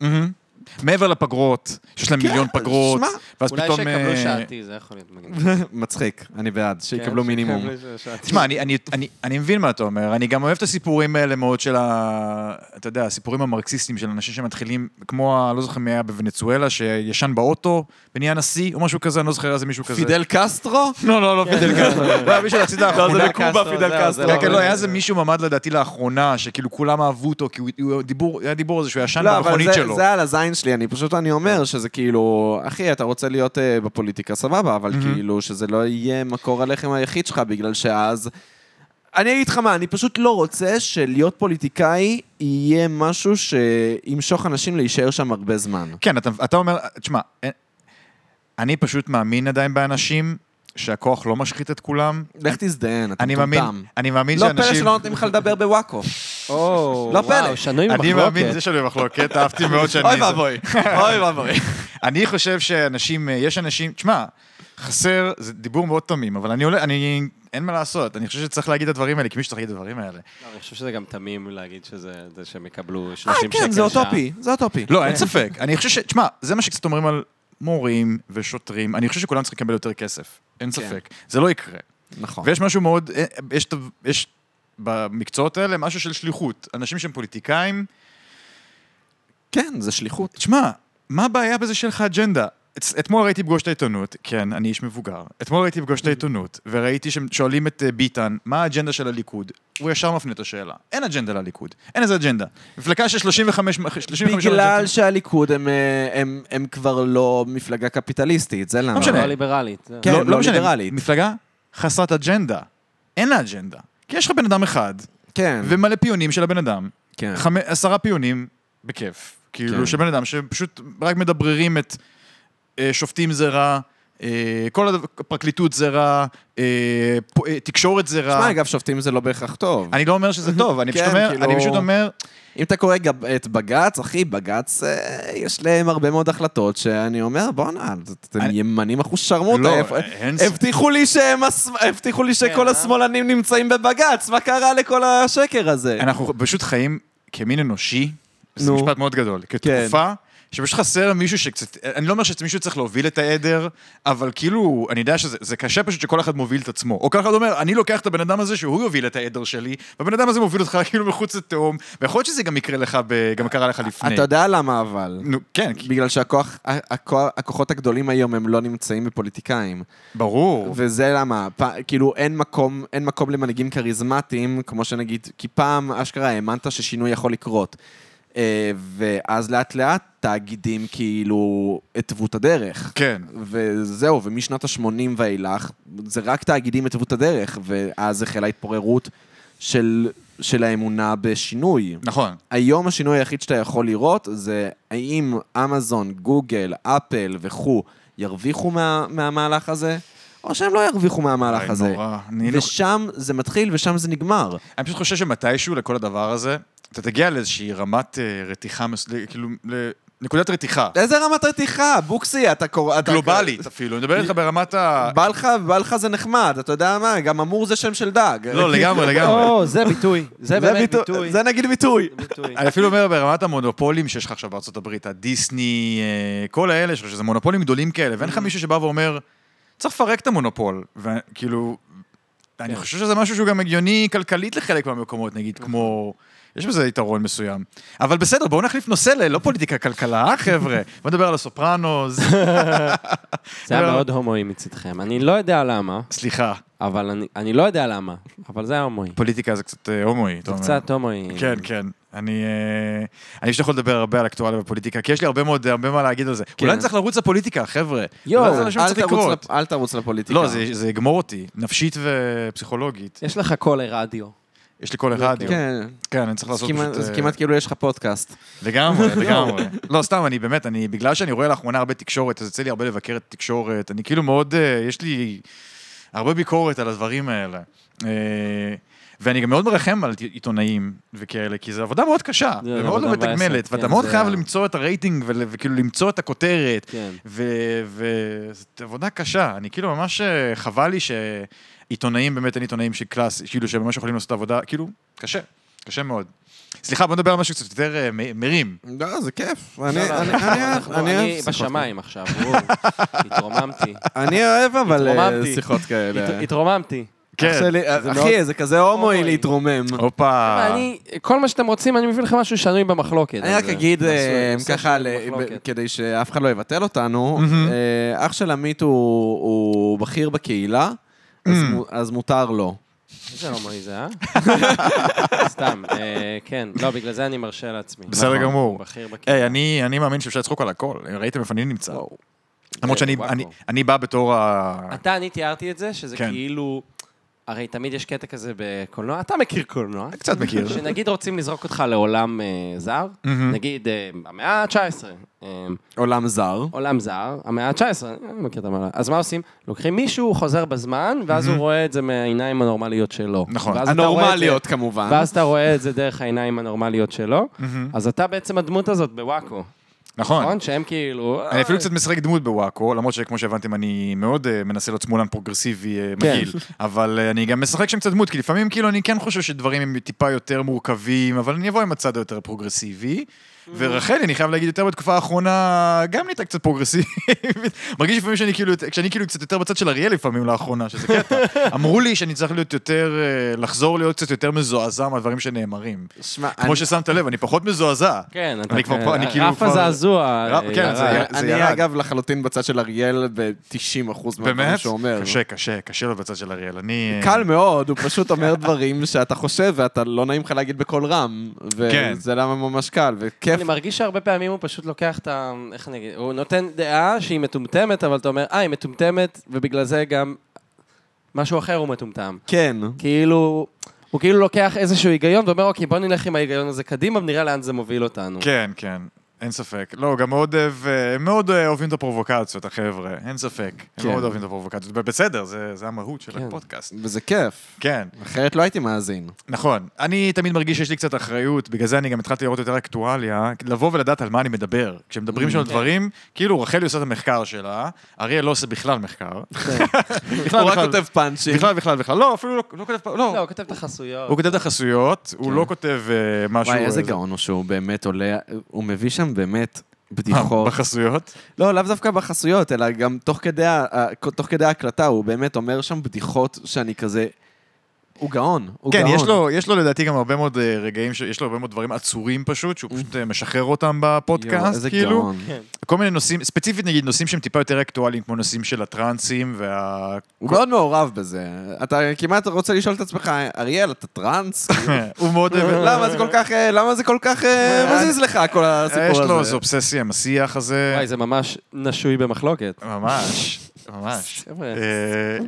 S2: מהמם. מעבר לפגרות, שיש להם מיליון פגרות,
S1: שמע,
S2: ואז
S3: אולי
S2: פתאום...
S3: שיקבלו
S2: אה,
S3: שעתי, זה יכול להיות מגניב.
S1: מצחיק, אני בעד, שיקבלו
S3: כן,
S1: מינימום.
S3: שיקבלו שעתי.
S2: תשמע, אני, אני, אני, אני מבין מה אתה אומר, אני גם אוהב את הסיפורים האלה מאוד של ה... אתה יודע, הסיפורים המרקסיסטיים של אנשים שמתחילים, כמו, ה- לא זוכר מי היה בוונצואלה, שישן באוטו ונהיה נשיא, או משהו כזה, אני לא זוכר איזה מישהו כזה.
S1: פידל קסטרו?
S2: לא, לא, לא פידל קסטרו. לא, היה מישהו להצידה
S1: לא, זה
S2: האחרונה.
S1: בקובה
S3: קסטרו,
S1: פידל
S3: זהו,
S1: קסטרו.
S3: זה
S2: כן, כן, לא,
S3: אבל-
S2: היה איזה מישהו ממ"ד לדעתי לאחרונה, שכאילו כולם אהבו אותו, כי הוא- הוא דיבור, היה דיבור על זה שהוא ישן
S1: לא, אבל
S2: כן, במכונית
S1: זה-
S2: שלו.
S1: זה על הזין שלי, אני פשוט, אני אומר שזה כאילו, אחי, אתה רוצה להיות אה, בפוליטיקה, סבבה, אבל כאילו, שזה לא יהיה מקור הלחם היחיד שלך, בגלל שאז... אני אגיד לך מה, אני פשוט לא רוצה שלהיות פוליטיקאי יהיה משהו שימשוך אנשים להישאר שם הרבה זמן.
S2: כן, אתה, אתה אומר, תשמע, אין- אני פשוט מאמין עדיין באנשים, שהכוח לא משחית את כולם.
S1: לך תזדיין, אתה
S2: אני מאמין,
S1: מטומטם.
S2: אני מאמין
S1: לא פלא
S2: שאנשים...
S1: שלא נותנים לך לדבר בוואקו.
S3: או,
S1: לא
S3: וואו,
S1: פלא.
S3: שנוי
S2: אני מאמין, זה
S3: במחלוקת.
S2: שאני במחלוקת, אהבתי מאוד שאני...
S1: אוי ואבוי, אוי ואבוי.
S2: אני חושב שאנשים, אה, יש אנשים, תשמע, חסר, זה דיבור מאוד תמים, אבל אני עולה, אני, אין מה לעשות, אני חושב שצריך להגיד את הדברים האלה, כי מי שצריך להגיד את הדברים האלה.
S3: לא, אני חושב שזה גם תמים להגיד שזה זה שהם יקבלו 30 שקל שעה.
S1: כן, זה אוטופי, זה אוטופי.
S2: לא, אין ספק. אני חושב ש... תשמע, זה מה שקצת אומרים על מורים ושוטרים, אני חושב שכולם צריכים לקבל יותר כסף, אין
S1: כן.
S2: ספק. זה לא יקרה.
S1: נכון.
S2: ויש משהו מאוד, אה, יש, את ה- יש במקצועות האלה משהו של שליחות. אנשים שהם פוליטיקאים,
S1: כן, זה שליחות.
S2: תשמע, מה הבעיה בזה שיש לך אג'נדה? את- אתמול ראיתי פגוש את העיתונות, כן, אני איש מבוגר. אתמול ראיתי פגוש את העיתונות, וראיתי שהם שואלים את אה, ביטן, מה האג'נדה של הליכוד? הוא ישר מפנה את השאלה. אין אג'נדה לליכוד, אין איזה אג'נדה. מפלגה של 35... 35
S1: בגלל שהליכוד הם, אה, הם, הם כבר לא מפלגה קפיטליסטית, זה למה.
S2: לא משנה.
S3: לא ליברלית. זהו.
S1: כן,
S2: לא, לא,
S1: לא
S2: משנה,
S1: ליברלית.
S2: מפלגה חסרת אג'נדה. אין לה אג'נדה. כי יש לך בן אדם אחד,
S1: כן,
S2: ומלא פיונים של הבן אדם.
S1: כן.
S2: חמ... עשרה פיונים, בכיף. כאילו,
S1: כן.
S2: של בן אדם שפשוט רק מדבררים את אה, שופטים זה רע, אה, כל הדבר, פרקליטות זה רע, אה, פ... אה, תקשורת זה רע.
S1: תשמע, אגב, שופטים זה לא בהכרח טוב.
S2: אני לא אומר שזה טוב, אני, פשוט
S1: כן,
S2: אומר,
S1: כאילו-
S2: אני פשוט אומר,
S1: אם אתה קורא גם את בג"ץ, אחי, בג"ץ, אה, יש להם הרבה מאוד החלטות שאני אומר, בואנה, את- אתם
S2: אני-
S1: ימנים אחוז שרמוטה.
S2: לא,
S1: איפה-
S2: אין ס- כן.
S1: הבטיחו לי שהם הס- הבטיחו לי שכל
S3: אה?
S1: השמאלנים נמצאים בבג"ץ, מה קרה לכל השקר הזה?
S2: אנחנו פשוט חיים כמין אנושי, זה
S1: כן. נו. כן.
S2: משפט מאוד גדול, כתקופה. שפשוט חסר מישהו שקצת, אני לא אומר שמישהו צריך להוביל את העדר, אבל כאילו, אני יודע שזה זה קשה פשוט שכל אחד מוביל את עצמו. או כל אחד אומר, אני לוקח את הבן אדם הזה שהוא יוביל את העדר שלי, והבן אדם הזה מוביל אותך כאילו מחוץ לתהום, ויכול להיות שזה גם יקרה לך, ב, גם קרה לך לפני.
S1: אתה יודע למה אבל.
S2: נו, כן, כי-
S1: בגלל שהכוח- הכוח- הכוחות הגדולים היום הם לא נמצאים בפוליטיקאים.
S2: ברור.
S1: וזה למה, פ... כאילו אין מקום, אין מקום למנהיגים כריזמטיים, כמו שנגיד, כי פעם אשכרה האמנת ששינוי יכול לקרות. אה, ואז לאט לאט תאגידים כאילו התוו את הדרך.
S2: כן.
S1: וזהו, ומשנות ה-80 ואילך, זה רק תאגידים התוו את הדרך, ואז החלה התפוררות של, של האמונה בשינוי.
S2: נכון.
S1: היום השינוי היחיד שאתה יכול לראות זה האם אמזון, גוגל, אפל וכו' ירוויחו מה, מהמהלך הזה, או שהם לא ירוויחו מהמהלך
S2: וואי,
S1: הזה.
S2: נורא. אני לא-
S1: ושם זה מתחיל ושם זה נגמר.
S2: אני פשוט חושב שמתישהו לכל הדבר הזה, אתה תגיע לאיזושהי רמת אה, רתיחה, מס- כאילו, לנקודת רתיחה.
S1: איזה רמת רתיחה? בוקסי, אתה קורא... אתה-
S2: גלובלית אפילו, אני מדבר איתך ברמת ה...
S1: בא לך, בא לך זה נחמד, אתה יודע מה? גם אמור זה שם של דג.
S2: לא, לגמרי, לגמרי.
S3: או, זה ביטוי. זה באמת
S1: ביטו-
S3: ביטוי.
S1: זה נגיד ביטוי.
S3: ביטוי.
S2: אני אפילו אומר ברמת המונופולים שיש לך עכשיו בארצות הברית, הדיסני, אה, כל האלה, שיש שזה מונופולים גדולים כאלה, ואין לך
S3: Mm-hmm.
S2: מישהו שבא ואומר, צריך לפרק את המונופול. וכאילו,
S3: כן.
S2: אני חושב שזה משהו שהוא גם הגיוני כלכלית לחלק מהמקומות, נגיד, כמו...
S3: Mm-hmm.
S2: יש בזה יתרון מסוים. אבל בסדר, בואו נחליף נושא ללא פוליטיקה, כלכלה, אה, חבר'ה? בואו נדבר על הסופרנוס.
S3: זה היה
S2: לא.
S3: מאוד הומואי מצדכם. אני לא יודע למה,
S2: סליחה,
S3: אבל אני- אני לא יודע למה, אבל זה היה הומואי.
S2: פוליטיקה זה קצת אה, הומואי. אתה
S3: זה
S2: אומר.
S3: קצת הומואי.
S2: כן, כן. אני אה, אני פשוט יכול לדבר הרבה על אקטואליה ופוליטיקה, כי יש לי הרבה מאוד, הרבה מה להגיד על זה. אולי אני צריך לרוץ לפוליטיקה, חבר'ה.
S3: יואו,
S2: אולי זה מה
S1: כן. אל
S2: שצריך
S1: תרוץ
S2: לקרות.
S1: לפ- אל תרוץ לפוליטיקה.
S2: לא, זה- זה יגמור אותי, נפשית ופסיכולוגית.
S3: יש לך קול לרדיו.
S2: יש לי קול אחד.
S1: כן.
S2: כן, אני צריך
S1: זה
S2: לעשות
S1: כמעט-
S2: פשוט...
S1: זה
S2: אה,
S1: כמעט כאילו יש לך פודקאסט.
S2: לגמרי, לגמרי. לא, סתם, אני באמת, אני, בגלל שאני רואה לאחרונה הרבה תקשורת, אז יוצא לי הרבה לבקר את התקשורת, אני כאילו מאוד, אה, יש לי הרבה ביקורת על הדברים האלה. אה, ואני גם מאוד מרחם על עיתונאים וכאלה, כי זו עבודה מאוד קשה,
S3: זה
S2: ומאוד לא
S3: עבודה
S2: מתגמלת,
S3: מבאסת,
S2: ואתה
S3: כן,
S2: מאוד
S3: זה-
S2: חייב למצוא את הרייטינג ול- וכאילו למצוא את הכותרת,
S3: כן.
S2: וזאת עבודה קשה. אני כאילו ממש אה, חבל לי שעיתונאים, באמת אין עיתונאים של קלאס, כאילו שממש יכולים לעשות את העבודה, כאילו, קשה. קשה מאוד. סליחה, בוא נדבר על משהו קצת יותר אה, מ- מרים.
S1: לא, זה כיף.
S3: לא,
S1: אני-
S3: לא,
S1: אני-
S3: לא,
S1: אני אוהב-
S3: אנחנו-
S1: אני
S3: אני
S1: אוהב שיחות.
S3: בשמיים עכשיו, וואו, התרוממתי.
S1: אני אוהב, אבל אה,
S3: התרוממתי.
S1: שיחות כאלה.
S3: הת- התרוממתי.
S1: אח
S2: כן.
S1: שלי-
S3: זה
S1: אחי,
S3: מאוד-
S1: זה כזה אה, הומואי אוקיי,
S3: הומואי.
S1: להתרומם.
S2: הופה.
S3: אני, כל מה שאתם רוצים, אני מביא לכם משהו שנוי במחלוקת.
S1: אה. אני רק
S3: אז, אה,
S1: אגיד,
S3: נעשו-
S1: אה,
S3: נעשו
S1: ככה,
S3: שנוי
S1: ל-
S3: במחלוקת.
S1: ב- כדי שאף אחד לא יבטל אותנו, אה, אח של עמית הוא הוא בכיר בקהילה, אז מו- אז מותר לו.
S3: איזה הומואי זה, אה? סתם, אה, כן. לא, בגלל זה אני מרשה לעצמי.
S2: בסדר
S3: נכון,
S2: גמור. אה,
S3: הוא בכיר
S2: היי,
S3: בקהילה.
S2: אני אני מאמין שאפשר לצחוק על הכל. ראיתם איפה אני נמצא.
S1: וואו.
S2: למרות שאני
S3: וואקו.
S2: אני- אני בא בתור ה...
S3: אתה, אני תיארתי אה, את זה, שזה
S2: כן.
S3: כאילו... הרי תמיד יש קטע כזה בקולנוע, אתה מכיר קולנוע.
S2: קצת מכיר.
S3: שנגיד רוצים לזרוק אותך לעולם אה, זר, נגיד אה, המאה ה-19, אה,
S1: עולם זר.
S3: עולם זר, המאה ה-19, אני מכיר את המאה, אז מה עושים? לוקחים מישהו, חוזר בזמן, ואז הוא רואה את זה מהעיניים הנורמליות שלו.
S2: נכון.
S3: ואז אתה רואה את זה-
S1: הנורמליות כמובן.
S3: ואז אתה רואה את זה דרך העיניים הנורמליות שלו, אז אתה בעצם הדמות הזאת בוואקו,
S2: נכון. אה,
S3: נכון? שהם כאילו...
S2: אני אפילו קצת משחק דמות בוואקו, למרות שכמו שהבנתם, אני מאוד אה, מנסה להיות שמאלן פרוגרסיבי אה,
S3: כן.
S2: מגעיל. אבל אה, אני גם משחק שם קצת דמות, כי לפעמים כאילו אני כן חושב שדברים הם טיפה יותר מורכבים, אבל אני אבוא עם הצד היותר פרוגרסיבי. ורחלי, אני חייב להגיד, יותר בתקופה האחרונה, גם נהייתה קצת פרוגרסיבית. מרגיש לפעמים שאני כאילו, כשאני כאילו קצת יותר בצד של אריאל לפעמים לאחרונה, שזה קטע. אמרו לי שאני צריך להיות יותר, אה, לחזור להיות קצת יותר מזועזע מהדברים שנאמרים.
S1: שמע,
S2: כמו ששמת לב, אני פחות מזועזע.
S3: כן, אתה...
S2: אני כבר פה, אני כאילו
S3: רף
S2: כבר-
S3: הזעזוע.
S2: רף-
S3: אה,
S2: כן, זה
S3: ירד.
S2: היה-
S1: אני- אני
S2: ירד.
S1: אגב לחלוטין בצד של אריאל ב-90% מהדברים
S2: באמת?
S1: שהוא אומר.
S2: קשה, קשה, קשה לו בצד של אריאל. אני... אה,
S1: לא. קל מאוד, הוא פשוט אומר דברים שאתה חושב ואתה לא נעים לך להגיד בקול רם.
S2: כן.
S1: וזה למה ממש קל, וכיף.
S3: אני מרגיש שהרבה פעמים הוא פשוט לוקח את ה... איך אני אגיד? הוא נותן דעה שהיא מטומטמת, אבל אתה אומר, אה, היא מטומטמת, ובגלל זה גם משהו אחר הוא מטומטם.
S1: כן.
S3: כאילו, הוא כאילו לוקח איזשהו היגיון ואומר, אוקיי, בוא נלך עם ההיגיון הזה קדימה ונראה לאן זה מוביל אותנו.
S2: כן, כן, אין ספק. לא, הוא גם מאוד אוהב, אה, הם מאוד אה, אוהבים את הפרובוקציות, החבר'ה, אין ספק. הם
S3: כן.
S2: מאוד אוהבים את הפרובוקציות. ובסדר, זה זה המהות של
S3: כן.
S2: הפודקאסט.
S1: וזה כיף.
S2: כן,
S1: אחרת לא הייתי מאזין.
S2: נכון. אני תמיד מרגיש שיש לי קצת אחריות, בגלל זה אני גם התחלתי לראות יותר אקטואליה, לבוא ולדעת על מה אני מדבר. כשמדברים
S1: Mm,
S2: שם על
S1: כן.
S2: דברים, כאילו רחלי עושה את המחקר שלה, אריאל לא עושה בכלל מחקר. בכלל,
S1: הוא רק
S2: בכלל.
S1: כותב פאנצ'ים.
S2: בכלל, בכלל, בכלל. לא, אפילו לא- לא כותב, פה-
S3: לא,
S2: לא.
S3: הוא כותב את החסויות.
S2: הוא כותב את החסויות, הוא
S3: כן.
S2: לא כותב אה, משהו...
S1: וואי, איזה
S2: אה, זה-
S1: גאון הוא שהוא באמת עולה, הוא מביא שם באמת
S2: מה,
S1: בדיחות.
S2: בחסויות?
S1: לא, לאו דווקא בחסויות, אלא גם תוך כדי ה- ה- תוך כדי ההקלטה, הוא באמת אומר שם בדיחות שאני כזה... הוא גאון, הוא
S2: כן,
S1: גאון.
S2: יש לו, יש לו לדעתי גם הרבה מאוד אה, רגעים, ש... יש לו הרבה מאוד דברים עצורים פשוט, שהוא פשוט אה, משחרר אותם
S1: יואו,
S2: בפודקאסט,
S1: איזה
S2: כאילו.
S1: גאון.
S3: כן.
S2: כל מיני נושאים, ספציפית נגיד נושאים שהם טיפה יותר אקטואליים, כמו נושאים של הטרנסים וה...
S1: הוא מאוד מעורב בזה. אתה כמעט רוצה לשאול את עצמך, אריאל, אתה טראנס?
S2: כן, הוא מאוד...
S1: למה זה כל כך, אה, למה זה כל כך אה, מזיז לך, כל הסיפור
S2: יש
S1: הזה?
S2: לו איזו אובססיה עם השיח הזה.
S3: וואי, זה ממש נשוי במחלוקת.
S2: ממש, ממש.
S3: חבר'ה.
S2: אה,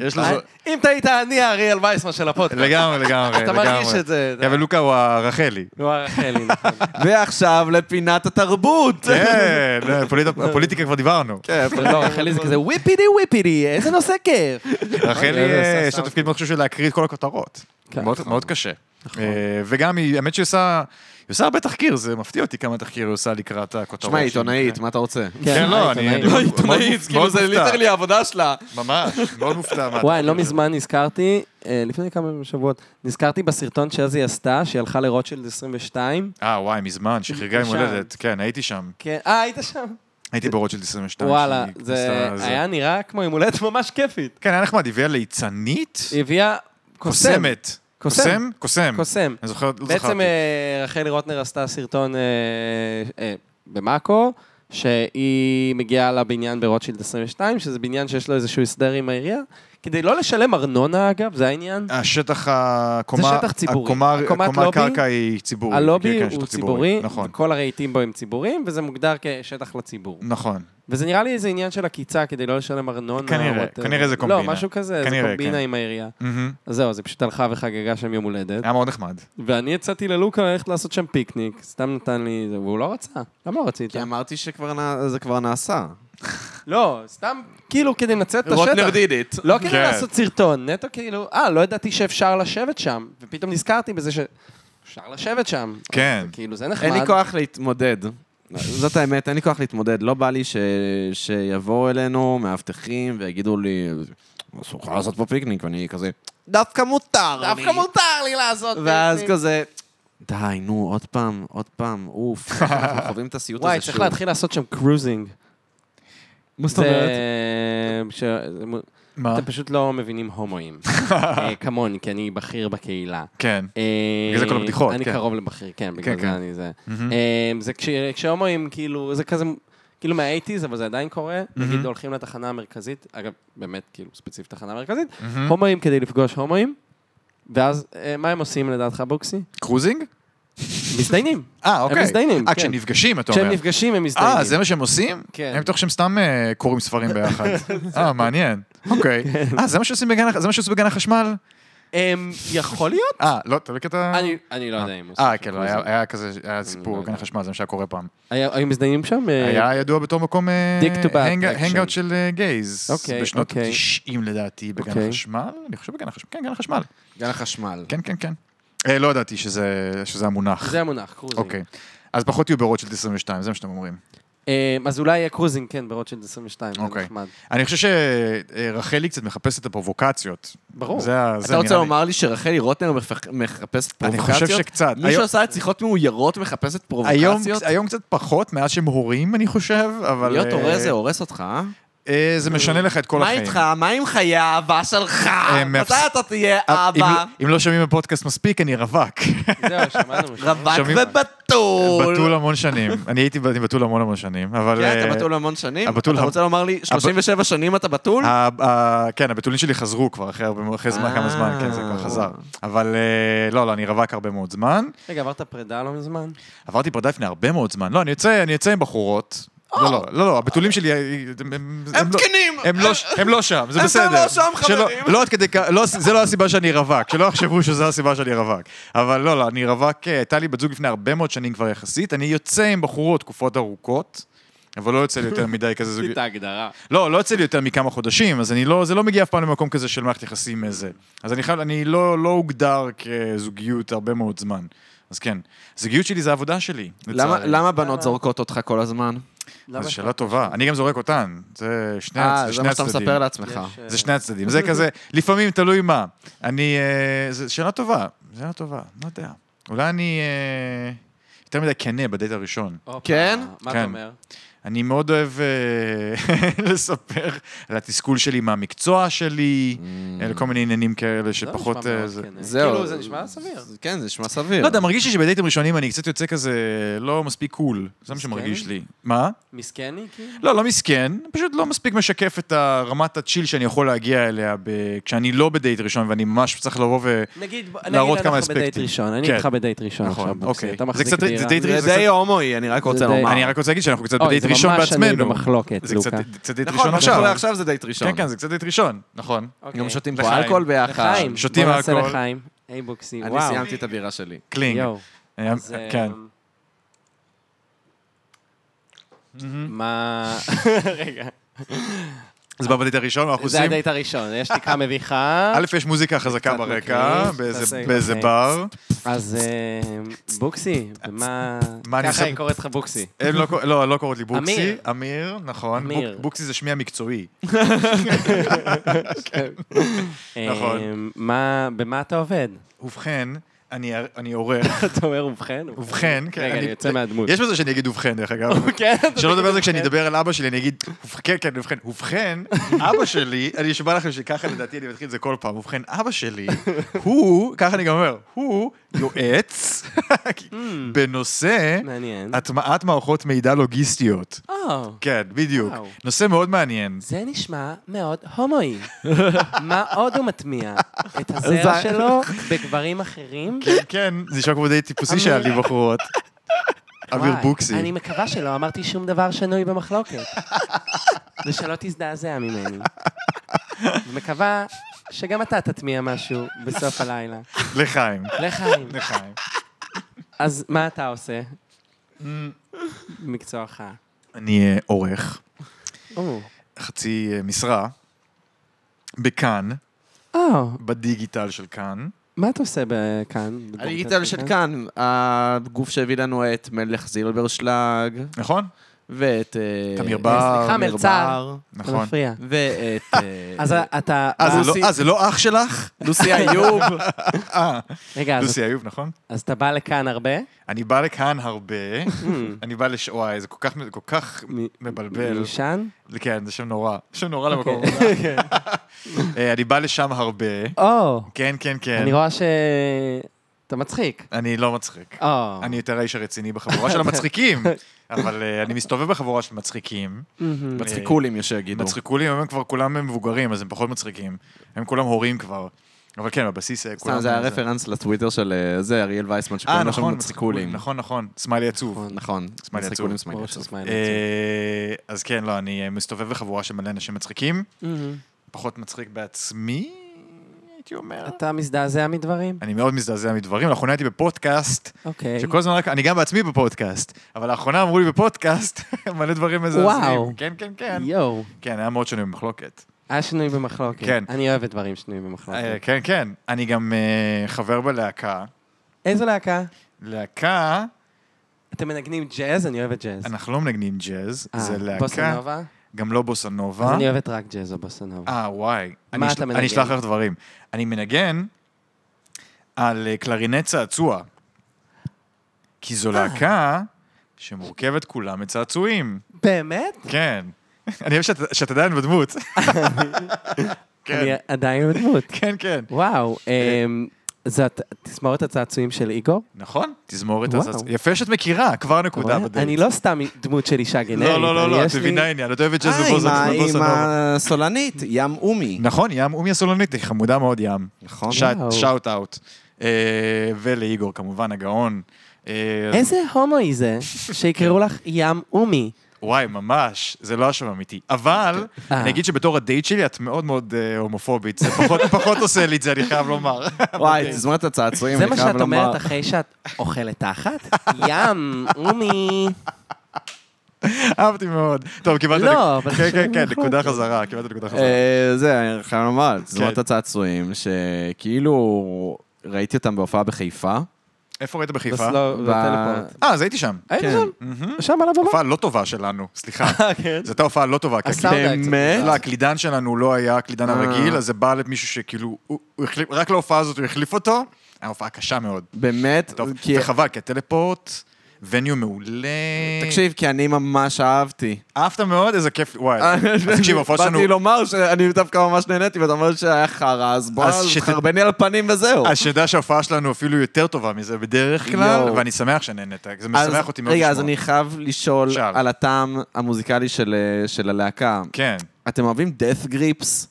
S2: יש לו...
S3: אה,
S2: זו-
S3: אם אתה היית אני האריאל וייסמן של הפודקאסט.
S2: לגמרי, לגמרי,
S3: אתה
S2: לגמרי.
S3: מרגיש את זה.
S2: כן, אבל לוקה הוא הרחלי.
S3: נו, הרחלי, לא, נכון.
S1: ועכשיו לפינת התרבות.
S2: כן, הפוליט- הפוליטיקה כבר דיברנו.
S1: כן,
S3: לא, רחלי זה כזה וויפידי וויפידי, איזה נושא כיף.
S2: רחלי,
S3: אוי,
S2: אה,
S3: עשה
S2: יש לה
S3: סאונד.
S2: תפקיד מאוד חשוב של להקריא את כל הכותרות.
S3: אוקיי. כן, נכון.
S2: מאוד- מאוד קשה. אה, וגם, היא- האמת שהיא עושה, היא עושה הרבה תחקיר, זה מפתיע אותי כמה תחקיר היא עושה לקראת הכותרות.
S1: תשמע, היא
S2: שלה.
S1: עיתונאית, מה אתה רוצה?
S2: כן, לא, אני... אני
S3: העיתונאית.
S1: לא,
S2: מאוד-
S1: עיתונאית,
S2: מאוד
S1: כאילו זה
S2: מופתע.
S1: ליטרלי העבודה שלה.
S2: כן, ממש, מאוד מופתע. מה-
S3: וואי, אני לא מזמן נזכרתי, אה, לפני כמה שבועות, נזכרתי בסרטון שאז היא עשתה, שהיא הלכה לרוטשילד 22.
S2: אה, וואי, מזמן, שחרגה עם
S3: שם.
S2: הולדת. כן, הייתי שם.
S3: כן, אה, היית שם?
S2: הייתי ברוטשילד 22.
S3: וואלה,
S2: שהיא
S3: זה
S2: עשתה-
S3: היה נראה כמו עם הולדת ממש כיפית.
S2: כן, היה נחמד, הביאה ליצנית?
S3: היא הביאה קוסם.
S2: קוסמת.
S3: קוסם.
S2: קוסם? קוסם.
S3: קוסם.
S2: אני זוכר, לא
S3: בעצם
S2: זכרתי.
S3: אה, רחלי רוטנר עשתה סרטון אה, אה, במאקו, שהיא מגיעה לבניין ברוטשילד 22, שזה בניין שיש לו איזשהו הסדר עם העירייה, כדי לא לשלם ארנונה אגב, זה העניין.
S2: אה, השטח, הקומה,
S3: אה, שטח ציבורי.
S2: הקומה,
S3: הקומת
S2: הקומה
S3: לובי,
S2: הקרקע היא ציבורית.
S3: הלובי
S2: כן, כן,
S3: הוא
S2: שטח
S3: ציבורי,
S2: נכון,
S3: כל הרהיטים בו הם ציבוריים, וזה מוגדר כשטח לציבור.
S2: נכון.
S3: וזה נראה לי איזה עניין של עקיצה כדי לא לשלם ארנונה.
S2: כנראה,
S3: או whatever.
S2: כנראה זה קומבינה.
S3: לא, משהו כזה, זה
S2: כנראה,
S3: קומבינה
S2: כן.
S3: עם העירייה.
S2: מהמם.
S3: אז זהו, אז היא פשוט הלכה וחגגה שם יום הולדת.
S2: היה מאוד נחמד.
S3: ואני הצעתי ללוקה ללכת לעשות שם פיקניק, סתם נתן לי, זה, והוא לא רצה. למה לא רצית?
S1: כי אמרתי שזה כבר נעשה.
S3: לא, סתם כאילו כדי לנצל את השטח.
S1: רוטנר did it.
S3: לא כדי
S2: כן.
S3: לעשות סרטון, נטו כאילו, אה, לא ידעתי שאפשר לשבת שם, ופתאום נזכרתי בזה ש... אפשר לשבת שם.
S2: כן.
S3: כאילו, זה נחמד.
S1: אין לי כוח להתמודד. זאת האמת, אין לי כוח להתמודד. לא בא לי ש- שיבואו אלינו מאבטחים ויגידו לי, אסור לך לעשות פה פיקניק, ואני כזה, דווקא מותר לי.
S3: דווקא מותר לי לעשות
S1: ואז
S3: פיקניק.
S1: כזה, די, נו, עוד פעם, עוד פעם, אוף. אנחנו חווים את הסיוט הזה
S3: וואי, צריך להתחיל לעשות שם קרוזינג.
S1: מה זאת
S3: זה-
S1: אומרת?
S3: ש- זה מ-
S2: מה?
S3: אתם פשוט לא מבינים הומואים. אה, כמוני, כי אני בכיר בקהילה.
S2: כן.
S3: אה,
S2: בגלל זה כל הבדיחות,
S3: אני
S2: כן.
S3: קרוב לבכיר, כן, בגלל
S2: כן, כן.
S3: זה אני זה. אה, זה כש- כשהומואים, כאילו, זה כזה, כאילו מהאייטיז, אבל זה עדיין קורה. נגיד הולכים לתחנה המרכזית, אגב, באמת, כאילו, ספציפית תחנה מרכזית, הומואים כדי לפגוש הומואים, ואז אה, מה הם עושים לדעתך, בוקסי?
S2: קרוזינג?
S3: מזדיינים.
S2: אה, אוקיי.
S3: מזדיינים,
S2: אה,
S3: כן.
S2: כשנפגשים, אתה אומר.
S3: כשהם נפגשים הם מזדיינים.
S2: אה, זה מה שהם עושים?
S3: כן.
S2: אני בטוח שהם סתם אה, קוראים ספרים ביחד. אה, מעניין. אוקיי.
S3: כן.
S2: אה, זה מה שעושים בגן הח- זה מה שעשו בגן החשמל?
S3: אמ, יכול להיות?
S2: אה, לא, אתה בקטע...
S3: אני- אני לא יודע אם עושים
S2: אה,
S3: שם
S2: כן, לא,
S3: קרוזינג.
S2: היה היה כזה, היה
S3: לא
S2: סיפור בגן
S3: יודע.
S2: החשמל, זה מה שהיה קורה פעם.
S3: היה- היו מזדיינים שם? אה,
S2: היה ידוע בתור מקום אה,
S3: Dick to bat
S2: הנג-
S3: action.
S2: הנגאוט של אה, גייז.
S3: אוקיי,
S2: בשנות
S3: אוקיי.
S2: ה-90 לדעתי, בגן
S3: אוקיי.
S2: החשמל? אני חושב בגן החשמל, כן, גן החשמל.
S1: גן החשמל.
S2: כן, כן, כן. אה, לא ידעתי שזה שזה המונח.
S3: זה המונח, קרוזינג.
S2: אוקיי. אז פחות יהיו ברוטשילד 22, זה מה שאתם אומרים.
S3: אמ, אז אולי יהיה קרוזינג, כן, ברוטשילד 22, זה
S2: אוקיי.
S3: נחמד.
S2: אני חושב שרחלי קצת מחפשת את הפרובוקציות.
S3: ברור.
S2: זה ה- זה
S1: אתה רוצה
S2: נראה לי.
S1: לומר לי שרחלי רוטנר מפח- מחפשת
S2: אני
S1: פרובוקציות?
S2: חושב שקצת.
S1: מי
S2: היום-
S1: שעושה את שיחות מאוירות מחפשת
S2: היום,
S1: פרובוקציות?
S2: היום קצת פחות, מאז שהם הורים, אני חושב, אבל...
S1: להיות
S2: אה,
S1: הורה זה הורס אותך, אה?
S2: אה, זה משנה לך את כל
S1: מה
S2: החיים.
S1: איתך? מה עם חיי האהבה שלך?
S2: הם
S1: מתי
S2: מפס-
S1: אתה תהיה
S2: אה, אם-
S1: אבא?
S2: אם לא שומעים בפודקאסט מספיק, אני רווק.
S3: זהו, שמענו.
S1: רווק
S2: שומעים-
S1: ובתול.
S2: בתול המון שנים. אני הייתי ב- אני בתול המון המון שנים, אבל...
S1: כן,
S2: אה,
S1: אתה בתול המון שנים?
S2: הבתול
S1: אתה
S2: המ- אה,
S1: רוצה לומר לי, 37 שנים אתה בתול?
S2: ה- ה- כן, הבתולים שלי חזרו כבר אחרי הרבה- אחרי זמן,
S1: אה.
S2: כמה זמן, כן, זה כבר חזר. אבל אה, לא, לא, אני רווק הרבה מאוד זמן.
S3: רגע, עברת פרידה לא מזמן?
S2: עברתי פרדה לפני הרבה מאוד זמן. לא, אני יוצא, אני יוצא עם בחורות. לא, לא, לא, לא, הבתולים שלי... הם- הם
S1: הם
S2: לא-
S1: תקנים!
S2: הם לא, ש- הם לא שם, זה
S1: הם
S2: בסדר.
S1: כבר לא שם,
S2: שלא-
S1: חברים.
S2: לא עד כדי כך, לא, זה לא הסיבה שאני רווק, שלא יחשבו שזו הסיבה שאני רווק. אבל לא, לא, אני רווק, אה, הייתה לי בת זוג לפני הרבה מאוד שנים כבר יחסית, אני יוצא עם בחורות תקופות ארוכות, אבל לא יוצא לי יותר מדי כזה זוג...
S3: ההגדרה.
S2: לא, לא יוצא לי יותר מכמה חודשים, אז אני לא, זה לא מגיע אף פעם למקום כזה של מערכת יחסים איזה. אז אני חייב, אני לא, לא הוגדר כזוגיות הרבה מאוד זמן. אז כן, זוגיות שלי זה העבודה שלי,
S1: למה-
S2: לצערי.
S1: למה בנות זורקות אותך כל הזמן?
S2: זו שאלה טובה. אני גם זורק אותן, זה שני הצ-
S1: אה, זה
S2: שני
S1: מה שאתה
S2: הצדדים.
S1: מספר לעצמך.
S2: נכון.
S3: אה,
S2: זה שני הצדדים, זה כזה, לפעמים תלוי מה. אני, אה, זו שאלה טובה, שאלה טובה, לא יודע. אולי אני אה, יותר מדי כנה בדייט הראשון.
S1: כן?
S3: מה
S2: כן.
S3: אתה אומר?
S2: אני מאוד אוהב אה, לספר על התסכול שלי מהמקצוע שלי, אה, לכל מיני עניינים כאלה
S3: Mm. זה
S2: שפחות...
S3: נשמע מאוד
S2: אה, זה-
S3: כן.
S1: זהו.
S3: כאילו, זה נשמע סביר.
S1: כן, זה נשמע סביר.
S2: לא יודע, מרגיש לי שבדייטים ראשונים אני קצת יוצא כזה לא מספיק קול, זה מה שמרגיש לי. מה?
S3: מסכני, כאילו?
S2: לא, לא מסכן, פשוט לא מספיק משקף את הרמת הצ'יל שאני יכול להגיע אליה ב- כשאני לא בדייט ראשון ואני ממש צריך לבוא ו...
S3: נגיד,
S2: להראות
S3: נגיד
S2: כמה
S3: אנחנו בדייט
S2: אספקטים.
S3: ראשון, אני
S2: כן.
S3: איתך בדייט ראשון
S2: נכון,
S3: עכשיו,
S2: אוקיי.
S3: בוקסי, אתה
S2: זה
S3: מחזיק
S2: קצת- זה
S3: דירה.
S2: דייט ראשון.
S1: זה די הומואי, אני רק רוצה
S3: זה די-
S1: לומר.
S2: אני רק רוצה להגיד שאנחנו קצת
S3: אה. אוי,
S2: בדייט
S3: זה
S2: ראשון
S3: ממש אני
S2: בעצמנו.
S3: במחלוקת,
S2: זה
S3: לוקה.
S2: קצת קצת דייט
S1: נכון,
S2: ראשון
S1: מה
S2: עכשיו.
S1: שקורה עכשיו זה דייט ראשון.
S2: כן, כן, זה קצת דייט ראשון, נכון.
S3: אוקיי.
S1: גם שותים פה
S2: לחיים.
S1: אלכוהול ביחד.
S3: לחיים,
S2: שותים
S3: בוא נעשה
S2: אלכוהול.
S3: לחיים. היי בוקסי,
S1: אני
S3: וואו.
S1: סיימתי את הבירה שלי.
S2: קלינג.
S3: יואו.
S2: אה,
S3: אז, אה,
S2: כן.
S3: מה... רגע,
S2: אז בא בדייט הראשון, אנחנו
S3: אה, זה
S2: עושים...
S3: הדייט הראשון, יש תקרה מביכה,
S2: א', יש מוזיקה חזקה
S3: קצת
S2: ברקע,
S3: מקליט,
S2: באיזה-
S3: תעשה,
S2: באיזה
S3: אוקיי.
S2: בר.
S3: אז אה, בוקסי, במה...
S2: מה אני
S3: ככה
S2: עושה-
S3: היא קוראת לך בוקסי.
S2: הם לא קור- לא, לא קוראות לי בוקסי.
S3: אמיר.
S2: אמיר, נכון.
S3: אמיר.
S2: בוק- בוקסי זה שמי המקצועי. כן. נכון.
S3: נכון. במה אתה עובד?
S2: ובכן, אני אני עורך.
S3: אתה אומר ובכן?
S2: ובכן, כן.
S3: רגע, אני יוצא מהדמות.
S2: יש בזה שאני אגיד ובכן, דרך אגב.
S3: כן, אתה
S2: שלא לדבר
S3: תגיד
S2: על זה כשאני
S3: ובכן.
S2: אדבר על אבא שלי, אני אגיד, "ובכן, כן, כן, ובכן, ובכן, אבא שלי, אני אשבע לכם שככה לדעתי אני מתחיל את זה כל פעם, ובכן, אבא שלי, הוא, ככה אני גם אומר, הוא יועץ בנושא
S3: מעניין.
S2: הטמעת מערכות מידע לוגיסטיות.
S3: או,
S2: כן, בדיוק.
S3: וואו.
S2: נושא מאוד מעניין.
S3: זה נשמע מאוד הומואי. מה עוד הוא מטמיע? את הזרע
S1: זה-
S3: שלו בגברים אחרים?
S2: כן, כן, זה נשמע כמו די טיפוסי שהיה לי בחורות. אביר
S3: וואי,
S2: בוקסי.
S3: אני מקווה שלא אמרתי שום דבר שנוי במחלוקת. ושלא תזדעזע ממני. מקווה שגם אתה תטמיע משהו בסוף הלילה.
S2: לחיים.
S3: לחיים.
S2: לחיים.
S3: אז מה אתה עושה? מקצועך.
S2: אני אה, עורך,
S3: או,
S2: חצי אה, משרה, בכאן,
S3: או,
S2: בדיגיטל של כאן.
S3: מה אתה עושה ב- כאן? כן.
S1: הדיגיטל של כאן, הגוף שהביא לנו את מלך זילברשלג,
S2: נכון?
S1: ואת... אה,
S2: תמיר בר.
S1: סליחה,
S3: תמיר
S1: מלצר.
S3: בר. אתה
S2: נכון.
S3: מפריע.
S1: ואת... אה,
S3: אז אתה...
S2: אה, זה
S1: לוסי-
S2: לא- אה, זה לא אח שלך?
S1: לוסי איוב.
S3: רגע, אז-
S2: לוסי איוב, נכון?
S3: אז אתה בא לכאן הרבה?
S2: אני בא לכאן הרבה, אני בא לש... וואי, זה כל כך, כל כך
S3: מ-
S2: מבלבל.
S3: מיושן?
S2: כן, זה שם נורא. שם נורא למקום.
S3: כן.
S2: אה, אני בא לשם הרבה.
S3: או,
S2: כן, כן, כן.
S3: אני רואה ש... אתה מצחיק.
S2: אני לא מצחיק.
S3: או.
S2: אני יותר האיש הרציני בחבורה של המצחיקים, אבל אה, אני מסתובב בחבורה של מצחיקים.
S1: Mm.
S3: מהמם.
S1: מצחיקולים, יש שיגידו.
S2: מצחיקו לי, הם כבר כולם הם מבוגרים, אז הם פחות מצחיקים. הם כולם הורים כבר. אבל כן, בבסיס אה, כולם...
S1: סתם, זה היה רפרנס לטוויטר של אה, זה, אריאל וייסמן,
S2: אה,
S1: שקוראים לו שם
S2: נכון,
S1: מצחיקולים.
S2: נכון, נכון. סמיילי עצוב.
S1: נכון.
S2: סמיילי
S1: מצחיקולים,
S2: עצוב.
S1: סמיילי
S3: ברור
S1: עצוב.
S3: שסמיילי עצוב.
S2: אה, אז כן, לא, אני אה, מסתובב בחבורה של מלא אנשים מצחיקים.
S1: Mm-hmm.
S3: מהמם.
S2: פחות מצחיק בעצמי, הייתי אומר.
S3: אתה מזדעזע מדברים?
S2: אני מאוד מזדעזע מדברים. לאחרונה הייתי בפודקאסט,
S3: אוקיי.
S2: שכל הזמן רק, אני גם בעצמי בפודקאסט, אבל לאחרונה אמרו לי בפודקאסט מלא דברים מזעזעים.
S3: וואו.
S2: כן, כן, כן.
S3: יואו.
S2: כן, היה מאוד שונה במחלוקת.
S3: היה שינוי במחלוקת.
S2: כן.
S3: אני אוהב את דברים שנויים
S2: אה,
S3: במחלוקת.
S2: כן, כן. אני גם אה, חבר בלהקה.
S3: איזו להקה?
S2: להקה,
S3: אתם מנגנים ג'אז? אני אוהבת ג'אז.
S2: אנחנו לא מנגנים ג'אז,
S3: אה,
S2: זה
S3: בוסה
S2: להקה,
S3: נובה?
S2: גם לא
S3: אז
S2: בוסנובה.
S3: אני אוהבת רק ג'אז או בוסה נובה.
S2: אה, וואי. אני
S3: אתה
S2: אשל-
S3: מנגן?
S2: אני אשלח לך דברים. אני מנגן על אה, קלרינט צעצוע. כי
S3: אה.
S2: זו להקה שמורכבת כולה מצעצועים.
S3: באמת?
S2: כן. אני אוהב שאת- שאת עדיין בדמות.
S3: אני
S2: כן,
S3: עדיין בדמות.
S2: כן, כן.
S3: וואו, אמ, זה הת- תסמורת הצעצועים של איגור?
S2: נכון, תזמורת
S3: וואו.
S2: הצעצוע. יפה שאת מכירה, כבר
S3: אתה
S2: נקודה
S3: רואה?
S2: בדרך.
S3: אני לא סתם דמות של אישה גנרית.
S2: לא, לא, לא,
S3: אני
S2: לא, את
S3: יש לי-
S2: מבינה עניין, את אוהבת ג'אז
S1: אה, עם ה- עם
S2: ובוסנובה.
S1: הסולנית, ים אומי.
S2: נכון, ים, אומי הסולונית, היא חמודה מאוד ים.
S1: נכון.
S2: שאט-
S3: וואו.
S2: שאוט אאוט. אה, ולאיגור כמובן, הגאון. אה,
S3: איזה הומואי זה שיקראו לך ים אומי.
S2: וואי, ממש, זה לא השם אמיתי. אבל,
S3: אה.
S2: אני אגיד שבתור הדייט שלי את מאוד מאוד אה, הומופובית, זה פחות- פחות עושה לי את זה, אני חייב לומר.
S1: וואי, תזמורת הצעצועים,
S3: זה מה
S1: אני חייב
S3: שאת אומרת
S1: לומר.
S3: אחרי שאת אוכלת תחת? ים אומי.
S2: אהבתי מאוד. טוב, קיבלת...
S3: לא,
S2: נק-
S3: אבל
S2: כן,
S3: עכשיו
S2: כן,
S3: אני
S2: כן,
S3: יכול.
S2: נקודה חזרה, קיבלת נקודה חזרה.
S1: אה, זה, אני חייב לומר, תזמורת
S2: כן.
S1: הצעצועים, שכאילו ראיתי אותם בהופעה בחיפה.
S2: איפה ראית בחיפה?
S1: ב-
S3: בטלפורט.
S2: אה, אז הייתי שם.
S3: היינו
S1: כן.
S3: שם, שם על הבמה.
S2: הופעה לא טובה שלנו, סליחה.
S1: אה,
S3: כן.
S2: זו הייתה הופעה לא טובה, כי
S3: הסאונד היה קצת
S1: באמת?
S3: מוזר.
S2: לא, הקלידן שלנו לא היה הקלידן
S1: אה.
S2: הרגיל, אז זה בא למישהו שכאילו, הוא הוא החליף, רק להופעה הזאת הוא החליף אותו, היה הופעה קשה מאוד.
S1: באמת,
S2: טוב,
S1: כי-
S2: וחבל, כי הטלפורט, וניו מעולה.
S1: תקשיב, כי אני ממש אהבתי.
S2: אהבת מאוד? איזה כיף, וואי. אז תקשיב, ההופעות שלנו...
S1: אה, באתי לא- לומר שאני דווקא ממש נהניתי, ואתה אומר שהיה חרא, אז בוא,
S2: אז
S1: אז
S2: שת- אה,
S1: תחרבני על הפנים וזהו.
S2: אז שתדע שההופעה שלנו אפילו יותר טובה מזה בדרך כלל,
S1: יואו.
S2: ואני שמח שנהנית, זה
S1: אז-
S2: משמח אותי מאוד
S1: רגע,
S2: לשמוע.
S1: אז אני חייב לשאול
S2: שאל.
S1: על הטעם המוזיקלי של אה, של הלהקה.
S2: כן.
S1: אתם אוהבים death grips?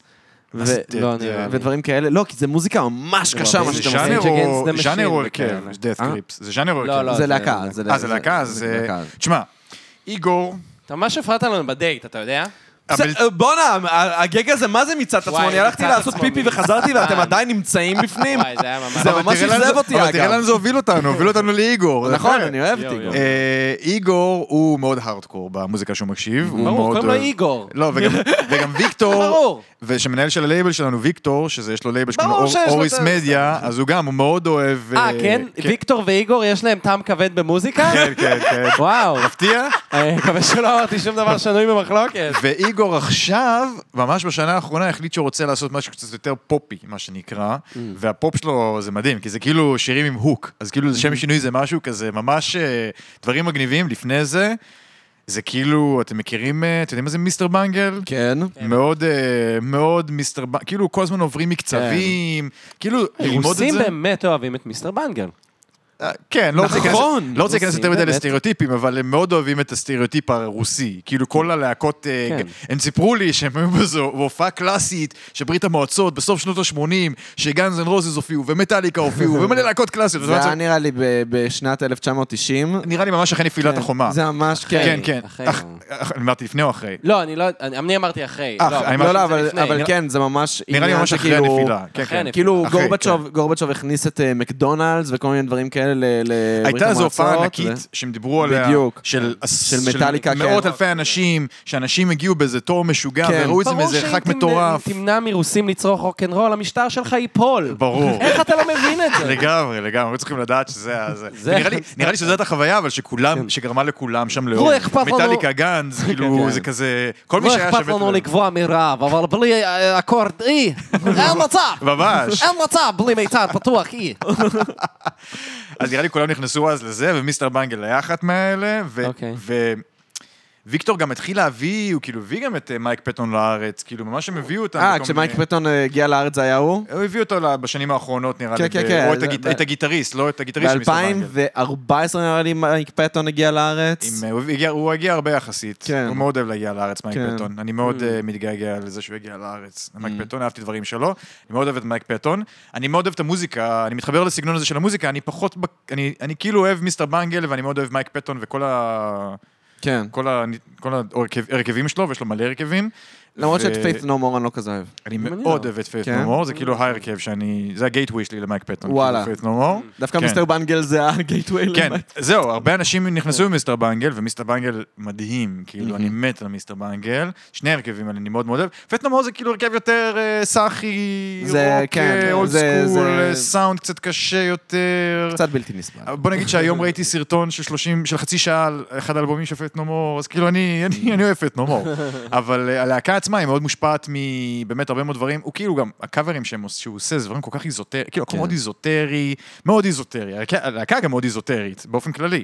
S2: אז
S1: ו-
S2: ת-
S3: לא,
S2: ת-
S3: אני אוהב.
S1: ודברים כאלה? לא, כי זה מוזיקה ממש קשה, מה
S2: זה לא
S1: שאתם
S3: ז'אנר
S1: עושים.
S2: ז'אנר
S3: Rage
S2: או-
S3: Against the
S2: ז'אנר או
S3: Machine
S2: הרכב,
S3: וכאלה.
S2: דאט
S1: אה?
S2: קריפס, זה ז'אנר או
S3: לא,
S2: הרכב.
S3: לא,
S1: זה להקה.
S2: אה, זה להקה, אז... אה,
S1: להקה.
S2: תשמע, איגור...
S3: אתה ממש הפרעת לנו בדייט, אתה יודע?
S2: הבל-
S1: זה- אה, בואנה, ה- הגג הזה, מה זה מצד עצמו?
S3: וואי,
S1: אני הלכתי
S3: מצד
S1: לעשות
S3: עצמו,
S1: פיפי
S3: מצד
S1: וחזרתי ואתם
S3: עצמם.
S1: עדיין נמצאים בפנים?
S3: וואי, זה היה ממש...
S1: זה
S2: אבל
S1: ממש
S2: תראה לאן
S1: אכזב
S2: זה-
S1: אותי,
S2: אבל תראה
S1: אגב.
S2: לאן זה הוביל אותנו, הוביל אותנו לאיגור. זה
S1: נכון,
S2: יפה.
S1: אני אוהב
S3: יואו,
S1: תיגו.
S3: יואו.
S2: אה, איגור הוא מאוד הארדקור במוזיקה שהוא מקשיב. הוא
S3: ברור,
S2: מאוד
S3: קוראים לו
S2: אוהב-
S3: איגור.
S2: לא, וגם- וגם ויקטור,
S3: ברור.
S2: ושמנהל של הלייבל שלנו, ויקטור, שזה יש לו לייבל שקוראים
S3: ברור
S2: לו
S3: שיש
S2: אור-
S3: לו
S2: אוריס
S3: את ה-
S2: מדיה, אז הוא גם, הוא מאוד אוהב...
S3: אה, כן? ויקטור ואיגור יש להם טעם כבד במוזיקה?
S2: כן, כן, כן.
S3: וואו. אה,
S2: מפתיע.
S3: אני מקווה שלא אמרתי שום דבר שנוי במחלוקת.
S2: ואיגור עכשיו, ממש בשנה האחרונה, החליט שהוא רוצה לעשות משהו קצת יותר פופי, מה שנקרא, והפופ שלו זה מדהים, כי זה כאילו שירים עם הוק, אז כאילו זה שם שינוי זה משהו כזה, ממש אה, דברים מגניבים לפני זה. זה כאילו, אתם מכירים, אה, אתם יודעים מה זה מיסטר בנגל?
S1: כן.
S2: מאוד, אה, מאוד מיסטר בנגל, כאילו כל הזמן עוברים מקצבים, כאילו ללמוד את
S3: רוסים
S2: זה.
S3: באמת אוהבים את מיסטר בנגל.
S2: אה, כן, לא רוצה להיכנס-
S1: נכון,
S2: לא רוצה להיכנס
S3: רוסים,
S2: יותר מדי
S3: באמת.
S2: לסטריאוטיפים, אבל הם מאוד אוהבים את הסטריאוטיפ הרוסי. כאילו כל הלהקות, אה,
S3: כן.
S2: הם סיפרו לי שהם היו בזו בהופעה קלאסית של ברית המועצות בסוף שנות ה-80, שגאנז אנד רוזס הופיעו, ומטאליקה הופיעו, ומלא להקות קלאסיות.
S1: זה
S2: ואז
S1: היה
S2: אמרתי,
S1: נראה לי ב- בשנת 1990.
S2: נראה לי ממש אחרי נפילת
S1: כן,
S2: החומה.
S1: זה ממש,
S2: כן,
S1: כן.
S2: כן.
S3: אחרי
S2: אח-
S3: או-
S2: אח- אני אמרתי לפני או אחרי?
S3: לא, אני לא... אני אני אמרתי אחרי.
S2: אה,
S3: לא,
S2: אני
S3: אבל
S1: לא,
S2: אמרתי
S1: לא,
S3: זה
S1: אבל-
S3: לפני.
S1: אבל כן, זה ממש
S2: נראה לי
S1: עניין
S2: ממש אחרי
S1: שכאילו-
S2: הנפילה. כן,
S3: אחרי
S2: כן.
S3: הנפילה.
S1: כאילו
S2: אחרי,
S1: גורבצ'וב, גורבצ'וב הכניס את אה, מקדונלדס וכל מיני דברים כאלה ל- לברית
S2: הייתה איזו הופעה
S1: המועצות, ו-
S2: ענקית שהם דיברו עליה,
S1: בדיוק.
S2: של,
S1: של מטאליקה, כן.
S2: מאות אלפי אנשים, שאנשים הגיעו באיזה תור משוגע,
S1: כן.
S2: וראו את זה
S3: ברור
S2: מאיזה
S3: שאם
S2: ח"כ
S3: תמנע-
S2: מטורף.
S3: תמנע מרוסים לצרוך רוקנרול, המשטר שלך ייפול.
S2: ברור.
S3: איך אתה לא מבין את זה?
S2: לגמרי, לגמרי, היו צריכים לדעת שזה ה... זה.
S3: זה- כן.
S2: נראה לי- נראה לי שזו הייתה החוויה, אבל שכולם, שגרמה לכולם שם לאור.
S3: אכפת לנו-
S2: מטאליקה גנז, כאילו,
S3: כן.
S2: זה כזה... כל מי
S3: לא
S2: שהיה
S3: אכפת
S2: שווה...
S3: לנו לקבוע מרעב, אבל בלי אה, אקורד אי, אין מצב.
S2: ממש.
S3: אין מצב בלי מיצר פתוח אי.
S2: אז נראה לי כולם נכנסו אז לזה, ומיסטר בנגל היה אחת מהאלה, ו...
S3: אוקיי.
S2: ו- ויקטור גם התחיל להביא, הוא כאילו הביא גם את אה, מייק פטון לארץ, כאילו ממש הם הביאו אותם.
S1: אה,
S2: בכל
S1: כשמייק
S2: מיני-
S1: פטון אה, הגיע לארץ זה היה הוא?
S2: הוא הביא אותו ל- בשנים האחרונות, נראה
S1: כן,
S2: לי.
S1: כן,
S2: ב-
S1: כן.
S2: או את
S1: זה-
S2: הגיט-
S1: ב-
S2: את הגיטריסט, לא את הגיטריסט של מיסטר בנגל.
S1: ב-2014 נראה לי מייק פטון הגיע לארץ.
S2: עם- אה, הוא הגיע- הוא הגיע הרבה יחסית.
S1: כן.
S2: הוא מאוד אוהב להגיע לארץ, מייק
S1: כן. Mm.
S2: פטון. אני מאוד אה, מתגעגע לזה שהוא הגיע לארץ. מייק פטון, אהבתי דברים שלו. אני מאוד אוהב את מייק פטון. אני מאוד אוהב את המוזיקה, אני מתחבר לסגנון הזה של המוזיקה, אני פחות... בק- אני אני כאילו אוהב מיסטר בנגל, ואני מאוד אוהב מייק פטון וכל ה...
S1: כן.
S2: כל ה- כל ההרכב- ההרכבים שלו, ויש לו מלא הרכבים.
S1: למרות
S2: ו-
S1: שאת פייט נו מור אני לא כזה אוהב.
S2: אני
S3: מעניין.
S2: מאוד אוהב את פייט
S1: כן?
S2: נומור, זה כאילו ההרכב שאני... זה הגייטווי שלי למייק פטון. כאילו,
S1: וואלה.
S2: פייט נומור.
S1: דווקא
S2: כן.
S1: מיסטר בנגל זה הגייטווי.
S2: כן, זהו, הרבה אנשים
S1: כן.
S2: נכנסו במיסטר בנגל, ומיסטר בנגל מדהים, כאילו, אני מת על מיסטר בנגל. שני הרכבים האלה, אני מאוד מאוד אוהב. פטנומור זה כאילו הרכב יותר אה, סאחי,
S1: זה,
S2: רוק,
S1: כן,
S2: אולד
S1: זה-
S2: סקול,
S1: זה-
S2: אה, סאונד קצת קשה יותר.
S1: קצת בלתי נסבל.
S2: בוא נגיד שהיום ראיתי סרטון של 30, של חצי שעה על אחד האלבומים של פטנומור, אז כאילו, אני אני- אני אוהב פטנומור. אבל אה, הלהקה עצמה היא מאוד מושפעת מבאמת הרבה מאוד דברים. הוא כאילו גם, הקאברים שהם עוש- שהוא עושה, זה דברים כל כך איזוטרי, כאילו, הכל
S1: כן.
S2: מאוד איזוטרי, מאוד איזוטרי. הלהקה- הלהקה גם מאוד איזוטרי, באופן כללי.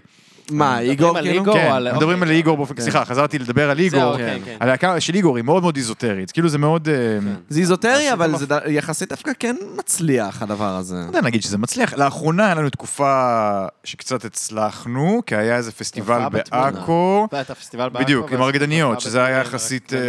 S1: מה, איגור
S3: על
S1: כאילו?
S3: איגור?
S2: כן,
S3: על-
S2: מדברים
S3: אוקיי.
S2: על איגור באופן, סליחה, חזרתי לדבר על איגור.
S3: אוקיי, כן.
S2: הלהקה של איגור היא מאוד מאוד איזוטרית, כאילו זה מאוד... אה,
S1: זה איזוטרי,
S2: עשית
S1: אבל
S2: מפ-
S1: זה ד- יחסית דווקא כן מצליח הדבר הזה.
S2: לא יודע להגיד שזה מצליח. לאחרונה היה לנו תקופה שקצת הצלחנו, כי היה איזה פסטיבל
S3: הופעה בתמונה.
S2: בעכו.
S3: ואת הפסטיבל בעכו.
S2: בדיוק, עם
S3: ואז-
S2: הרקדניות,
S3: הופעה
S2: שזה היה
S3: בתמונה,
S2: יחסית,
S3: הרקדניות.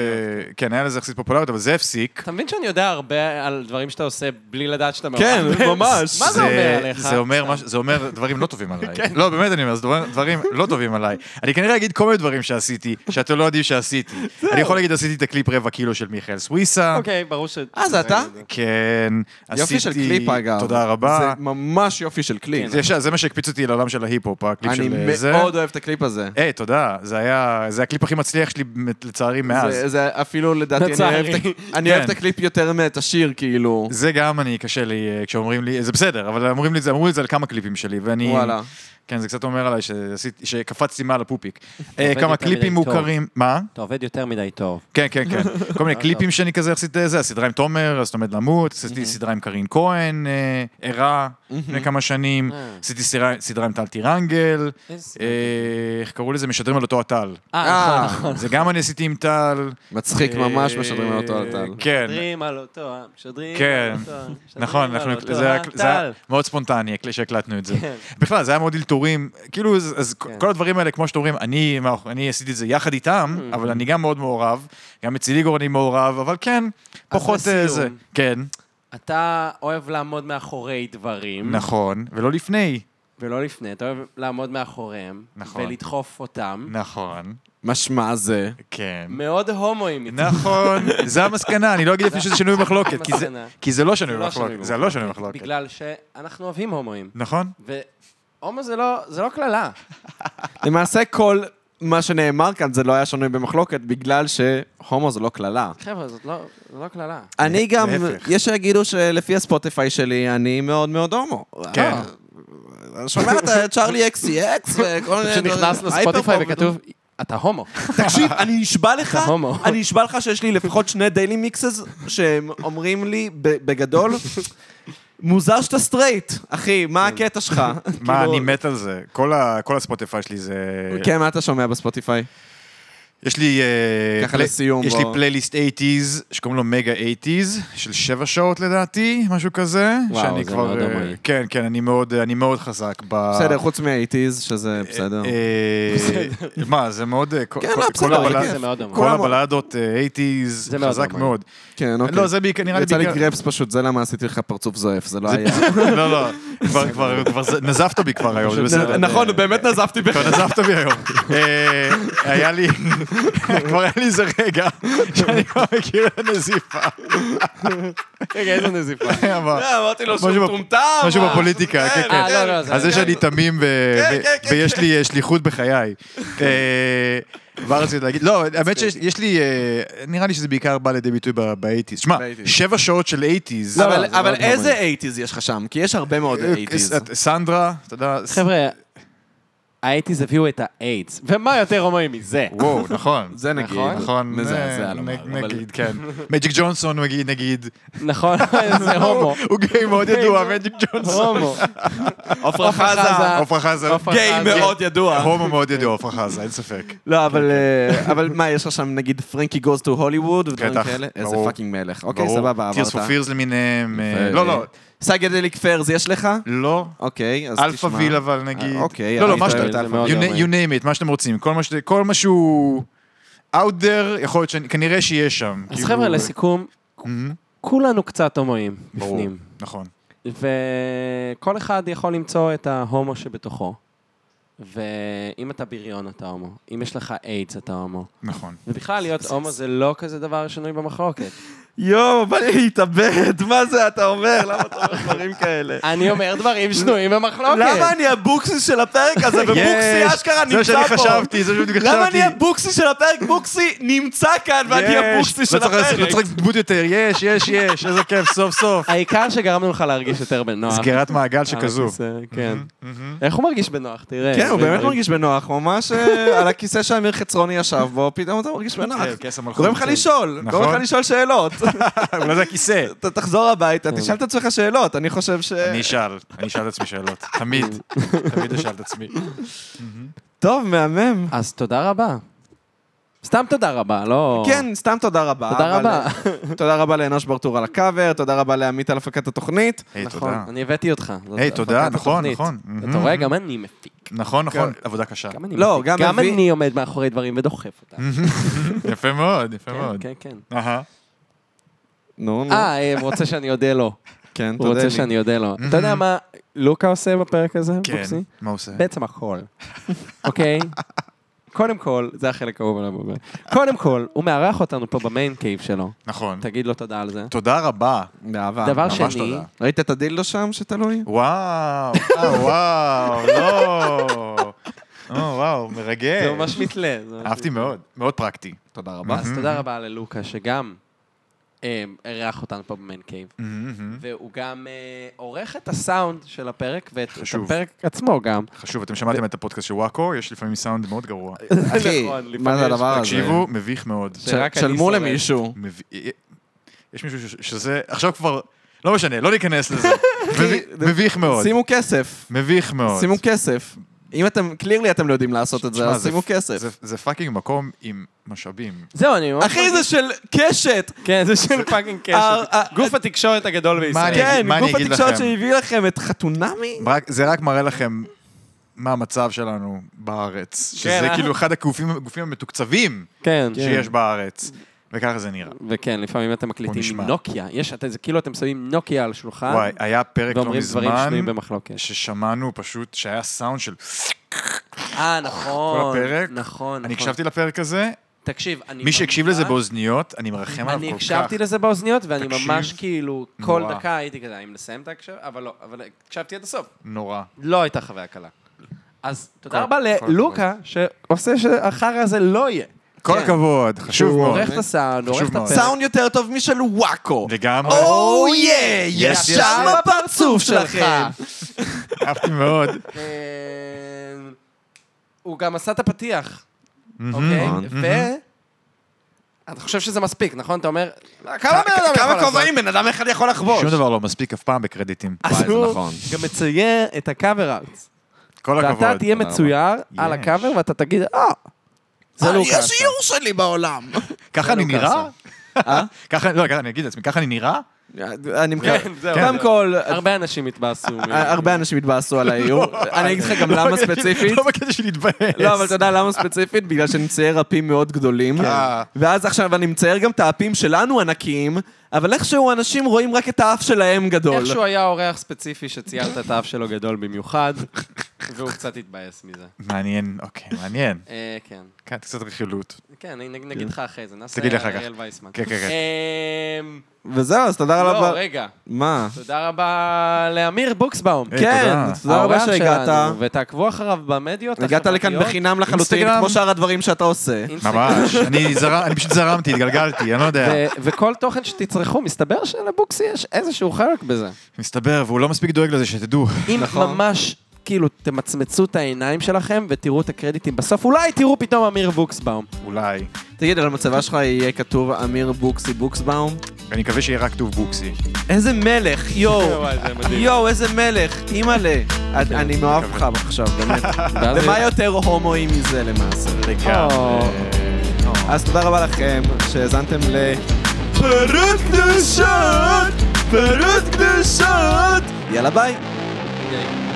S2: אה, כן, היה לזה יחסית פופולריות, אבל זה הפסיק.
S3: אתה מבין שאני יודע הרבה על דברים שאתה עושה בלי לדעת שאתה מעורב?
S1: כן, ממש.
S3: מה זה אומר עליך? כן.
S2: זה אומר, מש- זה אומר דברים לא טובים עליי. לא, באמת אני אומר, זה דברים- דברים לא טובים עליי. אני כנראה אגיד כל מיני דברים שעשיתי, שאתם לא יודעים שעשיתי. אני יכול להגיד, עשיתי את הקליפ רבע קילו של מיכאל סוויסה.
S3: אוקיי, ברור ש...
S1: אה, זה אתה?
S2: כן, עשיתי...
S1: יופי של קליפ אגב.
S2: תודה רבה. כן,
S1: זה ממש יופי של קליפ.
S2: זה, זה, זה מה שהקפיץ אותי לעולם של ההיפ-הופ, הקליפ
S1: אני
S2: של אה, זה.
S1: מאוד אוהב את הקליפ הזה.
S2: היי, תודה. זה היה... זה הקליפ הכי מצליח שלי, לצערי, מאז.
S1: זה- זה אפילו לדעתי, אני אוהב את
S3: לצערי.
S1: ה- אני אוהב את
S2: כן.
S1: הקליפ יותר מאת השיר, כאילו.
S2: זה גם אני, קשה לי, אה, כשאומרים לי, זה בסדר, אבל אומרים לי את זה, אמרו לי את זה על כמה קליפים שלי, ואני...
S1: וואלה.
S2: כן, זה קצת אומר עליי שעשיתי- שקפצתי מעל הפופיק. אה,
S3: עובד
S2: כמה
S3: יותר
S2: קליפים
S3: מדי טוב.
S2: מוכרים... מה?
S3: אתה עובד יותר מדי טוב.
S2: כן, כן, כן. כל מיני קליפים שאני כזה יחסית אה, זה, הסדרה עם תומר, אז אתה עומד למות, עשיתי סדרה עם קרין כהן, אה, ערה, לפני כמה שנים,
S3: אה.
S2: עשיתי סדרה- סדרה עם טל טירנגל,
S3: איזה-
S2: אה, איך קראו לזה? משדרים על אותו הטל.
S3: אה,
S1: אה,
S3: נכון.
S2: זה גם אני עשיתי עם טל.
S1: מצחיק ממש
S2: אה,
S1: משדרים על אותו על טל.
S2: כן.
S3: משדרים על אותו, אה, משדרים
S2: כן.
S3: על אותו, אה, משדרים
S2: נכון,
S3: על
S2: אנחנו,
S3: אותו,
S2: זה היה-
S3: אה,
S2: זה היה
S3: טל.
S2: מאוד ספונטני הקל- שהקלטנו את זה.
S3: כן.
S2: בכלל, זה היה מאוד אלתורים, כאילו, אז אז
S3: כן.
S2: כל הדברים האלה, כמו שאתם אומרים, אני מה- אני עשיתי את זה יחד איתם,
S3: Mm-hmm.
S2: אבל אני גם מאוד מעורב, גם אצל איגור אני מעורב, אבל כן, פחות אה,
S3: לסיום.
S2: זה. כן,
S3: Mm-hmm. אתה אוהב לעמוד מאחורי דברים,
S2: נכון, ולא לפני.
S3: ולא לפני, אתה אוהב לעמוד מאחוריהם,
S2: נכון.
S3: ולדחוף אותם.
S2: נכון,
S1: משמע זה.
S2: כן.
S3: מאוד הומואים איתך.
S2: נכון, זה המסקנה, אני לא אגיד לפני שזה שנוי במחלוקת, כי זה-
S3: המסקנה.
S2: כי זה לא שנוי
S3: זה לא שנוי
S2: במחלוקת, זה לא שנוי במחלוקת.
S3: בגלל שאנחנו אוהבים הומואים.
S2: נכון?
S3: והומו זה לא, זה לא קללה.
S1: למעשה כל מה שנאמר כאן זה לא היה שנוי במחלוקת, בגלל שהומו זה לא קללה.
S3: חבר'ה, זאת לא, זה לא קללה.
S1: אני גם,
S2: להפך.
S1: יש שיגידו שלפי הספוטיפיי שלי, אני מאוד מאוד הומו.
S2: כן.
S1: אה, שומע את צ'ארלי אקסי אקס וכל מיני...
S3: פשוט נכנס
S1: דברים. הייפרפופ
S3: לספוטיפיי וכתוב, אתה הומו.
S1: תקשיב, אני נשבע לך,
S3: הומו.
S1: אני נשבע לך שיש לי לפחות שני דיילי מיקסס שהם אומרים לי ב- בגדול, מוזר שאתה סטרייט, אחי, מה הקטע שלך?
S2: מה,
S1: כאילו-
S2: אני מת על זה. כל ה- כל הספוטיפיי שלי זה...
S1: כן, מה אתה שומע בספוטיפיי?
S2: אה. יש לי... אה,
S1: ככה
S2: פלי-
S1: לסיום,
S2: יש לי
S1: בוא.
S2: פלייליסט 80's, שקוראים לו מגה 80's, של שבע שעות לדעתי, משהו כזה.
S3: וואו,
S2: שאני
S3: זה
S2: כבר,
S3: מאוד
S2: אה,
S3: הומואי.
S2: כן, כן, אני מאוד, אני מאוד חזק ב...
S1: בסדר, חוץ מהאיטיז, שזה בסדר.
S2: אה, מה, זה מאוד... אה, כל-
S1: כן,
S2: כל-
S1: לא,
S2: כל
S1: בסדר,
S2: הבלד-
S1: זה
S3: מאוד הומואי.
S2: כל
S1: כולם-
S2: הבלדות אה, 80's,
S3: זה מאוד
S2: חזק
S3: הומואי.
S2: מאוד.
S1: כן, אוקיי.
S2: לא, זה בעיקר, נראה לי
S1: יצא
S2: בעיקר...
S1: לי גרפס פשוט, זה למה עשיתי לך פרצוף זועף, זה לא היה.
S2: לא, לא, כבר, כבר, כבר, זה- נזפת בי כבר היום, זה בסדר.
S1: נכון, באמת נזפתי בך.
S2: כבר נזפת בי היום. אה, היה לי, כבר היה לי איזה רגע שאני כבר מכיר את הנזיפה.
S3: רגע, איזה נזיפה.
S2: אבל-
S1: אמרתי לו
S2: משהו
S1: שהוא
S2: בפ-
S1: מטומטם.
S2: משהו
S1: אה,
S2: בפוליטיקה, כן,
S3: אה, לא,
S2: כן.
S3: לא, זה...
S2: על זה שאני תמים ו-
S1: כן,
S2: ו-
S1: כן, כן,
S2: ויש לי אה, שליחות בחיי. אה, מה רציתי להגיד? לא, האמת שיש יש לי, אה, נראה לי שזה בעיקר בא לידי ביטוי באייטיז. שמע,
S1: ב-80s.
S2: שבע שעות של אייטיז.
S1: לא,
S2: אה,
S1: אבל- אבל איזה אייטיז יש לך שם? כי יש הרבה מאוד אייטיז.
S2: סנדרה, אתה יודע... ס-
S3: חבר'ה, האייטיז הביאו את האיידס, ומה יותר הומואי מזה?
S2: וואו, נכון.
S1: זה נגיד.
S3: נכון.
S2: נכון,
S1: מזעזע
S2: אה,
S1: לומר,
S2: נ-
S1: אבל-
S2: נגיד, כן. מג'יק ג'ונסון מגיד- נגיד,
S3: נכון, זה הומו.
S2: הוא גיי מאוד ידוע, מג'יק ג'ונסון.
S3: הומו.
S1: עפרה חזה.
S2: עפרה חזה,
S3: עפרה
S1: גיי
S3: חזה.
S1: מאוד ידוע.
S2: הומו מאוד ידוע, עפרה חזה, אין ספק.
S1: לא,
S2: כן.
S1: אבל אה, אבל מה, יש לך שם נגיד פרנקי גוז טו הוליווד ודברים
S2: בטח,
S1: כאלה? איזה
S2: ברור.
S1: פאקינג מלך. אוקיי,
S2: ברור.
S1: סבבה,
S2: Tears for
S1: עברת.
S2: Fears למיניהם. אה,
S1: ו-
S2: לא, לא,
S1: סייגדליק פרז יש לך?
S2: לא.
S1: אוקיי, אז תשמע.
S2: אלפא ויל אבל נגיד.
S1: אה, אוקיי,
S2: לא, לא,
S1: אבל
S2: מה
S1: אתה-
S2: שאתה...
S1: אתה-
S3: זה מאוד
S2: You na-
S3: יומי.
S2: you name it, מה שאתם רוצים. כל מה שאתם- כל מה שהוא out there, יכול להיות ש... כנראה שיש שם.
S3: אז
S2: כאילו-
S3: חבר'ה, לסיכום,
S2: מהמם,
S3: כולנו קצת הומואים
S2: ברור,
S3: בפנים.
S2: נכון.
S3: וכל אחד יכול למצוא את ההומו שבתוכו. ואם אתה בריון, אתה הומו. אם יש לך איידס, אתה הומו.
S2: נכון.
S3: ובכלל, להיות הומו זה לא כזה דבר שנוי במחלוקת.
S1: יואו, בא לי להתאבד, מה זה אתה אומר? למה אתה אומר דברים כאלה?
S3: אני אומר דברים שנויים במחלוקת.
S1: למה אני הבוקסי של הפרק הזה, ובוקסי
S2: יש,
S1: אשכרה
S2: זה מה
S1: נמצא
S2: שאני
S1: פה?
S2: חשבתי, זה מה שאני חשבתי.
S1: למה אני הבוקסי של הפרק? בוקסי נמצא כאן, כן, ואני
S2: יש,
S1: הבוקסי של
S2: לא צריך לעשות- לא
S1: הפרק.
S2: צריך דמות יותר, יש, יש, יש, איזה כיף, סוף סוף.
S3: העיקר שגרמנו לך להרגיש יותר
S1: אה.
S3: בנוח.
S2: סגירת מעגל שכזו.
S3: על הכיסא, כן. איך הוא מרגיש בנוח? תראה.
S1: כן, הוא באמת
S3: דברים-
S1: מרגיש בנוח, ממש אה, על הכיסא שאמיר חצרוני ישב בו, פתאום אתה מרגיש בנוח.
S2: כן, כס המלכות.
S1: גורם לך לשאול,
S2: נכון.
S1: גורם לך לשאול שאלות. לא
S2: אולי זה הכיסא.
S1: אתה תחזור הביתה, תשאל את עצמך שאלות, אני חושב ש...
S2: כן. אני אשאל, אני אשאל את עצמי שאלות. תמיד, תמיד אשאל את עצמי.
S1: טוב, מהמם.
S3: אז תודה רבה. סתם תודה רבה, לא...
S1: כן, סתם תודה רבה.
S3: תודה
S1: אבל- אה,
S3: רבה.
S1: תודה רבה לאנוש ברטור על הקאבר, תודה רבה לעמית על הפקת התוכנית.
S2: היי,
S3: נכון,
S2: תודה.
S3: אני הבאתי אותך. זאת
S2: היי, תודה,
S3: הפקת
S2: נכון,
S3: התוכנית.
S2: נכון.
S3: אתה רואה, גם אני מפיק.
S2: נכון, נכון, עבודה קשה.
S3: כן. גם אני
S1: לא,
S3: מפיק.
S1: גם
S3: גם
S1: מביא-
S3: אני עומד מאחורי דברים ודוחף אותם.
S2: יפה מאוד, יפה
S3: כן,
S2: מאוד.
S3: כן, כן.
S2: אהה.
S1: נו, נו.
S3: אה, אה, הוא רוצה שאני אודה לו.
S1: כן,
S3: הוא
S1: תודה
S3: רוצה
S1: לי.
S3: שאני אודה לו. אתה יודע מה לוקה עושה בפרק הזה,
S2: Mm-hmm. כן,
S3: בוקסי?
S2: מה הוא עושה?
S3: בעצם הכל, אוקיי? קודם כל, זה החלק האהוב עליו. באמת. קודם כל, הוא מארח אותנו פה במיין קייב שלו.
S2: נכון.
S3: תגיד לו תודה על זה.
S2: תודה רבה.
S1: באהבה.
S3: דבר
S2: ממש
S3: שני,
S2: תודה.
S1: ראית את הדילדו שם שתלוי?
S2: וואו, אה, וואו, לא. או, וואו, מרגש.
S3: זה ממש מתלה. זה ממש
S2: אה. אהבתי Mm-hmm. מאוד, מאוד פרקטי.
S1: תודה
S3: מתלה.
S1: רבה.
S3: אז תודה רבה ללוקה, שגם אה, אירח אותנו פה במיין קייב.
S2: מהמם, מהמם.
S3: והוא גם אה, עורך את הסאונד של הפרק, ואת את
S2: חשוב.
S3: הפרק עצמו גם.
S2: חשוב, אתם שמעתם את הפודקאסט של וואקו, יש לפעמים סאונד מאוד גרוע.
S1: אחי,
S3: נכון, לפעמים
S1: מה זה
S3: יש-
S1: הדבר הזה?
S2: תקשיבו, מביך מאוד.
S1: ש-
S3: שרק אני
S1: שלמו
S3: שורד.
S1: למישהו.
S2: מביא- יש מישהו ש- שזה, עכשיו כבר, לא משנה, לא ניכנס לזה. מביא- מביך מאוד.
S1: שימו כסף.
S2: מביך מאוד.
S1: שימו כסף. אם אתם, קלירלי אתם לא יודעים לעשות את זה,
S2: תשמע,
S1: אז שימו כסף.
S2: זה- זה פאקינג מקום עם משאבים.
S3: זהו, אני ממש...
S1: אחי, זה של קשת!
S3: כן, זה של פאקינג
S1: אה, אה,
S3: קשר. גוף התקשורת הגדול
S2: מה
S3: בישראל.
S2: אני
S1: כן,
S2: אגיד- מה אני
S1: גוף
S2: אגיד
S1: התקשורת
S2: לכם?
S1: שהביא לכם את חתונמי?
S2: רק- זה רק מראה לכם מה המצב שלנו בארץ. שזה
S3: אה?
S2: כאילו אחד הגופים הגופים המתוקצבים
S3: כן. אה?
S2: שיש בארץ. וככה זה נראה.
S3: וכן, לפעמים אתם
S2: בוא
S3: מקליטים
S2: נשמע.
S3: עם נוקיה. יש, אתם, זה כאילו אתם שמים נוקיה על שולחן,
S2: וואי, היה פרק לא
S3: ואומרים דברים
S2: מזמן,
S3: שנויים במחלוקת. נכון.
S2: ששמענו פשוט, שהיה סאונד של...
S3: אה, נכון.
S2: כל הפרק?
S3: נכון,
S2: אני
S3: נכון.
S2: הקשבתי לפרק הזה,
S3: תקשיב, אני...
S2: מי שהקשיב
S3: ממש-
S2: לזה באוזניות, אני מרחם עליו כל כך.
S3: אני הקשבתי לזה באוזניות, ואני
S2: תקשיב.
S3: ממש כאילו, כל
S2: נורא.
S3: דקה הייתי כזה, האם לסיים את ההקשב? אבל לא, אבל הקשבתי עד הסוף.
S2: נורא.
S3: לא הייתה חוויה קלה. אז תודה
S2: כל-
S3: רבה
S2: כל
S3: ללוקה, שעושה שהחרא הזה לא יהיה.
S2: כל הכבוד, חשוב
S3: הוא
S2: מאוד.
S3: עורך את הסאונד, הוא עורך את
S2: מאוד.
S3: הפרק.
S1: סאונד יותר טוב משל וואקו.
S2: לגמרי,
S1: או יא,
S2: יש
S1: ישר
S3: שם
S1: בפרצוף שלכם.
S2: אהבתי מאוד.
S3: אה, הוא גם עשה את הפתיח, אוקיי?
S1: נכון.
S3: ו... אתה חושב שזה מספיק, נכון? אתה אומר, כמה בן אדם יכול
S1: כמה
S3: לעשות?
S1: כובעים בן אדם אחד יכול לחבוש?
S2: שום דבר לא מספיק אף פעם בקרדיטים.
S3: אז
S1: וואי, זה
S3: הוא
S1: נכון.
S3: גם מצייר את הקאבר ארט.
S2: כל
S3: ואתה
S2: הכבוד.
S3: תהיה מצויר על
S2: יש.
S3: הקאבר ואתה תגיד, אה, זה לא לוקה. עשה."
S1: יש איור שלי בעולם.
S2: ככה אני נראה?
S1: אה?
S2: ככה, לא, ככה אני אגיד לעצמי, ככה אני נראה?
S1: אני מקווה.
S3: כן, זהו.
S1: קודם כל,
S3: הרבה אנשים התבאסו. מ-
S1: אה, הרבה אנשים התבאסו על האיור. אני אגיד לך גם למה ספציפית.
S2: לא בקטע של להתבאס.
S1: לא, אבל אתה יודע למה ספציפית? בגלל שאני מצייר אפים מאוד גדולים.
S3: כן.
S2: אה.
S1: ואז עכשיו אני מצייר גם את האפים שלנו ענקיים, אבל איכשהו אנשים רואים רק את האף שלהם גדול.
S3: איכשהו היה אורח ספציפי שציירת את האף שלו גדול במיוחד, והוא קצת התבאס מזה.
S2: מעניין, אוקיי, מעניין.
S3: אה, כן.
S2: כן, קצת רכילות.
S3: כן, נג- נגיד לך אחרי זה, נעשה
S2: תגיד לי אחר כך.
S3: אריאל וייסמן.
S2: כן, כן, כן.
S3: אמ,
S1: וזהו, אז תודה
S3: לא,
S1: רבה.
S3: רגע.
S1: מה?
S3: תודה רבה לאמיר בוקסבאום.
S2: אה,
S1: כן,
S2: תודה.
S1: תודה רבה
S3: האורח
S1: שהגעת.
S3: שלנו, ותעקבו אחריו במדיות
S1: הגעת לכאן
S3: החברתיות.
S1: בחינם לחלוטין,
S2: אינסטגרם.
S1: כמו שאר הדברים שאתה עושה.
S3: אינסטגרם.
S2: ממש. אני זרם- אני פשוט זרמתי, התגלגלתי, אני לא יודע.
S3: ו- וכל תוכן שתצרכו, מסתבר שלבוקסי יש איזשהו חלק בזה.
S2: מסתבר, והוא לא מספיק דואג לזה, שתדעו.
S3: אם
S1: נכון.
S3: ממש, כאילו, תמצמצו את העיניים שלכם ותראו את הקרדיטים בסוף, אולי תראו פתאום אמיר בוקסבאום.
S2: אולי.
S1: תגיד, על המצבה שלך יהיה כתוב אמיר בוקסי בוקסבאום?
S2: אני מקווה שיהיה רק טוב בוקסי.
S1: איזה מלך, יואו. יואו, איזה מלך, אימא'לה. את- כן, אני מאוהב לך עכשיו, באמת. ומה יותר הומואי מזה למעשה? אה,
S2: לגמרי.
S1: אז תודה רבה לכם שהאזנתם ל... פרות קדושות! פרות קדושות! יאללה ביי.
S3: יותר...